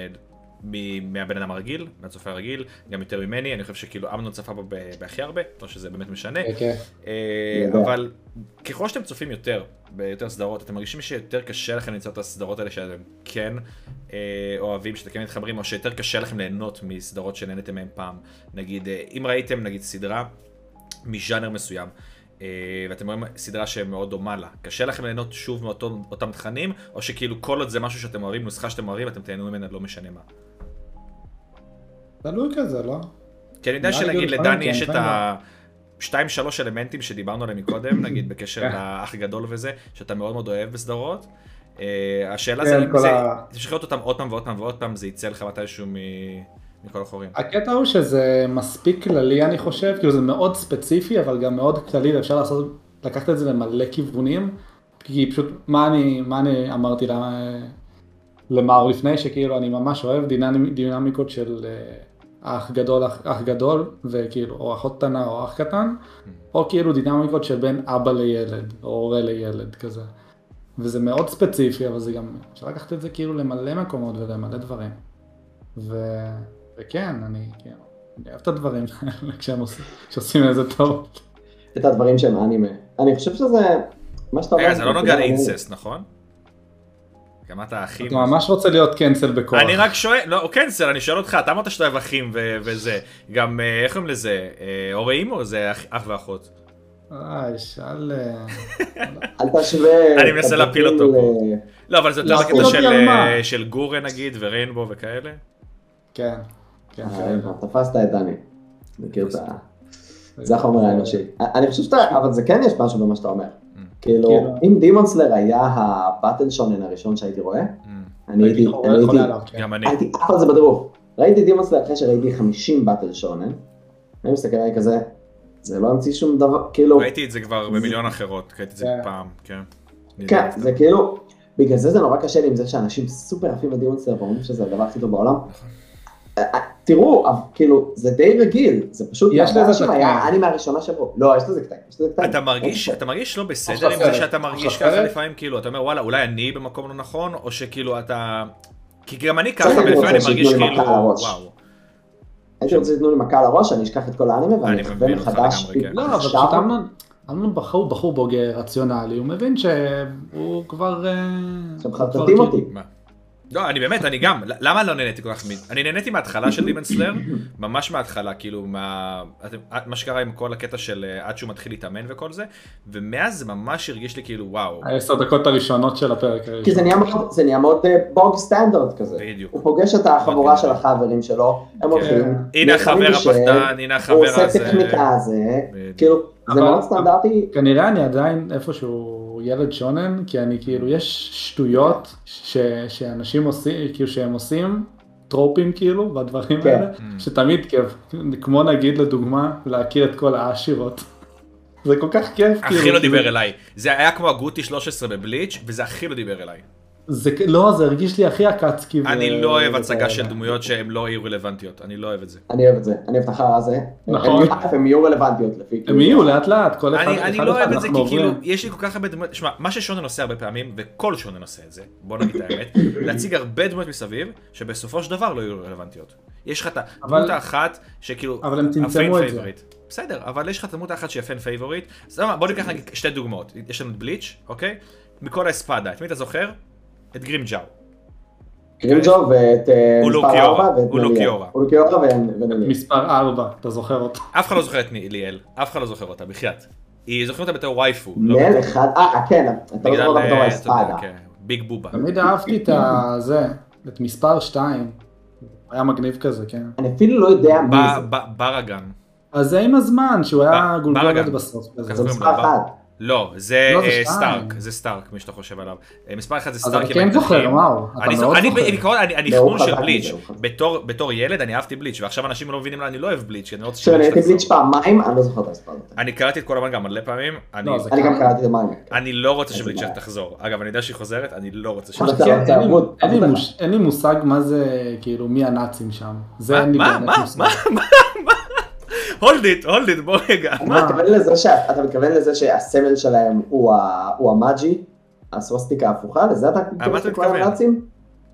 A: מ- מהבן אדם הרגיל, מהצופה הרגיל, גם יותר ממני, אני חושב שכאילו אמנון צפה בו ב- בהכי הרבה, לא שזה באמת משנה.
D: כן, כן.
A: אה,
C: ידוע.
A: אבל ככל שאתם צופים יותר ביותר סדרות, אתם מרגישים שיותר קשה לכם למצוא את הסדרות האלה שאתם כן אה, אוהבים, שאתם כן מתחברים, או שיותר קשה לכם ליהנות מסדרות שנהנתם מהן פעם. נגיד, אה, אם ראיתם נגיד סדרה מז'אנר מסוים, אה, ואתם רואים סדרה שמאוד דומה לה, קשה לכם ליהנות שוב מאותם תכנים, או שכאילו כל עוד זה משהו שאתם אוהבים, נוסחה שאתם אוהבים, אתם תהנו ממנה לא משנה מה.
D: תלוי כזה, לא?
A: כי אני יודע
D: נראה לי
A: שנגיד
D: גם לפעמים,
A: לדני
D: כן,
A: יש את
D: לפעמים לא.
A: ה... שתיים שלוש אלמנטים שדיברנו עליהם מקודם, נגיד בקשר
D: כן.
A: לאח גדול וזה, שאתה מאוד מאוד אוהב בסדרות. אה, השאלה
D: כן,
A: זה אם
D: כל
A: זה,
D: ה-
A: תמשיך לראות אותם עוד פעם ועוד פעם ועוד פעם, זה יצא לך מתישהו מ- מכל החורים.
D: הקטע הוא שזה מספיק כללי, אני חושב, כאילו זה מאוד ספציפי, אבל גם מאוד כללי, ואפשר לעשות, לקחת את זה למלא כיוונים, כי פשוט, מה אני, מה אני אמרתי לה, למאור לפני, שכאילו אני ממש אוהב דינמ, דינמיקות של אה, אח גדול, אח, אח גדול, וכאילו, או אחות קטנה או אח קטן, או כאילו דינמיקות של בין אבא לילד, או הורה לילד, כזה. וזה מאוד ספציפי, אבל זה גם, אפשר לקחת את זה כאילו למלא מקומות ולמלא דברים. ו... וכן, אני כאילו, אני אוהב את הדברים האלה כשהם עושים, כשעושים איזה טוב.
C: את הדברים שהם אנימה. אני חושב שזה... מה שאתה אומר...
A: רגע, זה לא נוגע
C: אני-
A: לאינססט, נכון? גם אתה אחים.
D: אתה ממש רוצה להיות קנסל בכוח.
A: אני רק שואל, לא, הוא קנסל, אני שואל אותך, אתה אמרת שאתה אוהב אחים ו- וזה. גם, אה, איך קוראים לזה? אה, הורה אימו זה אח- אח ואחות.
D: איי, שאל... אה,
C: אל תשווה...
A: אני מנסה
C: את
A: להפיל
C: הדברים
A: אותו פה.
C: ל-
A: לא, אבל זה יותר
D: להפיל
A: בקטע
D: אותי
A: של,
D: על מה?
A: אה, של גורה נגיד, וריינבו וכאלה.
D: כן. כן,
C: אה,
D: כאלה.
C: אה, תפסת את דני. מכיר את ה... זה החומר האנושי. אני חושב שאתה, אבל זה כן יש משהו במה שאתה אומר. כאילו,
D: כאילו.
C: אם דימון סלאר היה הבטל שונן הראשון שהייתי רואה,
A: Mm.
C: אני הייתי,
D: חולה-
C: אני הייתי,
D: חולה עליו, כן.
A: גם אני.
C: הייתי עף על זה בטירוף. ראיתי דימון סלאר אחרי שראיתי 50 באטל שונן, אני מסתכל עליי כזה, זה לא המציא שום דבר, כאילו,
A: ראיתי את זה כבר במיליון אחרות, ראיתי את זה
D: כן.
A: פעם, כן. אני
C: כן,
A: יודע.
C: זה כאילו, בגלל זה זה נורא קשה לי עם זה שאנשים סופר עפים בדימון סלאר ואומרים שזה הדבר הכי טוב בעולם.
A: נכון.
C: אה, אה, תראו, אבל כאילו, זה די רגיל, זה פשוט,
D: יש לזה
C: הבעיה שם היה
D: קטעים.
C: האנימה הראשונה שבו, לא, יש לזה קטעים, יש לזה קטעים.
D: כן.
A: אתה מרגיש, אתה מרגיש לא בסדר
D: עכשיו
A: עם זה
D: סרט.
A: שאתה מרגיש
D: עכשיו
A: ככה
D: סרט.
A: לפעמים, כאילו, אתה אומר וואלה, אולי אני במקום לא נכון, או שכאילו אתה... כי גם אני ככה,
C: בסדר, אני
A: ולפעמים אני
C: רוצה
A: מרגיש
C: שייתנו לי
A: כאילו,
C: כן, מכה על הראש.
A: וואו.
C: הייתי רוצה שתיתנו לי מכה על הראש, אני אשכח את כל האנימה
A: אני
C: ואני אחווה
A: מבין אותך
C: מחדש.
A: לגמרי, כן.
D: לא, אבל פשוט אמנון, אמנון בחור בחור בוגר רציונלי, הוא מבין שהוא כבר... אה,
C: עכשיו
D: הוא כבר
C: חרטטים
D: כאילו-
C: אותי.
A: מה? לא, אני באמת, אני גם, למה לא נהניתי כל כך מ... אני נהניתי מההתחלה של דימן סלאר, ממש מההתחלה, כאילו, מה... אתם, מה שקרה עם כל הקטע של אה, עד שהוא מתחיל להתאמן וכל זה, ומאז זה ממש הרגיש לי כאילו, וואו,
D: העשר דקות הראשונות של הפרק
C: כי זה
D: הראשון.
C: נהיה מאוד- זה נהיה מאוד בוג סטנדרט כזה.
A: בדיוק.
C: הוא פוגש את החבורה
A: מדהים.
C: של החברים שלו, הם הולכים.
A: כן. הנה
C: נלחמים
A: החבר
C: בשם,
A: הפחדן, הנה
C: הוא
A: החבר
C: עושה את
A: הזה.
C: הטכניקה הזה,
A: בדיוק.
C: כאילו, זה
D: אבל-
C: מאוד סטנדרטי.
D: כנראה אני עדיין איפשהו ילד שונן, כי אני כאילו, יש שטויות ש, שאנשים עושים, כאילו שהם עושים, טרופים כאילו, בדברים
C: כן.
D: האלה,
A: Mm.
D: שתמיד כיף, כמו נגיד לדוגמה, להכיר את כל העשירות. זה כל כך כיף,
A: הכי לא
D: כאילו, זה-
A: דיבר אליי. זה היה כמו הגוטי 13 בבליץ', וזה הכי לא דיבר אליי.
D: זה כ- לא, זה הרגיש לי הכי עקצקי. ו-
A: אני לא אוהב
D: וכאלה.
A: הצגה של דמויות שהן לא יהיו רלוונטיות, אני לא אוהב את זה.
C: אני אוהב את זה, אני אוהב את החרא הזה.
D: נכון.
C: הם יהיו- הם יהיו רלוונטיות לפי...
D: הם יהיו לאט לאט, כל אחד
A: אני, אני
D: אחד
A: לא
D: אחד
A: אוהב את זה
D: אנחנו
A: כי כאילו,
D: עוברים.
A: יש לי כל כך הרבה דמויות, שמע, מה ששונן עושה הרבה פעמים, וכל שונן עושה את זה, בוא נגיד את האמת, להציג הרבה דמויות מסביב, שבסופו של דבר לא יהיו רלוונטיות. יש לך את הדמות
D: אבל-
A: האחת, שכאילו,
D: אבל הם צמצמו
A: ה-fan
D: את זה.
A: favorite. בסדר, אבל יש לך את הדמות האחת שהיא הפן פייבוריט, סבבה, בוא ניקח נגיד שתי דוגמאות, יש לנו את בליץ', אוקיי? מכל האספדה, את מי אתה זוכר? את גרים ג'או.
C: גרינג'ו כאילו. ואת אה,
A: אולו
C: מספר
A: קיורה,
C: 4 ואת
A: אולו
C: נליה.
A: קיורה.
C: אולו קיורה ו- ונליה.
D: מספר 4, אתה זוכר אותו.
A: אף אחד לא זוכר את ליאל, אף אחד לא זוכר אותה, בחייאת. היא זוכרת אותה בתור וייפו. לא
C: מנהל
A: בתור-
C: אחד, אה, כן, אתה לא
A: בגלל,
C: זוכר אותה בתור
A: אה,
C: האספדה.
A: אתה יודע, כן, ביג בובה.
D: תמיד אהבתי את זה, את מספר 2. היה מגניב כזה, כן.
C: אני אפילו לא יודע מי
A: ב-
C: זה.
A: ב- ברגן.
D: אז זה עם הזמן, שהוא היה
A: ב- ברגע.
D: גולגולת בסוף. כזה.
C: זה
A: קוראים
C: מספר
A: לו? ב-
C: אחד.
A: לא, זה
D: לא, זה
A: אה,
D: שתיים.
A: סטארק, זה סטארק, מי שאתה חושב עליו. אה, מספר אחד זה
D: אז
A: סטארק
D: אתה כן זוכר,
A: האקדחים.
D: וואו, אתה
A: אני זוכר,
D: מאוד
A: אני
D: זוכר.
A: בעיקרון, אני אני
C: לא,
A: חנון
C: הוא
A: של
C: חזק
A: בליץ',
C: מזה, הוא חזק.
A: בתור- בתור ילד אני אהבתי בליץ', ועכשיו אנשים לא מבינים למה אני לא אוהב בליץ', כי אני לא רוצה
C: עכשיו, אני
A: שבליץ'
C: הייתי
A: תחזור.
C: בליץ' פעמיים, אני לא זוכר את האספדה.
A: אני קראתי את כל המנגה מלא פעמים, אני-
D: לא, זה-
C: אני גם קראתי את המאנגה.
A: אני לא רוצה
C: איזה
A: שבליץ'
C: בעיה.
A: תחזור. אגב, אני יודע שהיא חוזרת, אני לא רוצה
C: מה
A: שבליץ'.
C: אתה
D: כן,
C: רוצה?
D: אין לי-
C: עמוד,
D: אין לי
C: עמוד
D: מוש- אין לי מושג מה זה, כאילו, מי הנאצים שם. זה
A: מה?
D: אין לי
A: מה?
D: באמת לא
A: מה?
D: מושג.
A: מה? מה? הולד איט, הולד איט, בוא רגע.
C: אתה
D: מה?
C: מתכוון לזה שה- אתה מתכוון לזה שהסמל שלהם הוא ה- הוא המאג'י? הסווסטיקה ההפוכה? לזה אתה מתכוון
A: אתה
C: שכל
A: מתכוון?
C: הנאצים?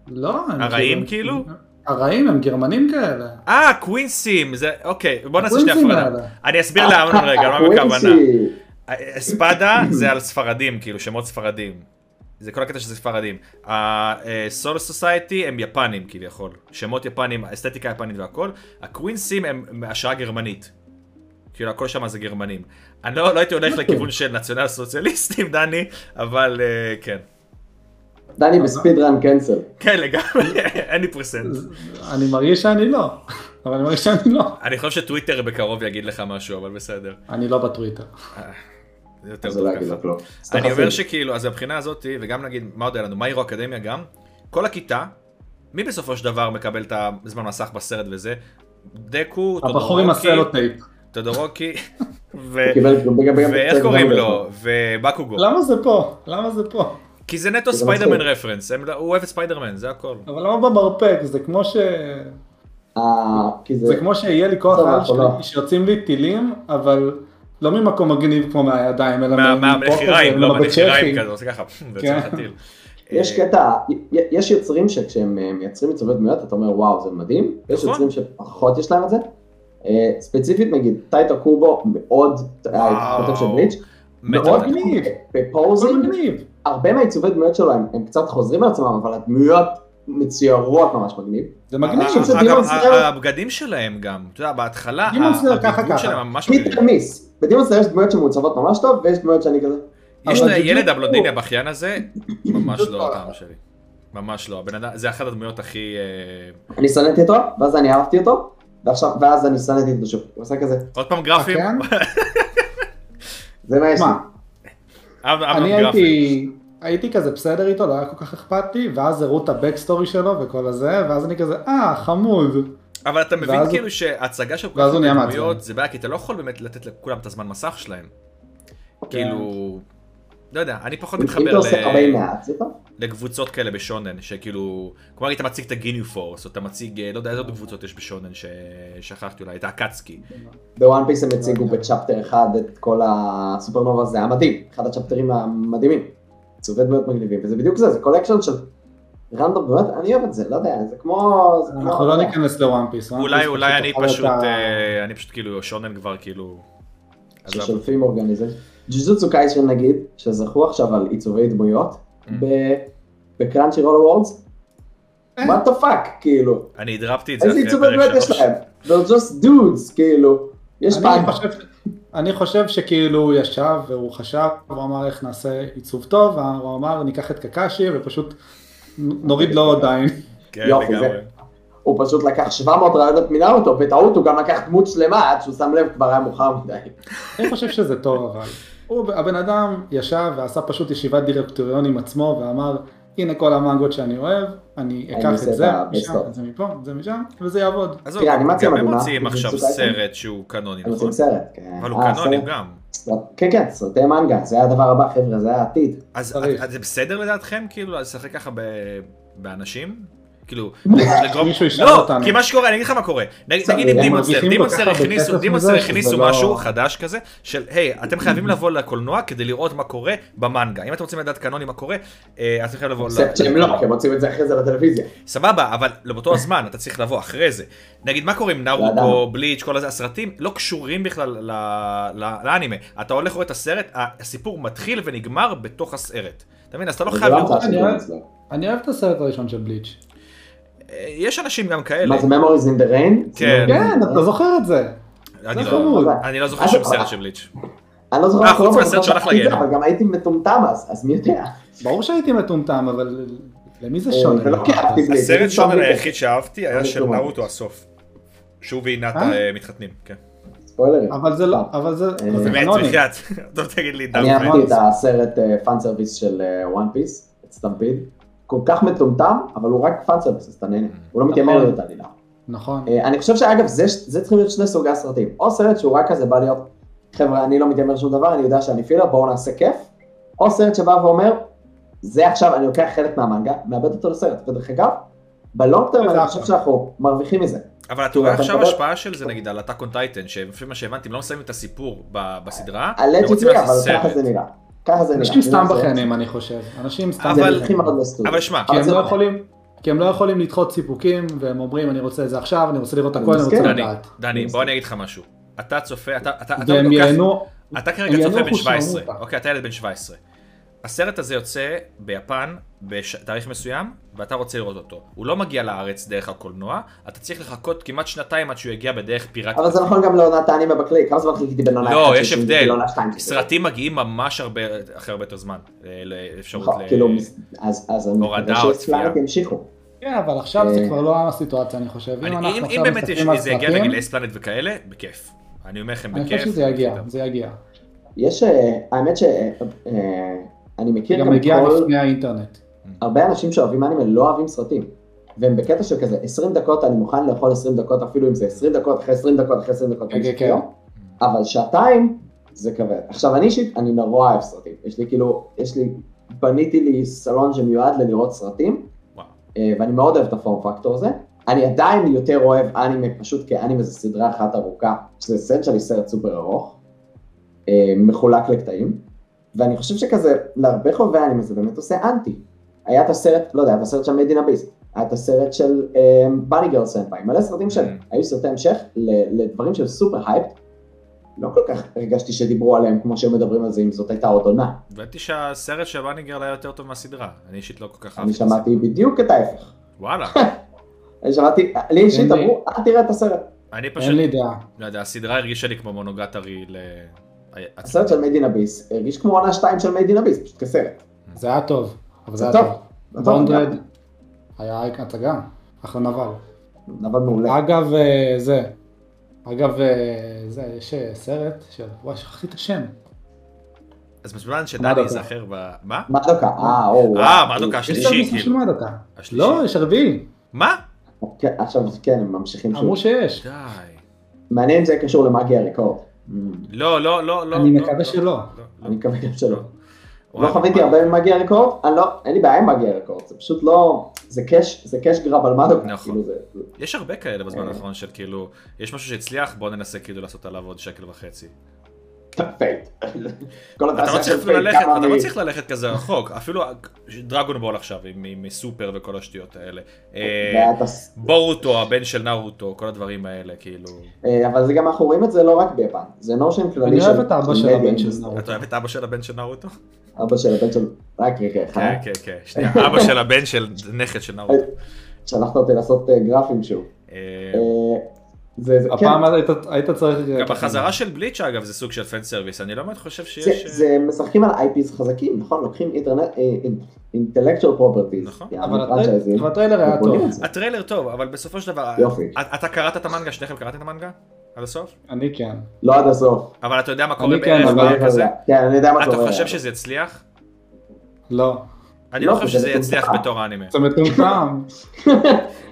D: לא, הם
A: הרעים
D: כאילו-
A: כאילו?
D: הרעים הם גרמנים כאלה.
A: אה, קווינסים, זה, אוקיי, בוא נעשה שתי
D: הקווינסים
A: הפרדה.
D: האלה.
A: אני אסביר לאמנון
D: אה,
A: רגע,
C: אה,
A: מה הכוונה.
C: הקווינסי.
A: אספדה זה על ספרדים, כאילו, שמות ספרדים. זה כל הקטע שזה ספרדים. הסול סוסייטי הם יפנים כביכול. שמות יפנים, אסתטיקה יפנית והכל. הקווינסים הם השראה גרמנית. כאילו הכל שם זה גרמנים. אני לא, לא הייתי הולך
D: אוקיי.
A: לכיוון של נציונל סוציאליסטים, דני, אבל אה, כן. נכון.
C: דני בספיד רן קנסל.
A: כן לגמרי, אין לי פרסנט.
D: אז אני מרגיש שאני לא. אבל אני מרגיש שאני לא.
A: אני חושב שטוויטר בקרוב יגיד לך משהו, אבל בסדר.
D: אני לא בטוויטר.
A: זה יותר
C: אז
A: טוב
C: לא כן.
A: ככה.
C: אגיד לו כלום. אז אתה
A: אני אומר
C: חסיד.
A: שכאילו, אז מבחינה הזאת, וגם נגיד, מה עוד היה לנו, מה יראו אקדמיה גם, כל הכיתה, מי בסופו של דבר מקבל את הזמן מסך בסרט וזה? דקו,
D: הבחור עם
A: טודורוקי,
D: הסלוטייפ.
A: טודורוקי, ו-
C: הוא לא קיבל- הוא קיבל- גם-
A: ואיך
C: גם-
A: קוראים
C: גם-
A: לו, ובקוגו,
D: למה זה פה? למה זה פה?
A: כי זה נטו
C: לא. זה
A: ספיידרמן
C: מצחיק.
A: רפרנס, הם לא- הוא אוהב את ספיידרמן, זה הכל.
D: אבל למה במרפק? זה כמו ש...
C: אה, כי
D: זה כמו שיהיה לי כוח
C: טוב,
D: על
C: אנחנו לא.
D: שלי, שיוצאים לי טילים, אבל לא ממקום מגניב כמו מהידיים, אלא
A: מה-
D: מ-
A: מהנחיריים, לא,
D: מפה כזה,
A: מהנחיריים
D: בצ'כים.
A: כזה, עושה ככה, אה, ויוצא לך טיל.
C: כן. יש קטע, י- יש יוצרים שכשהם אה, מייצרים עיצובי דמויות, אתה אומר וואו זה מדהים, יש
A: נכון.
C: יוצרים שפחות יש להם את זה. אה, ספציפית נגיד טייטו קובו מאוד,
A: וואו.
C: הכותב של בליץ',
A: מת
C: מאוד
A: על זה.
D: מגניב. זה
C: בפוזינג,
D: מגניב.
C: הרבה מהעיצובי דמויות שלו הם הם קצת חוזרים על עצמם, אבל הדמויות מצוירות ממש מגניב.
D: זה מגניב.
C: אה, שזה
A: אגב,
C: דימון סלאר.
A: הבגדים שלהם גם, אתה יודע, בהתחלה,
D: דימון סלאר ככה,
A: הבגדים
D: ככה.
A: שלהם ממש
C: פיטר מיס, בדימון סלאר יש דמויות שמעוצבות ממש טוב, ויש דמויות שאני כזה,
A: יש
D: אבל
A: לה
D: בדיוק
A: ילד
D: הוא-
A: הבלונדיני הבכיין הזה, ממש
D: בדיוק
A: לא
D: ככה.
A: הטעם שלי. ממש לא. הבן אדם, זה אחת הדמויות הכי... אה,
C: אני שנאתי אותו, ואז אני אהבתי אותו, ועכשיו, ואז אני שנאתי אותו שוב, הוא עושה כזה,
A: עוד פעם גרפים?
D: כן?
C: זה מה יש לי.
D: מה,
A: אמ- אמנון
D: אני
A: גרפים.
D: הייתי, הייתי כזה בסדר איתו, לא היה כל כך אכפת לי, ואז הראו את הבקסטורי שלו וכל הזה, ואז אני כזה, אה, חמוד.
A: אבל אתה מבין
D: ואז-
A: כאילו שההצגה של כל
D: ואז
A: כך
D: הוא
A: הרבה
D: נהיה
A: דמויות
D: מעצבן.
A: זה בעיה, כי אתה לא יכול באמת לתת לכולם את הזמן מסך שלהם.
D: כן.
A: כאילו... לא יודע, אני פחות
C: אם אתה
A: מתחבר
C: עושה
A: ל-
C: 40 מעט, זה טוב.
A: לקבוצות כאלה בשונן, שכאילו, כמו נגיד אתה מציג את הגיניו פורס, או אתה מציג, אה, לא יודע איזה עוד קבוצות יש בשונן ששכחתי אולי, את האקצקי.
C: אה, בוואן פיס הם הציגו
D: אוקיי.
C: בצ'פטר אחד את כל הסופרנובה, זה היה מדהים, אחד הצ'פטרים המדהימים. צווי דמויות מגניבים, וזה בדיוק זה, זה קולקשן של רנדום דמויות, אני אוהב את זה, לא יודע, זה כמו... זה כמו-
D: אנחנו לא ניכנס לוואן פיס. וואן
A: אולי,
D: פיס
A: אולי אני
D: יכול
A: פשוט,
D: להיות ה-
A: אה, אני פשוט כאילו, שונן כבר כאילו... עזב.
C: ששולפים אורגניזם. ג'יזוצו קיישן נגיד, שזכו עכשיו על עיצובי דמויות,
D: אה.
C: בקראנצ'י רול וורדס,
D: אה.
C: what the fuck, כאילו,
A: אני הדרפתי את זה
C: איזה
A: אחרי
C: עיצובי דמויות
A: פרק
C: יש
A: שלוש.
C: להם? They're just dudes, כאילו, יש פעם,
D: אני חושב, אני חושב שכאילו הוא ישב והוא חשב, הוא אמר איך נעשה עיצוב טוב, הוא אמר ניקח את קקשי ופשוט נוריד לו עוד עין.
A: כן,
C: יופי, זה-
A: לגמרי.
C: הוא פשוט לקח 700 רעיונות מינה אותו, בטעות הוא גם לקח דמות שלמה, עד שהוא שם לב כבר היה מאוחר מדי.
A: נכון.
D: אני חושב שזה טוב אבל. הוא, הבן אדם ישב ועשה פשוט ישיבת דירקטוריון עם עצמו ואמר הנה כל המנגות שאני אוהב, אני
C: אני
D: אקח
C: עושה
D: את זה
C: את ה-best
D: משם,
C: of.
D: את זה מפה, את זה משם, וזה יעבוד.
A: עזוב,
C: תראה, האנימציה
A: גם הם
C: מדהימה,
A: מוציאים
C: זה
A: עכשיו
C: מצוקה
A: סרט שהוא קנוני,
C: הם
A: נכון?
C: עושים סרט, כן.
A: אבל הוא
C: אה,
A: קנוני
C: סרט.
A: גם.
C: סרט- כן, כן, סרטי מנגה, זה היה הדבר הבא, חבר'ה, זה היה העתיד.
A: אז
D: צריך.
A: אז זה בסדר לדעתכם, כאילו, לשחק ככה ב- באנשים? כאילו, לגרום...
D: מישהו ישאל
A: לא,
D: אותנו.
A: כי מה שקורה, אני אגיד לך מה קורה. נגיד
C: בסדר,
A: נגיד עם
C: הם
A: דימונסר,
D: מרוויחים כל כך
A: דימונסר
D: הרבה
A: הכניסו,
D: כסף
A: דימונסר
D: מזה, שזה
A: הכניסו
D: לא-
A: משהו חדש כזה, של היי, אתם חייבים לבוא לקולנוע כדי לראות מה קורה במנגה. אם אתם רוצים לדעת קנוני מה קורה, אה, אתם חייבים לבוא...
C: אקספט שהם לא, כי הם רוצים את זה אחרי זה בטלוויזיה.
A: סבבה, אבל לא באותו זמן, אתה צריך לבוא אחרי זה. נגיד, מה קורה עם נרוקו, בליץ', כל הזה, הסרטים לא קשורים בכלל ל- ל- לאנימה. אתה הולך רואה את הסרט, ה- הסיפור מתחיל ונגמר בתוך הסרט. אתה מבין? אז אתה לא
C: זה
A: חייב
C: לא
A: לראות...
C: המצאה של
D: אני-
C: אצלו.
D: אני אוהב את הסרט הראשון של בליץ'.
A: אה, יש אנשים גם כאלה.
C: מה זה Memories in the Rain?
A: כן.
D: כן, אתה זוכר את זה.
A: אני
D: זה
A: לא-
D: חמוד.
A: אני לא זוכר
C: אז- אה,
A: שום סרט של בליץ'.
C: אני לא זוכר
A: אה,
C: איך קוראים
A: חוץ
C: לו,
A: מהסרט
C: אבל
A: שהלך לגיהנום.
C: אבל גם הייתי מטומטם אז, אז מי יודע.
D: ברור שהייתי מטומטם, אבל למי זה
C: אה,
D: שונה?
C: ולא כי אהבתי בליץ'.
A: הסרט
C: שם
A: שונן
C: לי-
A: היחיד שאהבתי היה
C: אני
A: של
C: לא מאמין.
A: נרוטו הסוף. שהוא ועינת
D: אה?
A: מתחתנים, כן.
C: ספוילרים.
D: אבל זה לא, אבל זה
C: אה,
D: אבל זה
A: באמת,
D: קנוני.
A: בחייאת. לא תגיד לי דאון
C: אני אהבתי
A: פרנס.
C: את הסרט פאן סרוויס של אה, וואן פיס, את סטמפיד. כל כך מטומטם, אבל הוא רק פאן סרוויס, אז אתה נהנה.
A: Mm.
C: הוא לא מתיימר
D: נכון.
C: להיות עלילה.
D: נכון.
C: אה, אני חושב שאגב, זה, זה צריכים להיות שני סוגי הסרטים. או סרט שהוא רק כזה בא להיות, חבר'ה, אני לא מתיימר שום דבר, אני יודע שאני פילר, בואו נעשה כיף. או סרט שבא ואומר, זה עכשיו, אני לוקח חלק מהמנגה, מאבד אותו לסרט. ודרך אגב, בלונג טרם אני חושב שאנחנו מרוויחים מזה.
A: אבל אתה
C: כאילו,
A: רואה
C: אתה
A: עכשיו
C: מדבר-
A: השפעה של זה נגיד על הטאק און טייטן, שלפי מה שהבנתי, הם לא מסיימים את הסיפור ב- בסדרה, הם רוצים
C: הלג'יטלי,
A: לעשות
C: אבל ככה
A: סרט.
C: זה נראה. ככה זה נראה.
D: אנשים סתם
C: זה-
D: בחיינים, אני חושב. אנשים סתם
A: אבל-
C: זה
D: בחיינים.
C: מלכים מאוד לסטודיו.
A: אבל שמע,
D: כי
C: אבל
D: הם
C: זה
D: לא
C: לא-
D: יכולים, כי הם לא יכולים לדחות סיפוקים, והם אומרים אני רוצה את זה עכשיו, אני רוצה לראות
C: אני
D: הכל, אני רוצה
C: מסכים.
A: דני,
D: לדעת.
A: דני, בוא אני אגיד לך משהו. אתה צופה, אתה, אתה, אתה,
D: והם
A: לוקח-
D: יענו,
A: אתה
D: הם
A: כרגע צופה
D: ינוחו
A: בן 17,
D: שעמום.
A: אוקיי, אתה ילד בן 17. הסרט הזה יוצא ביפן בתאריך מסוים, ואתה רוצה לראות אותו. הוא לא מגיע לארץ דרך הקולנוע, אתה צריך לחכות כמעט שנתיים עד שהוא יגיע בדרך פיראטית.
C: אבל זה נכון גם לעונת האנימה בכלי, כמה זמן חיכיתי בין עונה
A: לא,
C: אחת
A: יש
C: של שישי
A: הבדל.
C: לעונה שתיים של שישי?
A: סרטים מגיעים ממש הרבה, אחרי הרבה יותר זמן, אה, לאפשרות
C: נכון,
A: ל...
C: כאילו, אז אז אני
A: הורדה
C: מקווה
A: או
C: שאספלנט
A: צפייה.
C: ימשיכו.
D: כן, אבל עכשיו זה
C: אה,
D: כבר לא הסיטואציה, אני חושב.
A: אני-
D: אנחנו
A: אם אם
D: עכשיו
A: באמת יש-
D: מסתכלים על
A: זה יגיע
D: סרטים,
A: נגיד לאספלנט וכאלה, בכיף. אני אומר לכם,
D: אני
A: בכיף.
D: חושב שזה יגיע, זה יגיע.
C: יש, אה, האמת שאני מכיר
D: גם
C: גם
D: יגיע
C: כל,
D: לפני האינטרנט.
A: Mm.
C: הרבה אנשים שאוהבים אנימה לא אוהבים סרטים. והם בקטע של כזה, 20 דקות אני מוכן לאכול 20 דקות, אפילו אם זה 20 דקות אחרי 20 דקות אחרי 20 דקות.
D: כן, כן,
C: אני
D: כן.
C: לא. אבל שעתיים זה כבד. עכשיו אני אישית, אני נורא אוהב סרטים. יש לי כאילו, יש לי, בניתי לי סלון שמיועד ללראות סרטים,
A: וואו.
C: אה, ואני מאוד אוהב את הפורם פקטור הזה. אני עדיין יותר אוהב אנימה, פשוט כי אנימה זה סדרה אחת ארוכה, שזה סנצ'לי סרט סופר ארוך, אה, מחולק לקטעים, ואני חושב שכזה, להרבה חובי אנימה זה באמת עושה אנטי. היה את הסרט, לא יודע, היה את הסרט של מדינה ביסט, היה את הסרט של אה, בני גרל סנפאי, מלא סרטים של,
A: Mm.
C: היו סרטי המשך ל- לדברים של סופר הייפ, לא כל כך הרגשתי שדיברו עליהם כמו שהם מדברים על זה, אם זאת הייתה עוד עונה.
A: הבנתי שהסרט של בניגרל היה יותר טוב מהסדרה. אני אישית לא כל כך
C: אני
A: אהבתי את
C: שמעתי
A: הסרט.
C: בדיוק את ההפך.
A: וואלה.
C: אני שמעתי, לי אישית
D: אין לי-
C: אמרו, אל תראה את הסרט.
A: אני פשוט,
D: אין לי דעה.
A: לא יודע, הסדרה הרגישה לי כמו מונוגטרי ל...
C: הסרט של מדינה ביס הרגיש כמו עונה 2 של מדינה ביס, פשוט כסרט.
D: זה היה טוב, אבל זה
C: זה
D: היה
C: טוב.
D: טוב. בונדרד היה הצגה, אחלה נבל.
C: אבל מעולה.
D: אגב, אה, זה, אגב, אה, זה, יש אה, סרט של, וואי, שכחתי את השם.
A: אז בזמן
D: מדוקה.
A: שדני ייזכר ב... מה?
C: מרדוקה, אה, או. וואו.
A: מרדוקה
D: יש
A: השלישי.
D: סרט
A: שלישי,
D: נוסף של
A: כאילו.
D: מדתה.
A: השלישי.
D: לא, יש הרביעי,
A: מה?
C: כן, עכשיו, כן, הם ממשיכים שוב.
D: אמרו שיש.
A: די.
C: מעניין אם זה קשור למאגיה ריקורד.
A: לא, לא, לא, לא.
D: אני
A: לא,
D: מקווה
A: לא,
D: שלא.
A: לא, לא.
C: אני מקווה גם שלא. לא
A: וואי,
C: חוויתי
A: מה-
C: הרבה ממאגיה ריקורד, אני לא, אין לי בעיה עם מאגיה ריקורד, זה פשוט לא, זה קאש, זה קאש גרב על מרדוקה.
A: נכון.
C: כאילו, זה- זה-
A: יש הרבה כאלה בזמן
C: אה.
A: האחרון של כאילו, יש משהו שהצליח, בוא ננסה כאילו לעשות עליו עוד שקל וחצי.
C: פייט.
A: אתה
C: כל
A: לא
C: התעשייה
A: צריך
C: של פייט,
A: ללכת,
C: כמה
A: אתה לא
C: מ-
A: צריך ללכת כזה רחוק, אפילו דרגון בול עכשיו עם- עם סופר וכל השטויות האלה. אה,
C: ואת הס-
A: בורוטו, הבן של נרוטו, כל הדברים האלה, כאילו.
C: אה, אבל זה גם אנחנו רואים את זה לא רק ביפן, זה נושן
D: אני
C: כללי של...
D: אוהב את האבא של
C: מדיה
D: הבן של
C: אינדוסטרי.
D: נאור.
A: אתה אוהב את אבא של הבן של נרוטו?
C: כן. אבא של הבן של... רק רגע אחד,
A: כן, כן, כן. שנייה, אבא של הבן של נכד של נרוטו.
C: שלחת אותי לעשות אה, גרפים שוב.
A: אה,
C: אה, זה, זה, כן,
D: הפעם היית- היית צריך...
A: גם החזרה של בליץ' אגב זה סוג של פן סרוויס, אני לא באמת חושב
C: זה,
A: שיש... אה,
C: זה משחקים על IPs חזקים, נכון? לוקחים אינטלקטואל פרופרטיז.
A: נכון.
D: אבל הטריילר- אבל אה, הטריילר היה טוב.
A: הטריילר טוב, אבל בסופו של דבר... אה,
C: יופי.
A: את- אתה קראת את המנגה? שניכם קראתם את המנגה? עד הסוף?
D: אני כן.
C: לא עד הסוף.
A: אבל אתה יודע מה קורה
D: אני כן,
A: בערך
C: אבל-
A: דבר אה, כזה?
C: כן, אני יודע מה
A: אתה
C: קורה.
A: חושב שזה יצליח?
D: לא.
A: אני
C: לא,
A: לא חושב
C: זה
A: שזה
C: מטומטם.
A: יצליח בתור האנימה.
D: זה מטומטם.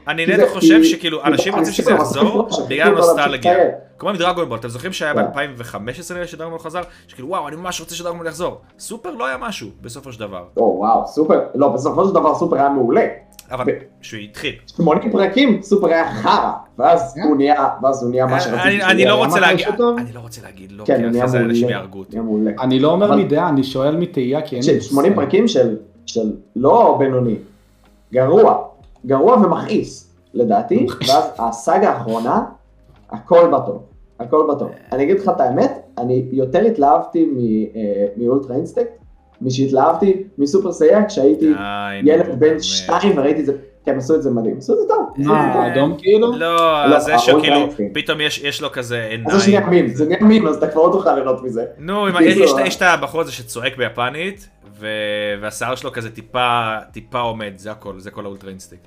A: אני
C: כי
A: נטו
C: זה-
A: חושב
C: כי-
A: שכאילו
C: כי
A: אנשים
C: זה-
A: רוצים שזה
C: אנשים כבר
A: יחזור
C: מספיק לא
A: בגלל
C: משחקים, אבל
A: נוסטלגיה.
C: להמשיך
A: כמו עם דרגון בול, אתם זוכרים שהיה
C: כן.
A: ב-2015 נראה שדרגון חזר? שכאילו וואו אני ממש רוצה שדרגון יחזור. סופר לא היה משהו בסופו של דבר.
C: או וואו, סופר, לא, בסופו של דבר סופר היה מעולה.
A: אבל
C: ב-
A: שהוא התחיל.
C: שמונה פרקים, סופר היה חרא, ואז
D: כן.
C: הוא נהיה, ואז הוא נהיה מה
A: אני-
C: שרציתי. שהוא
A: אני
C: יהיה.
A: לא רוצה
D: למה
A: להגיד,
D: יש אותו?
A: אני לא רוצה להגיד לא,
C: כן,
A: כי
C: הוא
A: אחרי
C: נהיה
A: זה אנשים
C: מעולה.
A: יהרגו אותי.
C: נהיה מעולה.
D: אני לא אומר
C: אבל-
D: מדעה, אני שואל מתהייה, כי אין
C: של
D: לי...
C: 80 פרקים של, של לא בינוני, גרוע, גרוע ומכעיס לדעתי, ואז הסאגה האחרונה, הכל בטוב, הכל בטוב.
A: אה.
C: אני אגיד לך את האמת, אני יותר התלהבתי מ- אה, מאולטרה אינסטקט, משהתלהבתי מסופר סייאק
A: די,
C: כשהייתי
A: נו,
C: ילד
A: אה,
C: בן
A: לא באמת.
C: שתיים וראיתי את זה, כי הם עשו את זה מדהים, עשו את זה טוב, עשו את זה
D: מה,
C: טוב.
D: האדום כאילו?
A: לא,
C: לא,
A: זה
C: ההוא
A: שכאילו,
C: בעייתי.
A: פתאום יש- יש לו כזה עיניים.
C: אז זה שנייה מין, זה נהיה מין, אז אתה כבר לא תוכל ליהנות מזה.
A: נו, עם ה-
C: בקיצור,
A: יש את ה-
C: אה.
A: יש את הבחור הזה שצועק ביפנית, ו- והשיער שלו כזה טיפה, טיפה עומד, זה הכל, זה כל האולטרה אינסטינקט.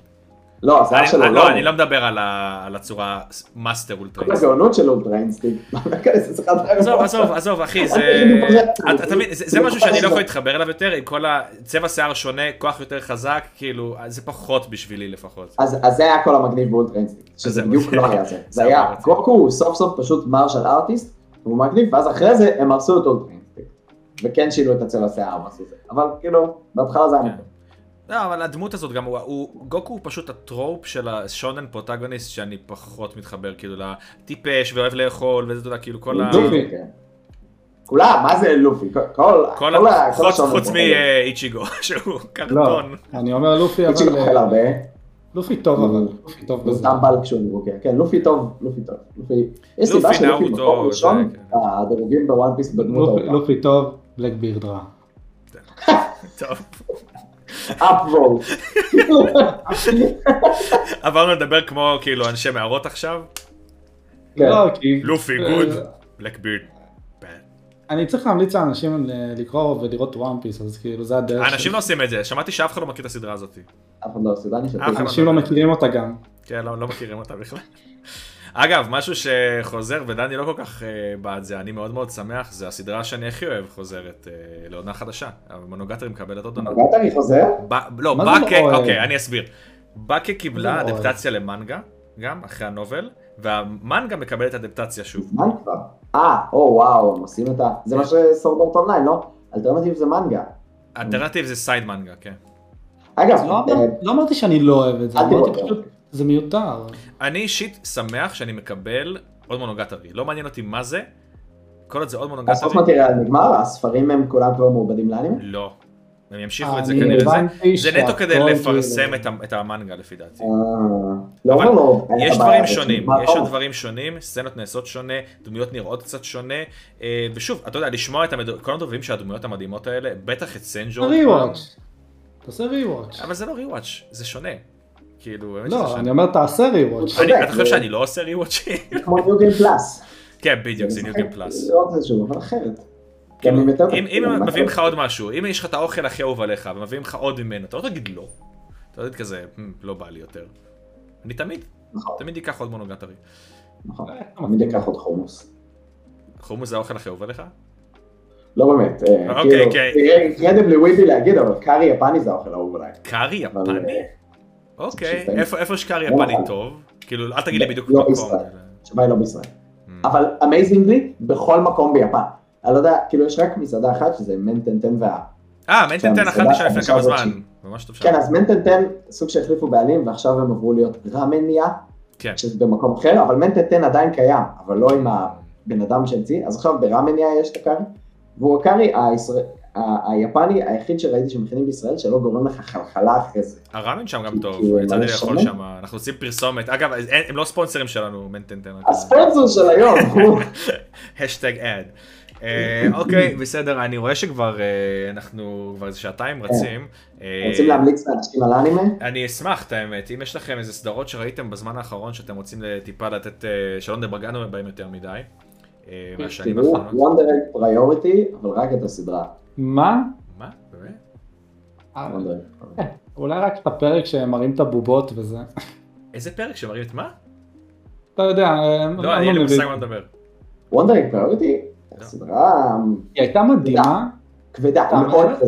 C: לא, זה היה
A: אני-
C: שלו,
A: אה, לא, אני לא מדבר על ה- על הצורה מאסטר אולטרה
C: כל
A: אינסטינקט.
C: הגאונות של אולטרה אינסטינקט. לא ניכנס לשיחה אחרת.
A: עזוב, עזוב, עזוב, אחי, זה...
C: אני בוחר-
A: אתה- אתה מבין, זה זה
C: אני
A: משהו שאני
C: בוחר-
A: לא יכול להתחבר אליו יותר, עם כל הצבע שיער שונה, כוח יותר חזק, כאילו, זה פחות בשבילי לפחות.
C: אז, אז זה היה כל המגניב באולטרה אינסטינקט,
A: זה
C: שזה בדיוק
A: אוקיי.
C: לא היה זה.
A: זה
C: זה היה,
A: אוקיי.
C: גוקו הוא סוף סוף פשוט מרשל ארטיסט, הוא מגניב, ואז אחרי זה הם הרסו את אולטרה אינסטינקט. וכן שינו את הצבע שיער, ועשו זה. אבל כאילו, בהתחלה זה היה
A: כן.
C: מגניב.
A: לא, אבל הדמות הזאת גם, הוא, הוא, גוקו הוא פשוט הטרופ של השונן פרוטגוניסט שאני פחות מתחבר כאילו לטיפש ואוהב לאכול וזה, אתה יודע, כאילו כל ה...
C: לופי, כן. כולם, מה זה לופי? כל- כל
A: כל
C: כל
A: ה...
C: ה... כל
A: חוץ,
C: השעון
A: חוץ
C: הזה.
A: מאיצ'יגו, שהוא
D: לא,
A: קרטון.
D: אני אומר לופי,
C: איציק לא אוכל
D: אבל... אה,
C: הרבה,
D: לופי טוב, אבל... לופי טוב
C: הוא
D: בזה.
C: סתם בלק שהוא מבוקר. כן, לופי טוב, לופי טוב. לופי... יש סיבה
A: לופי,
C: שלופי
A: נאוטו,
C: מקום
A: זה-
C: ראשון, אה,
A: כן.
C: הדירוגים בוואן פיס בדמות
D: לופי-
C: האופה.
D: לופי טוב, בלק בירד רע.
A: טוב,
C: אפוולט.
A: עברנו לדבר כמו כאילו אנשי מערות עכשיו.
C: כן.
D: לא, כי...
A: לופי, גוד. בלקבירד.
D: אני צריך להמליץ לאנשים ל- לקרוא ולראות וואן פיס, אז כאילו זה הדרך
A: אנשים לא עושים את זה, שמעתי שאף אחד לא מכיר את הסדרה הזאת.
C: אף אחד לא עושה, דני שתק.
A: אף אחד
D: אנשים לא מכירים אותה גם.
A: כן, לא, לא מכירים אותה בכלל. אגב, משהו שחוזר, ודני לא כל כך אה, בעד זה, אני מאוד מאוד שמח, זה הסדרה שאני הכי אוהב חוזרת אה, לעונה חדשה. המונוגטרי מקבלת עוד עונה.
C: הגעת אני חוזר?
A: ב- לא,
D: מה זה
A: באקה,
D: לא אוהב?
A: אוקיי, אני אסביר. באקה קיבלה
D: מה זה לא
A: אדפטציה למנגה, גם, אחרי הנובל, והמנגה מקבלת אדפטציה שוב.
C: זמן כבר. אה, או וואו, הם עושים את ה... זה מה שסורדורט אונליין, לא? אלטרנטיב זה מנגה.
A: האלטרנטיב זה סייד מנגה, כן.
C: אגב,
D: לא
C: אה,
D: אמר- לא אמרתי שאני לא אוהב את זה,
C: אל
D: אמרתי
C: תראו.
D: פשוט, זה מיותר.
A: אני אישית שמח שאני מקבל עוד מונוגטרי. לא מעניין אותי מה זה, כל עוד זה עוד
C: הסוף
A: מונוגטרי.
C: מטריאל נגמר, הספרים הם כולם כבר מעובדים לאנימה?
A: לא. הם ימשיכו את זה
D: אני
A: כנראה. זה-
D: הבנתי
A: זה נטו
D: שהכל
A: כדי
D: כאילו-
A: לפרסם את ה- את המנגה לפי דעתי.
C: אה, לא
A: אבל
C: אומר לו...
A: יש
C: אה,
A: דברים
C: אה,
A: שונים,
C: מה
A: יש עוד
C: טוב.
A: דברים שונים, סצנות נעשות שונה, דמויות נראות קצת שונה, אה, ושוב, אתה יודע, לשמוע את המד... כל הדברים של הדמויות המדהימות האלה, בטח את סנג'ו, עוד פעם,
D: ריוואץ'. תעשה ריוואץ'.
A: אבל זה לא ריוואץ', זה שונה. כאילו, באמת שזה
D: לא,
A: שונה.
D: אני אומר תעשה ריוואץ'.
C: צודק,
A: אני- אתה חושב
C: זה-
A: שאני לא עושה ריוואצ'ים?
C: זה כמו ניו גיים פלאס.
A: כן, בדיוק, זה ניו גיים פלאס.
C: זה עוד איזשהו, אבל אחרת. גם עם יותר-
A: כאילו, אם אם הם
C: עם
A: מביאים
C: הכל.
A: לך עוד משהו, אם יש לך את האוכל הכי אהוב עליך, ומביאים לך עוד ממנו, אתה לא תגיד לא. אתה תגיד כזה, "מ, לא בא לי יותר. אני תמיד,
C: נכון,
A: תמיד אקח עוד מונוגטרי.
C: נכון. תמיד אקח עוד חומוס.
A: חומוס זה האוכל הכי אהוב עליך?
C: לא באמת, אה,
A: אוקיי,
C: כאילו,
A: אוקיי.
C: תראה אינקרדיבלי וויבי להגיד, אבל קארי יפני זה האוכל האהוב עליי.
A: קארי
C: אבל,
A: יפני?
C: אה,
A: אוקיי,
C: שתיים.
A: איפה איפה יש קארי יפני
C: לא.
A: טוב? כאילו, אל תגיד לי בדיוק
C: לא
A: מקום.
C: ישראל. התשובה היא לא בישראל.
A: Mm.
C: אבל אמייזינגלי, בכל מקום ביפן. אני לא יודע, כאילו יש רק מסעדה אחת שזה מנטנטן וה...
A: אה, מנטנטן
C: שהמסעדה-
A: אכלתי שם לפני
C: המסעדה
A: כמה
C: הזאת
A: זמן.
C: שהיא-
A: ממש טוב שם.
C: לא כן, אז מנטנטן, סוג שהחליפו בעלים, ועכשיו הם עברו להיות ראמניה,
A: כן.
C: שזה במקום אחר, אבל מנטנטן עדיין קיים, אבל לא עם הבן אדם שהמציא. אז עכשיו בראמניה יש את הקארי, והוא הקארי הישראל- ה- היפני היחיד שראיתי שמכינים בישראל, שלא גורם לך חלחלה אחרי זה.
A: הראמן שם גם
C: כי- כאילו,
A: טוב,
C: כי הוא
A: יצא לי
C: ממש
A: לאכול
C: שונה.
A: שם, אנחנו עושים פרסומת. אגב, אז אין- הם לא ספונסרים שלנו, מנטנטן. רק-
C: הספונסר של היום הוא...
A: השטג אד. אה, אוקיי, בסדר, אני רואה שכבר אה, אנחנו כבר איזה שעתיים רצים. אה,
C: כן. רוצים להמליץ לאנשים על האנימה?
A: אני אשמח את האמת, אם יש לכם איזה סדרות שראיתם בזמן האחרון שאתם רוצים טיפה לתת, אה, שלא נדברגנו בהם יותר מדי, אה, מהשנים
C: כן, תראו,
A: האחרונות.
C: וונדרג פריוריטי, אבל רק את הסדרה.
D: מה?
A: מה? באמת?
D: אה,
C: Wonder Egg.
D: אולי רק את הפרק שמראים את הבובות וזה.
A: איזה פרק שמראים את מה?
D: אתה יודע, אה, הם-
A: לא,
D: הם
A: אין לי
D: מבינים.
A: מושג מה לדבר.
C: וונדרינג פריוריטי,
A: לא.
C: סדרה
D: היא הייתה מדהימה,
C: כבדה,
D: אתה
C: מאוד
A: לא
D: אומר?
C: כבדה.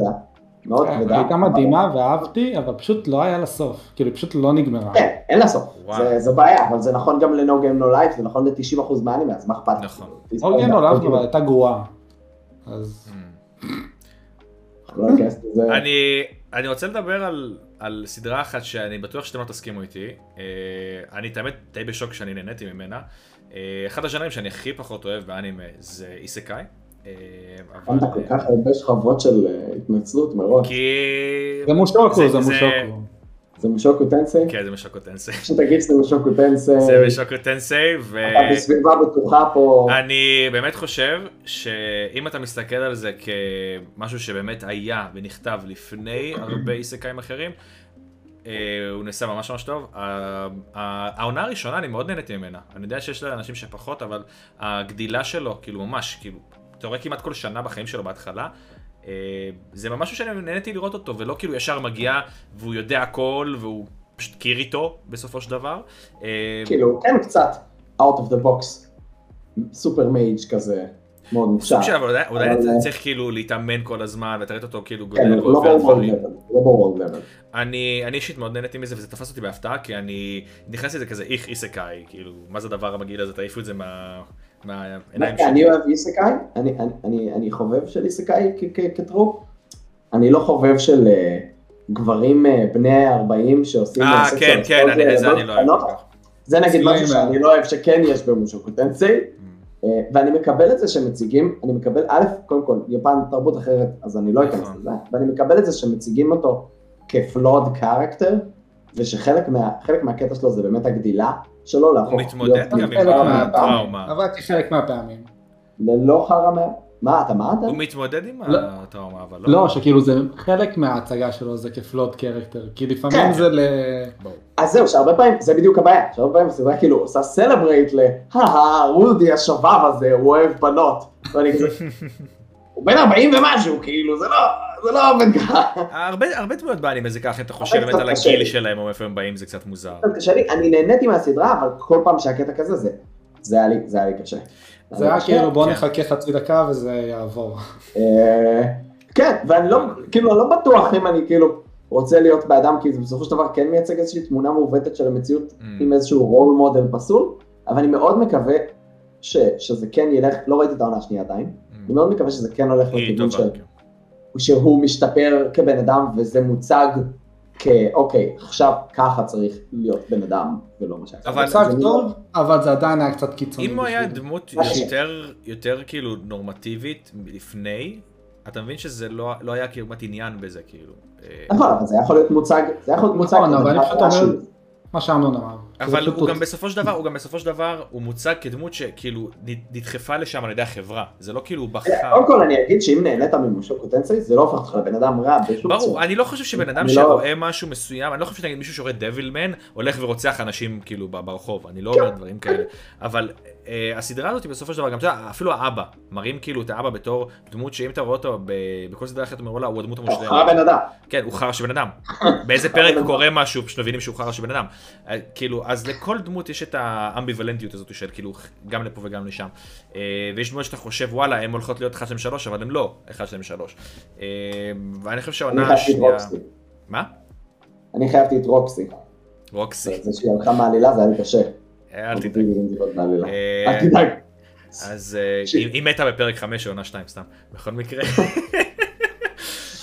C: מאוד
A: כן,
C: כבדה.
D: הייתה מדהימה ואהבתי, אבל פשוט לא היה לה סוף. כאילו, היא פשוט לא נגמרה.
C: כן, אין לה סוף.
A: וואו.
C: זה- זו בעיה, אבל זה נכון גם ל-No Game No Life, זה נכון ל-90% מהאנימה, אז מה אכפת? לי?
A: נכון.
C: תספור
D: אורגן
C: גם,
D: עולב,
C: כאילו,
D: לא, אבל הייתה גרועה. אז
C: אנחנו לא ניכנס לזה.
A: Hmm. אני, אני רוצה לדבר על, על סדרה אחת שאני בטוח שאתם לא תסכימו איתי. אה, אני את האמת די בשוק שאני נהניתי ממנה. אה, אחד הז'אנרים שאני הכי פחות אוהב באנימה זה איסקאי. אה, אבל...
C: הקמת כל כך הרבה שכבות של אה, התנצלות מראש.
A: כי...
D: זה מושוקו,
A: זה-
D: זה
A: זה-
D: מושוקו.
C: זה משוקו טנסי?
A: כן, זה משוקו טנסי.
C: שתגיד שזה משוקו טנסי,
A: זה משוקו טנסי, ו...
C: אתה בסביבה בטוחה פה.
A: אני באמת חושב שאם אתה מסתכל על זה כמשהו שבאמת היה ונכתב לפני הרבה איסקאים אחרים, אה, הוא נעשה ממש ממש טוב. ה- ה- העונה הראשונה, אני מאוד נהניתי ממנה. אני יודע שיש לאנשים שפחות, אבל הגדילה שלו, כאילו ממש, כאילו, אתה רואה כמעט כל שנה בחיים שלו בהתחלה. אה, זה ממש משהו שאני נהניתי לראות אותו, ולא כאילו ישר מגיע והוא יודע הכל והוא פשוט קיר איתו בסופו של דבר. אה,
C: כאילו, כן קצת, out of the box. סופר מייג' כזה, מאוד מופשט.
A: סוג של אבל עדיין- עדיין
C: אבל- אה,
A: אתה צריך כאילו להתאמן כל הזמן ואתה ראית אותו כאילו
C: כן,
A: גודל
C: לא
A: ועובר
C: בורד
A: דברים.
C: לבל, לא בורד לבל.
A: אני אני אישית מאוד נהניתי מזה וזה תפס אותי בהפתעה כי אני נכנסתי לזה כזה איך איסקאי כאילו מה זה הדבר המגעיל הזה תעיפו את זה מה- מהעיניים
C: דווקא כן, אני אוהב איסקאי, אני- אני- אני- אני חובב של איסקאי כ- כ- כטרופ. אני לא חובב של אה, גברים אה, בני 40 שעושים...
A: אה
C: סקס
A: כן
C: על
A: כן
C: הספורט,
A: אני-
C: אה,
A: זה אני לא אוהב.
C: בנות.
A: כל כך.
C: זה נגיד
D: סליימר.
C: משהו שאני לא אוהב שכן יש במושוקו טנסי, אה, ואני מקבל את זה שמציגים, אני מקבל, א', קודם כל, יפן תרבות אחרת, אז אני לא אכנס
A: נכון.
C: לזה, ואני מקבל את זה שמציגים אותו כפלוד קרקטר, ושחלק מה, חלק מהקטע שלו זה באמת הגדילה שלו, להפוך
A: הוא מתמודד
C: להיות
A: גם עם
D: חלק מהטראומה.
A: הטראומה.
D: עברתי חלק מהפעמים.
C: ללא חרמה. מה אתה, מה אתה?
A: הוא מתמודד עם
D: לא.
A: הטראומה אבל לא.
D: לא, שכאילו זה חלק מההצגה שלו, זה כפלוט קרקטר. כי לפעמים
C: כן.
D: זה ל...
C: אז זהו, שהרבה פעמים, זה בדיוק הבעיה, שהרבה פעמים הסדרה כאילו עושה סלברייט ל, הא רודי השבב הזה, הוא אוהב בנות. ואני כזה, הוא בן 40 ומשהו, כאילו, זה לא, זה לא עובד ככה.
A: הרבה הרבה דמויות באנימה זה ככה אם אתה חושב
C: קצת
A: באמת על
C: קשה
A: הגיל
C: לי.
A: שלהם או מאיפה הם באים זה קצת מוזר.
C: קצת קשה לי, אני נהניתי מהסדרה, אבל כל פעם שהקטע כזה, זה, זה היה לי, זה היה לי קשה.
D: זה היה כאילו בוא
A: כן.
D: נחכה חצי דקה וזה יעבור.
C: אה, כן, ואני לא, כאילו, אני לא בטוח אם אני כאילו רוצה להיות באדם, כי זה בסופו של דבר כן מייצג איזושהי תמונה מעוותת של המציאות
A: Mm.
C: עם איזשהו רול מודל פסול, אבל אני מאוד מקווה ש, שזה כן ילך, לא ראיתי את העונה השנייה עדיין, אני מאוד מקווה שזה כן הולך
A: היא
C: לכיוון
A: mm. טובה.
C: של
A: כן.
C: שהוא משתפר כבן אדם וזה מוצג כאוקיי, עכשיו ככה צריך להיות בן אדם ולא מה שהיה.
A: אבל-
D: מושג
C: זה לא-
D: טוב, אבל זה עדיין היה קצת קיצוני.
A: אם הוא היה
D: בשבילי.
A: דמות
C: משהו.
A: יותר, יותר כאילו נורמטיבית לפני, אתה מבין שזה לא, לא היה כמעט עניין בזה כאילו. אה,
C: נכון, אבל זה יכול להיות מוצג, זה יכול להיות מוצג.
D: נכון, אבל
C: כדבר
D: אני פשוט אומר-
C: שהוא-
D: מה שאמנון אמר.
A: אה, אבל
D: זה פשוט
A: הוא גם בסופו של דבר, הוא גם בסופו של דבר, הוא מוצג כדמות שכאילו נ- נדחפה לשם על ידי החברה. זה לא כאילו הוא בחר.
C: קודם כל אני אגיד שאם נהנית ממושוקו טנסי, זה לא הופך אותך לבן אדם רע בשום
A: ברור,
C: צורה.
A: אני לא חושב שבן אדם
C: אני לא-
A: שרואה משהו מסוים, אני לא חושב שנגיד מישהו שרואה דווילמן הולך ורוצח אנשים כאילו ב- ברחוב, אני
C: כן.
A: לא אומר דברים כאלה, אבל אה, הסדרה הזאת היא בסופו של דבר, גם אתה יודע, אפילו האבא, מראים כאילו את האבא בתור דמות שאם אתה רואה אותו ב- בכל סדרה אחרת, אתה אומר וואלה, הוא הדמות
C: אתה
A: המושלמת.
C: אחר בן אדם.
A: כן, הוא חרא של בן אדם. באיזה פרק קורה משהו, פשוט מבינים שהוא חרא של בן אדם. אה, כאילו, אז לכל דמות יש את האמביוולנטיות הזאת של כאילו, גם לפה וגם לשם. אה, ויש דמות שאתה חושב, וואלה, הן הולכות להיות 1, 2, 3, אבל הן לא 1, 2, 3. אה, ואני חושב
C: אני
A: שהעונה
C: חייבתי את
A: השנייה...
C: רוקסי.
A: מה?
C: אני חייבתי את רוקסי.
A: רוקסי.
C: זה שהיא הלכה מעלילה זה היה לי קשה.
A: אה, אל
C: רציתי
A: תדאג.
C: לראות מעלילה.
A: אה,
C: כן. אל תדאג.
A: אז אה, היא היא מתה בפרק 5 של עונה 2 סתם, בכל מקרה.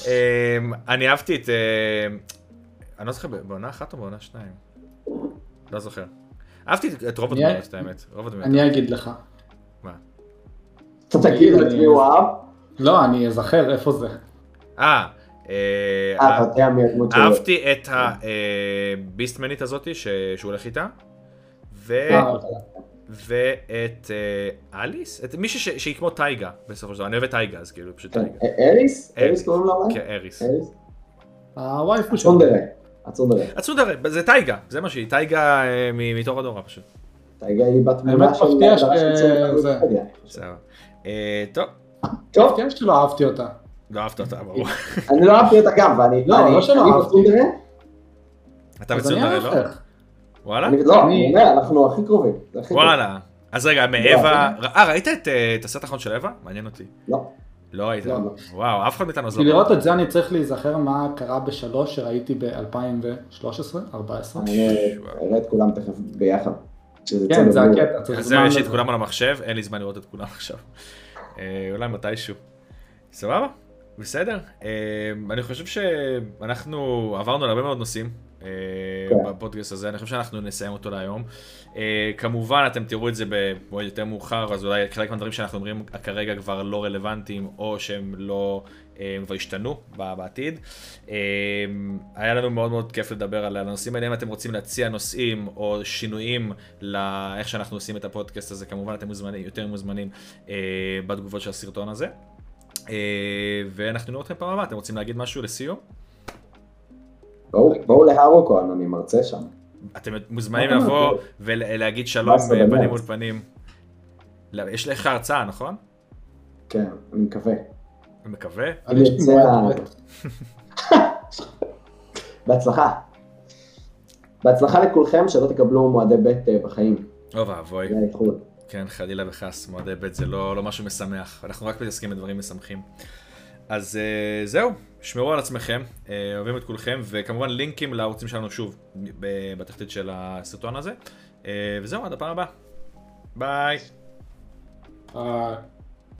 A: אה, אני אהבתי את... אה, אני לא זוכר, בעונה אחת או בעונה שתיים? לא זוכר. אהבתי את- את רוב
D: אני-
A: הדמויות, את האמת. רוב הדמויות.
D: אני אגיד לך.
C: אתה תגיד לו את מי הוא אהב,
D: לא, אני אזכר איפה זה.
A: אה, אה,
C: אה, אתה יודע מי הדמות שלו.
A: אהבתי את אה, הביסטמנית הזאתי ש- שהוא הולך איתה. ו-
D: אה, אוקיי.
A: ואת אה, אליס? את מישהי ש- שהיא כמו טייגה בסופו של דבר, אני אוהב את טייגה אז כאילו פשוט
C: כן.
A: טייגה.
C: אה, אריס?
A: אריס.
C: אריס קוראים לה אולי?
A: כן, אריס.
C: אריס?
D: הווייפו שלו.
C: הצונדרה. הצונדרה.
A: הצונדרה, זה טייגה, זה מה שהיא, טייגה אה, מ- מתור הדורה פשוט.
C: תגיד לי בתמונה
D: האמת
C: של
D: מפתיע
C: ההגדרה של
D: ש-
C: צונדרה.
D: זה.
A: בסדר. אה, טוב,
C: טוב,
D: כן, שלא אהבתי אותה.
A: לא אהבת אותה, ברור.
C: אני לא אהבתי אותה גם, ואני...
D: לא,
C: אני-
D: לא שלא
C: אני
D: אהבתי.
C: בצונדרה?
A: אתה
D: אז אני
A: בצונדרה,
D: אענה
A: לא?
D: לך.
A: וואלה?
C: אני- לא,
D: אני-
C: אני אומר, אנחנו הכי קרובים. זה הכי קרוב.
A: וואלה. אז רגע, מאווה, אה, ראית את אה, את הסרט האחרון של אווה? מעניין אותי.
C: לא.
A: לא היית.
D: לא.
A: וואו, אף אחד מאיתנו אז
D: בשביל
A: לא
D: לראות את זה אני צריך להיזכר מה קרה בשלוש שראיתי ב-2013-2014.
C: אני אראה את כולם תכף ביחד. שזה
D: כן,
C: צוות
D: זה
C: מעולה.
D: הקטע, צריך
A: אז
D: זמן
A: זהו, יש לי את
D: לזה.
A: כולם על המחשב, אין לי זמן לראות את כולם עכשיו. אה, אולי מתישהו. סבבה, בסדר. אה, אני חושב שאנחנו עברנו על הרבה מאוד נושאים. אה,
C: כן.
A: בפודקאסט הזה, אני חושב שאנחנו נסיים אותו להיום. אה, כמובן, אתם תראו את זה במועד יותר מאוחר, אז אולי חלק מהדברים שאנחנו אומרים כרגע כבר לא רלוונטיים, או שהם לא, אה, הם כבר השתנו ב- בעתיד. אה, היה לנו מאוד מאוד כיף לדבר על הנושאים האלה, אם אתם רוצים להציע נושאים או שינויים לאיך שאנחנו עושים את הפודקאסט הזה, כמובן אתם מוזמנים, יותר מוזמנים אה, בתגובות של הסרטון הזה. אה, ואנחנו נראה אתכם פעם הבאה, אתם רוצים להגיד משהו לסיום?
C: בואו- בואו להרוקו, אני מרצה שם.
A: אתם מוזמנים
C: מה אתה
A: לבוא
C: אומר?
A: ולהגיד שלום
C: מה זה,
A: אה,
C: באמת?
A: פנים מול פנים. לא, יש לך הרצאה, נכון?
C: כן, אני מקווה.
A: אני מקווה.
D: אבל יש לי
C: יוצא
D: בעיה
C: ה-
D: אחרת.
C: בהצלחה. בהצלחה לכולכם, שלא תקבלו מועדי ב' אה, בחיים.
A: אוי ואבוי.
C: זה האיחוד.
A: כן, חלילה וחס, מועדי ב' זה לא, לא משהו משמח, אנחנו רק מתעסקים בדברים משמחים. אז uh, זהו, שמרו על עצמכם, uh, אוהבים את כולכם, וכמובן לינקים לערוצים שלנו שוב ב- בתחתית של אה, הסרטון הזה. Uh, וזהו, עד הפעם הבאה. ביי.
D: אה,